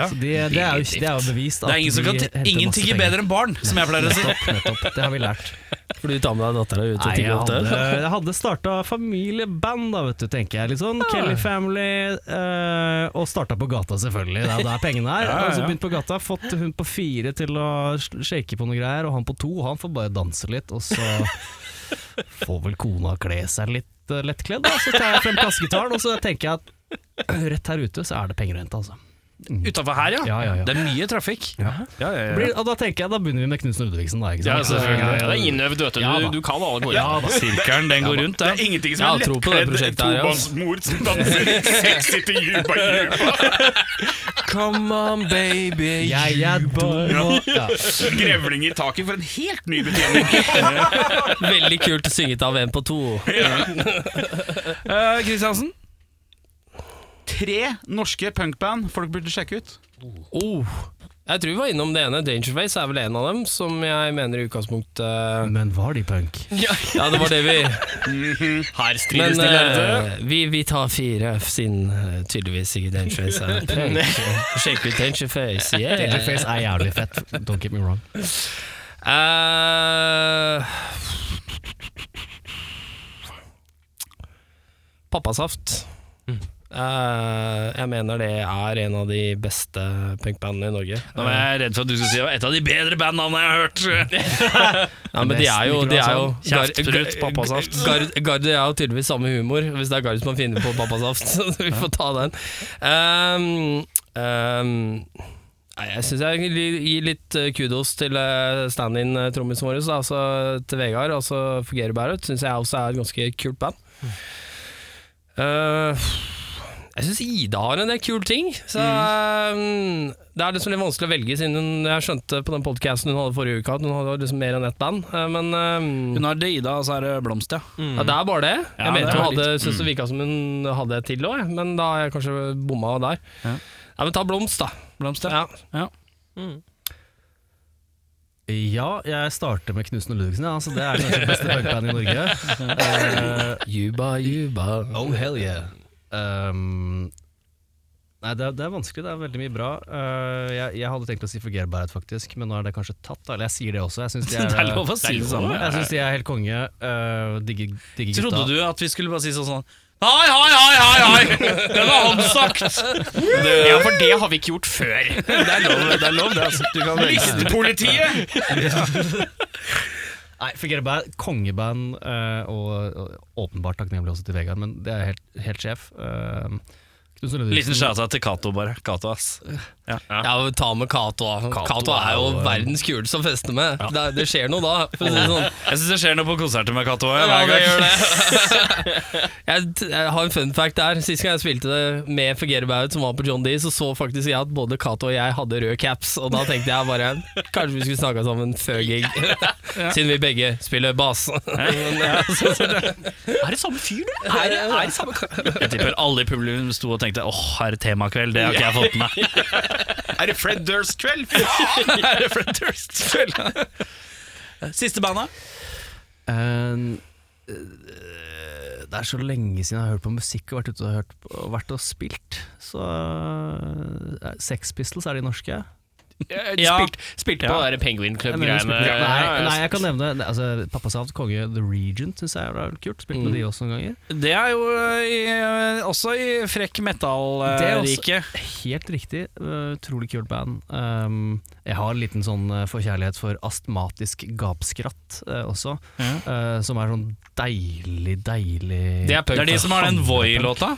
S9: Så de, det, er jo, det er jo bevist.
S2: Det er ingen som kan
S9: henter
S2: Ingen
S9: masse
S2: tigger
S9: penger.
S2: bedre enn barn, som jeg pleier å si.
S9: Nettopp, nettopp, det har vi lært.
S7: For du tar med deg dattera ut og
S9: Nei, jeg
S7: tigger opp
S9: hadde,
S7: det.
S9: jeg hadde starta familieband, da, vet du, tenker jeg. Litt sånn Kelly Family, eh, og starta på gata, selvfølgelig. Det er der <laughs> pengene er. Og så begynt på gata, fått hun på fire til å sh- shake på noe greier, og han på to, han får bare danse litt, og så får vel kona kle seg litt eh, lettkledd, da. Så tar jeg frem kassegitaren, og så tenker jeg at rett her ute så er det penger å hente, altså.
S2: Utafor her, ja.
S9: Ja, ja, ja.
S2: Det er mye trafikk.
S9: Blir, og da tenker jeg, da begynner vi med Knutsen Ludvigsen, da. Ikke sant?
S1: Ja, det er innøvd, vet du.
S9: altså, Ja,
S1: Du,
S9: da.
S1: du kan alle gårder.
S9: Ja, da.
S2: Sirkelen, den går rundt,
S3: Det er ingenting
S7: Jeg
S3: som
S7: har
S3: er
S7: tro på det
S3: lettere enn
S7: prosjektet her, ja.
S3: tobarnsmor som danser sexy til Juba Juba.
S1: Come on, baby.
S9: Ja, ja, da- ja.
S3: Grevling i taket for en helt ny betjening.
S7: Veldig kult synget av en på to.
S2: Eh, Kristiansen?
S3: Tre norske punkband folk burde sjekke ut.
S7: Oh. Jeg tror vi var innom det ene. Dangerface er vel en av dem, som jeg mener i utgangspunktet
S9: Men var de punk?
S7: Ja, det var det vi
S1: Her strides
S7: Men
S1: de lærde.
S7: eh, vi, vi tar fire, siden eh, tydeligvis ikke Dangerface er punk. Sjekk ut Dangerface, yeah.
S9: Face er jævlig fett, don't get me wrong.
S7: Eh, Pappasaft. Eh, jeg mener det er en av de beste punkbandene i Norge.
S2: Nå er jeg redd for at du skal si det var et av de bedre bandnavnene jeg har hørt.
S7: Ja, men de er jo, de er jo
S2: Kjeft, prut, pappasaft.
S7: Gard, Gard er jo tydeligvis samme humor, hvis det er Gard som har funnet på pappasaft. <laughs> Så vi får ta den. Ehm, ehm, nei, jeg syns jeg vil gi litt eh, kudos til eh, stand-in-trommisen vår, da, altså til Vegard. Altså for Geir Bærøt syns jeg også er et ganske kult band. Eh, jeg syns Ida har en del kule ting. Så
S2: Mm.
S7: um, Det er liksom litt vanskelig å velge, siden hun, jeg skjønte på den podkasten hun hadde forrige uke at hun hadde liksom mer enn ett band. Eh, Men um,
S2: Hun har Deida, og så er det Blomst, ja.
S7: ja, det er bare det. Jeg
S2: Ja, det
S7: mente
S2: er
S7: hun hadde, synes det virka som hun hadde et til òg, men da har jeg kanskje bomma der.
S2: Ja.
S7: Nei, men ta Blomst, da.
S2: Blomst, ja.
S7: Ja.
S9: Ja, jeg starter med Knutsen og Ludvigsen. Ja. Altså, det er kanskje det beste punkbandet i Norge. Eh,
S7: Juba, juba.
S9: oh hell yeah. Um, Nei, det er, det er vanskelig. Det er veldig mye bra. Eh, jeg, jeg hadde tenkt å si forgerbarhet, faktisk, men nå er det kanskje tatt. da. Eller jeg sier det også. Jeg
S2: <laughs>
S9: synes de
S2: <laughs>
S9: er, eh,
S2: Det er lov å si det samme.
S9: Jeg synes de er helt konge. eh, digger, digger gutta.
S2: Trodde du at vi skulle bare si sånn sånn Hei, hei, hei, hei,
S7: <laughs>
S2: hei! Den er håndsagt!
S1: Ja, for det har vi ikke gjort før.
S2: Det er lov, det. er lov, det altså. Du kan velge.
S3: Politiet!
S9: Nei, forgerbarhet, kongeband eh, og, og åpenbart takknemlig også til Vegard, men det er helt, helt sjef. Uh,
S2: Liten skjæta til Cato, bare. Cato, ass.
S7: Ja, men Ta med Cato. da. Cato er jo verdens kuleste å feste med. Det, det skjer noe da. For å si det sånn. <laughs>
S2: Jeg syns det skjer noe på konserter med Cato.
S7: Ja,
S2: hver
S7: det
S2: gang.
S7: gjør det. jeg, t- jeg har en fun fact der. Sist gang jeg spilte det med Fugere Baut, som var på John D, så så faktisk jeg at både Cato og jeg hadde rød caps, og da tenkte jeg bare Kanskje vi skulle snakka sammen før <laughs> gig, siden vi begge spiller bass. er det samme fyr, du? Er det, er det samme
S2: Jeg tipper alle i publikum sto og tenkte åh, her er temakveld, det har ikke jeg fått med meg.
S1: Er det Fred Durst kveld?
S2: Her er Fred Durst. Siste bandet?
S9: Eh, det er så lenge siden jeg har hørt på musikk og vært ute og, hørt på, og vært og spilt. Så eh, Sex Pistols er de norske.
S2: Ja.
S1: Spilt, spilte på den der Penguin Club-greiene.
S9: Nei,
S1: Ja, ja.
S9: nei, jeg kan nevne altså, Pappasavt, Konge, The Regent syns jeg er kult. Spilt
S1: Mm.
S9: med de også noen ganger.
S2: Det er jo eh, i, eh, også i frekk
S9: Det er også-
S2: metall-riket.
S9: Helt riktig. øh, Utrolig kult band. Um, jeg har en liten sånn øh, forkjærlighet for astmatisk gapskratt øh, også, øh, som er sånn deilig, deilig
S7: Det er punk.
S2: Det er de som har den Voi-låta,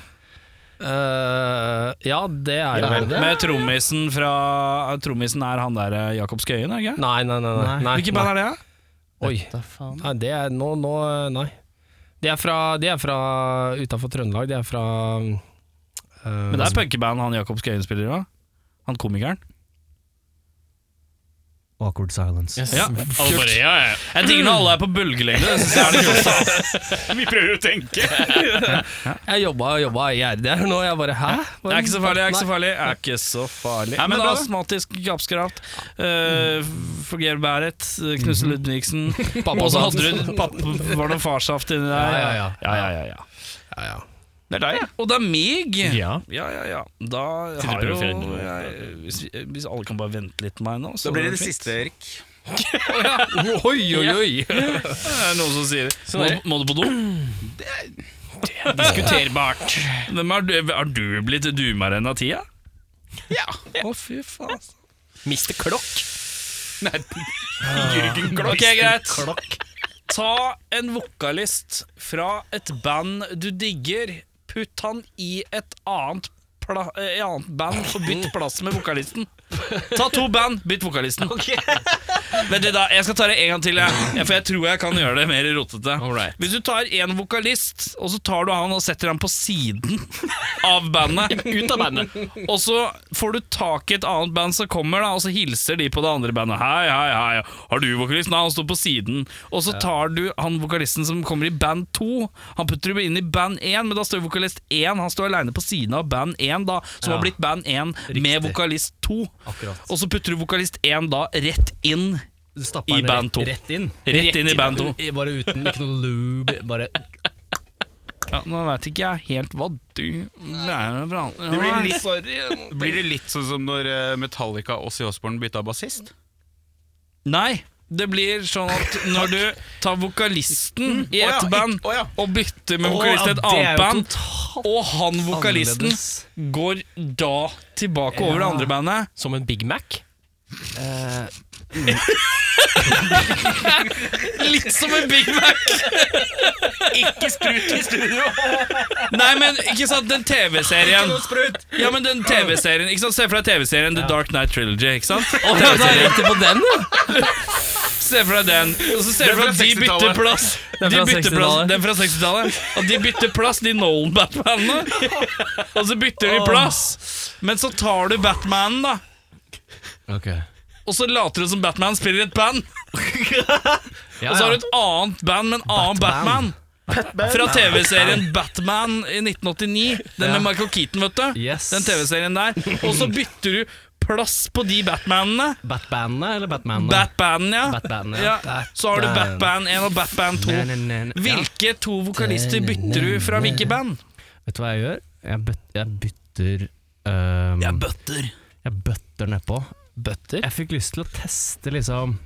S2: Eh,
S7: Øh, ja, det er jo vel det.
S2: med trommisen fra Trommisen er han der eh, Jakob Skøyen, er det ikke?
S7: Nei, nei, nei. nei, nei
S2: Hvilket band er det? da?
S7: Oi.
S9: Da faen.
S7: Nei, det er nå, nå Nei. De er fra, de er fra utenfor Trøndelag. De er fra øh,
S9: Eh,
S2: Men
S9: altså-
S2: det er punkeband han Jakob Skøyen spiller i òg. Han komikeren.
S9: Awkward silence.
S8: <laughs>
S2: Ja.
S1: Alle bare, ja, ja.
S2: Jeg digger når alle er på bølgelengde. Det synes jeg er det kuleste.
S8: <laughs> Vi prøver å tenke.
S7: Jeg jobba og jobba i RD her nå, jeg bare hæ? Hva-
S2: Det er ikke så farlig, det er ikke så farlig. Det er ikke så farlig. Nei, men
S7: Men bra, da.
S2: astmatisk gapskraft, uh, Forger Bæret, Knuse Ludvigsen
S7: Pappa
S2: Åse
S7: sa
S2: Hadderud, papp- var det noe farsaft inni der?
S7: Ja, ja,
S2: ja, ja, ja, ja. Det er deg, ja. Og det er meg.
S1: Ja.
S2: ja, ja, ja. Da
S1: Sitter
S2: har
S1: på
S2: jo
S1: referenten.
S2: jeg, hvis, vi- hvis alle kan bare vente litt med meg nå, så
S3: Da blir det
S2: er
S3: det
S2: fint.
S3: siste, Erik.
S7: Oi, oi, oi!
S2: Det er noen som sier Må, må du på do?
S1: Diskuterbart.
S2: Hvem er du? Har du blitt dumere enn av tida? Ja. Å, fy faen.
S1: Mr. Klokk.
S2: Jørgen Klokk. Ok, greit. Ta en vokalist fra et band du digger, putt han i et annet, pla eh, annet band og bytt plass med vokalisten. Ta to band, bytt vokalisten. Vent litt da, Jeg skal ta det en gang til, jeg. Ja, for jeg tror jeg kan gjøre det mer rotete.
S1: Alright.
S2: Hvis du tar én vokalist, og så tar du han og setter han på siden av bandet,
S1: <laughs> Ut av bandet.
S2: <laughs> og så får du tak i et annet band som kommer, da, og så hilser de på det andre bandet. Hei, hei, hei, har du vokalist? Nei, han står på siden. Og så tar du han vokalisten som kommer i band 2, han putter du inn i band 1, men da står vokalist 1, han står aleine på siden av band 1, da, som har blitt band 1 med vokalist 2.
S9: Akkurat.
S2: Og så putter du vokalist 1 da rett inn,
S9: Du
S2: I
S9: stapper den
S2: band
S9: rett,
S2: to.
S9: rett inn.
S2: rett inn i band 2.
S9: I- Bare uten ikke noe lube. Bare
S2: Ja, nå veit ikke jeg helt hva du lærer av hverandre.
S8: Det blir litt-
S2: sorry.
S8: <laughs> Blir det litt sånn som når eh, Metallica og Ozzy Osbourne bytta bassist?
S2: Nei, det blir sånn at når du tar
S9: Mm.
S2: vokalisten i
S8: Å
S2: ett
S8: ja,
S2: band
S8: ikke- å ja.
S2: og bytter med vokalist i et
S9: Å, ja, det er
S2: annet
S9: jo
S2: band, og han vokalisten
S9: annerledes.
S2: går da tilbake over det andre bandet
S1: Som en Big Mac.
S2: Litt som en Big Mac! <laughs> ikke sprut i studio! Nei, men ikke sant, den TV-serien Ja, men den TV-serien Ikke sant, Se for deg TV-serien The Dark Night Trilogy, ikke sant? Og den er riktig på den, Se for deg den. Og så ser du for deg at de bytter plass. De
S9: fra
S2: bytter plass
S9: 60-tallet.
S2: den fra 60-tallet. Og de bytter plass, de Nolan-Batmanene. Og så bytter de plass. Men så tar du Batmanen, da.
S9: Ok.
S2: Og så later du som Batman spiller i et band. Og så har du et annet band med en annen Batman. Fra TV-serien Batman i 1989. Den med Michael Keaton, vet du.
S9: Yes.
S2: Den TV-serien der. Og så bytter du plass på de Batmanene.
S9: Batbandene eller Batmanene?
S2: Batbanden, ja.
S9: Batbanden, ja.
S2: ja. Så har du
S9: Batman.
S2: Batband 1 og Batband 2.
S9: Nei, nei, nei, nei. Ja.
S2: Hvilke to vokalister bytter du fra hvilke band?
S9: Vet du hva jeg gjør? Jeg, byt, jeg bytter um,
S2: Jeg bøtter.
S9: Jeg bøtter nedpå.
S7: Bøtter?
S9: Jeg fikk lyst til å teste, liksom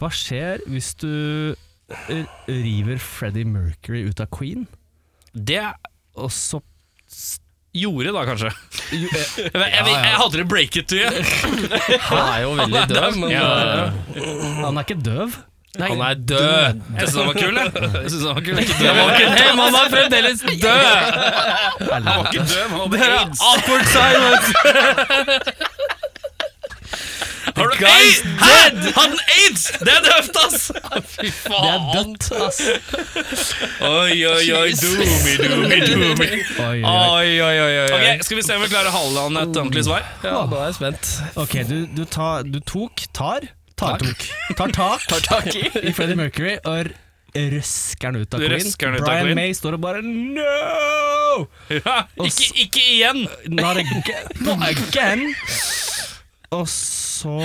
S9: Hva skjer hvis du r- river Freddie Mercury ut av Queen,
S2: Det
S9: og så eh, s-
S2: gjorde da, kanskje. <laughs> Jeg, jeg, jeg, jeg hadde det break it
S9: <laughs>
S2: to you.
S7: Han er jo veldig døv, men
S2: Ja.
S9: Han er ikke døv?
S7: eh, han er død.
S2: Jeg syns han var kul, jeg. jeg. synes han var
S9: <laughs>
S2: kul. Ikke
S7: Han
S2: døv.
S7: var ikke død, men han er fremdeles død!
S9: Eller,
S2: Ikke døv, han hadde aids.
S7: Awkward silence!
S2: Har du aids? Hæ? Hadde han aids? Det er døvt, ass! Fy
S9: det er
S2: faen.
S9: dødt, ass!
S2: Oi, oi, oi. Doomy, doomy, doomy.
S9: Oi, oi, oi.
S2: Oi, oi, oi, oi. Ok, Skal vi se om vi klarer Halland et ordentlig svar?
S7: Ja, nå er jeg spent.
S9: Ok, du, du, tar- du tok Tar? Tartok. <laughs> Tar tak i Freddie Mercury og r- røsker han ut av
S2: Du
S9: Queen.
S2: røsker han ut av
S9: Brian
S2: Queen.
S9: May står og bare No!
S2: Ja, ikke, ikke igjen!
S9: Not again. Not again. Og så
S8: <laughs>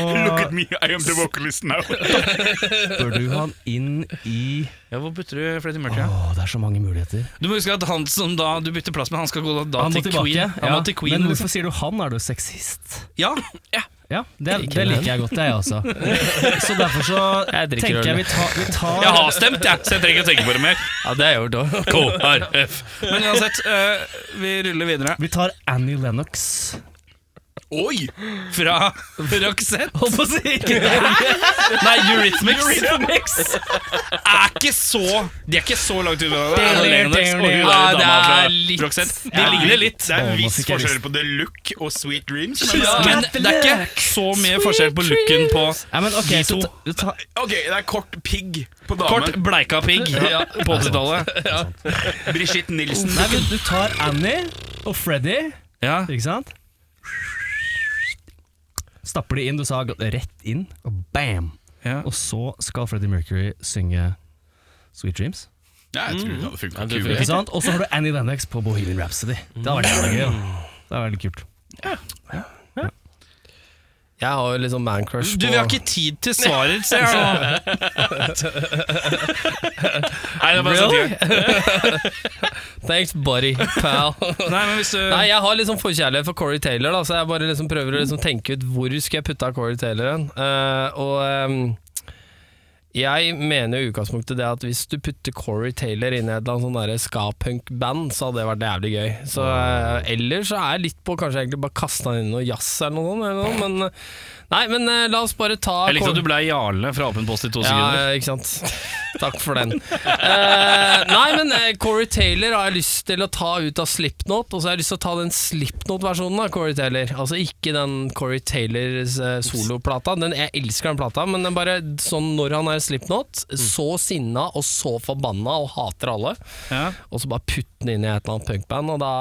S8: me, I am the vocalist <laughs> now.
S9: bør du han inn i
S2: Ja, Hvor bytter du Freddie
S9: Å,
S2: Mercury?
S9: det er så mange muligheter.
S2: Du må huske at han som da du bytter plass med, han skal gå da, da
S9: han må
S2: til
S9: tilbake.
S2: Queen. Han
S9: ja.
S2: må til Queen.
S9: Men hvorfor sier du han? Er du sexist?
S2: Ja, ja.
S9: Ja, det, det liker jeg godt, jeg også. Så derfor så
S7: Jeg drikker
S9: tenker
S7: øl.
S9: jeg vi tar, vi tar
S2: Jeg har stemt, jeg, så jeg trenger ikke å tenke på det mer.
S7: Ja, det er jo død.
S2: KrF. Men uansett, eh, vi ruller videre.
S9: Vi tar Annie Lennox.
S2: Oi! Fra Roxette.
S9: Holdt på å si! Ikke
S2: Nei, Eurythmics. Er ikke så De er ikke så langt unna hverandre.
S7: Ja, det er
S2: Det er
S7: litt-
S2: litt De ligner litt.
S8: Det er en
S9: Å, nå
S8: viss
S9: fikk jeg
S8: forskjell på The Look og Sweet Dreams.
S2: Ja, men det er ikke så mye forskjell på looken på
S9: Ja, men ok,
S2: De
S9: så
S2: to.
S9: ta- vi tar
S8: Ok, det er kort pigg på damen.
S2: kort, bleika pigg
S8: <laughs>
S2: på 80-tallet.
S8: Brigitte Nilsen.
S9: Nei, men du tar Annie og Freddy,
S2: Ja.
S9: ikke sant? Stapper de inn, du sa rett inn, og bam!
S2: Ja.
S9: Og så skal Freddie Mercury synge Sweet Dreams.
S8: Ja, jeg tror det hadde funka.
S1: det
S9: Ikke sant? Og så har du Annie Lennox på Bohemian Rhapsody. Det hadde vært jævla gøy. da. Det hadde vært litt kult.
S7: Jeg har jo liksom mancrush på
S2: Du, vi har ikke tid til svarer, ser jeg nå. Nei, det er bare sånn
S7: Really? Thanks, buddy,
S2: <laughs>
S7: pal.
S2: Nei, men hvis du
S7: Nei, jeg har liksom forkjærlighet for Corey Taylor, da, så jeg bare liksom prøver å liksom tenke ut hvor skal jeg putte av Corey Taylor hen. Eh, og ehm, jeg mener jo i utgangspunktet det at hvis du putter Corey Taylor inn i et eller annet sånn derre ska-punk-band, så hadde det vært jævlig gøy. Så eh, ellers så er jeg litt på kanskje egentlig bare kaste han inn i noe jazz eller noe sånt, eller noe, men eh, Nei, men eh, la oss bare ta
S2: Jeg likte
S7: Corey-
S2: at du ble Jarle fra Åpen post i to sekunder.
S7: ja, ikke sant. Takk for den. Eh, nei, men eh, Corey Taylor har jeg lyst til å ta ut av Slipknot, og så har jeg lyst til å ta den Slipknot-versjonen av Corey Taylor. Altså ikke den Corey Taylors eh, soloplata. Den, jeg elsker den plata, men den bare sånn når han er Slipknot, så sinna og så forbanna og hater alle,
S2: Ja.
S7: og så bare putte den inn i et eller annet punkband, og da,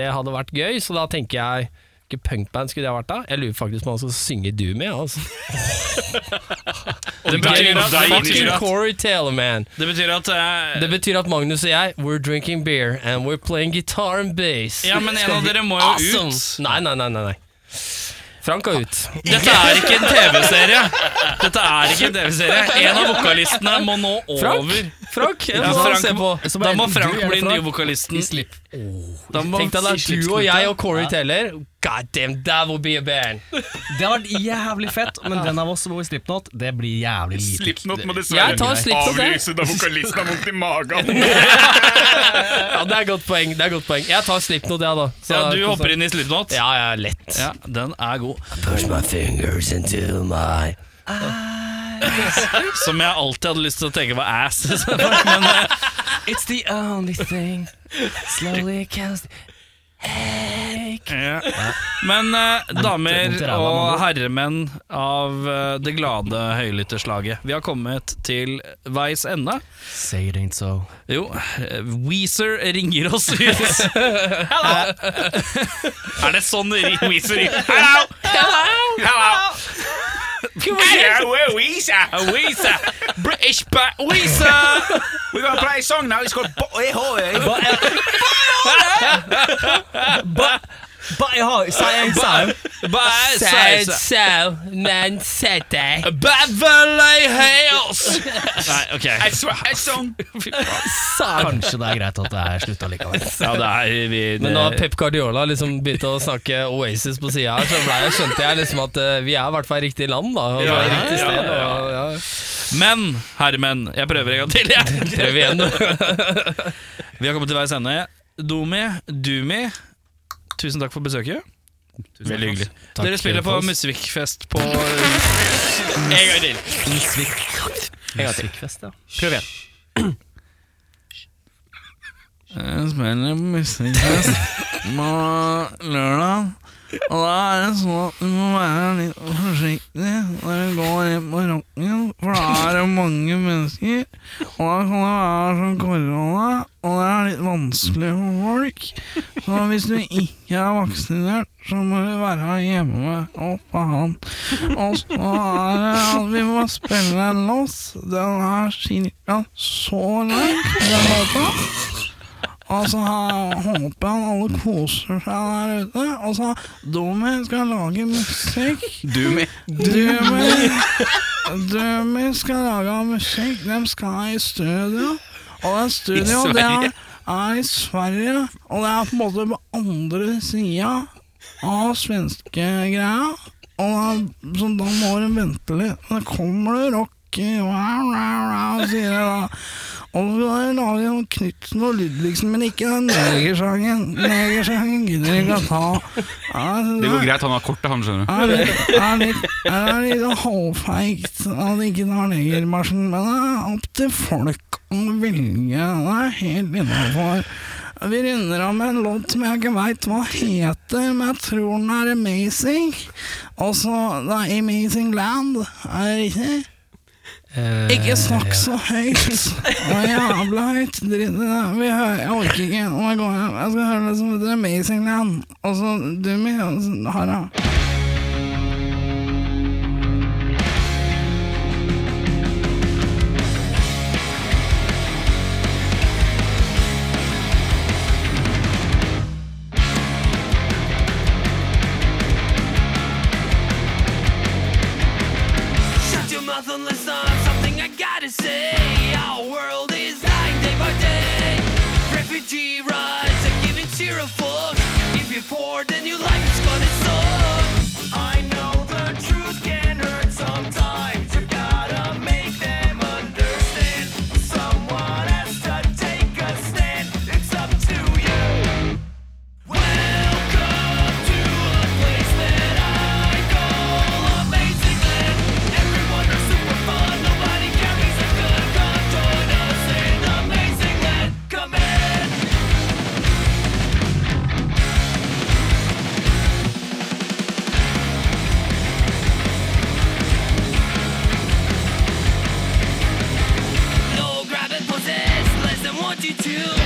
S7: det hadde vært gøy, så da tenker jeg hvilket punkband skulle det ha vært da? Jeg lurer faktisk på om han skal synge Doom i. Altså.
S2: Det betyr at, det betyr
S7: Fucking
S2: at,
S7: Corey Taylor, man!
S2: det betyr at eh,
S7: Det betyr at Magnus og jeg We're drinking beer And we're playing guitar and bass
S2: Ja, men en av dere må jo
S7: Awesome
S2: ut.
S7: Nei, nei, nei, nei, nei. Frank er ut
S2: Dette er ikke en TV-serie. Dette er ikke En TV-serie En av vokalistene må nå
S7: Frank,
S2: over.
S7: Frank Jeg
S2: Ja,
S7: må
S2: Frank
S7: se på
S2: Da må Frank bli den nye
S7: Frank.
S2: vokalisten. Da må
S7: Tenk deg det er du og jeg og Corey Taylor God damn, that would be a band
S9: Det har vært jævlig fett, men den av oss som bor i Slipknot, det blir jævlig lite.
S8: Slipknot må
S7: Jeg tar Slipknot, jeg.
S8: avlyse da vokalisten har vondt i
S7: <laughs>
S8: magen.
S7: Ja, det er et godt poeng, det er et godt poeng Jeg tar Slipknot, jeg da Så-
S2: Ja, du
S7: altså.
S2: hopper inn i Slipknot?
S7: Ja, ja, lett
S2: Ja, den er god.
S7: Push my fingers into my
S2: Som jeg alltid hadde lyst til å tenke på ass. <laughs> eh,
S9: It's the only thing Slowly counts
S2: Ja. Men eh, damer og herremenn av eh, det glade høylytterslaget, vi har kommet til veis ende.
S9: Say it ain't so
S2: Jo, eh, Weezer ringer oss ut.
S9: <laughs>
S2: Hello! er det sånn ri- Weezer ringer? Hello!
S8: Hello, Weezer.
S2: Weezer! British ba- Weezer!
S8: We're gonna play a song now. It's called Bo- Eh, ho, eh.
S9: Bare ja, sier sau.
S8: Bare
S9: Sier sau, men sett deg.
S8: Beverly Hills! Nei, ok.
S9: Kanskje det er greit at det er slutta likevel.
S8: Ja, det er vi det,
S7: Men da Pep Guardiola liksom begynte å snakke Oasis på sida her, så ble jeg, skjønte jeg liksom at eh, vi er i hvert fall i riktig land, da. Og
S8: Ja,
S7: det er
S8: ja,
S7: riktig sted,
S8: ja, ja.
S7: Og, ja.
S8: Men, herremenn, jeg prøver en gang til. Jeg.
S7: Prøv igjen, du.
S8: Vi har kommet til veis ende. Domi, Dumi, tusen takk for besøket. Veldig hyggelig. Dere spiller på Musvikfest på En gang til.
S9: Musikkfest, ja.
S8: Prøv igjen. Jeg spiller musikkfest på lørdag. Og da er det sånn at du må være litt forsiktig når du går inn på rocken, for da er det mange mennesker. Og da kan det være sånn korona, og det er litt vanskelig for folk. Så hvis du ikke er vaksinert, så må du være hjemme. Å, faen. Og så er det at vi må spille en lås. Den er cirka så lang, den låta. Og så har- håper jeg alle koser seg der ute. Og så Domi skal lage musikk.
S3: Doomy.
S8: Dumi Dumi skal lage musikk. De skal i studio. Og det studioet det er, er i Sverige. Og det er på en måte på andre sida av svenskegreia. Og da, så da må de vente litt. Da kommer det rock i wow, wow, wow, sier de da. Og så skal de lage noe Knutsen og Ludvigsen, men ikke den negersangen. Negersangen gidder de ikke å ta. Ja, så
S3: Det går greit, han har kortet, han, skjønner du.
S8: er litt, er litt, er litt sånn halvfeigt at ikke tar negermarsjen, men det er opp til folk å velge. Det er helt innafor. Vi runder av med en låt som jeg ikke veit hva heter, men jeg tror den er amazing. Og så det er Amazing Land, er det riktig? Ikke snakk så høyt. Å, jævla høyt. Drit i det. Vi hører, jeg orker ikke. Nå går jeg. Jeg skal høre det som heter Amazing Land. Og så Dummy og så Harald.
S1: Shut your mouth and listen. Something I gotta say. Our world is dying day by day. Refugee rights are giving zero fucks. If you're poor, then your life is gonna suck. I know the truth can hurt sometimes. You gotta make them understand. Someone has to take a stand. It's up to you. Welcome to a place that I call amazing land. Everyone is super fun, nobody carries a gun. Come join us in amazing land. Come in. No grabbing pussies, less than one to two.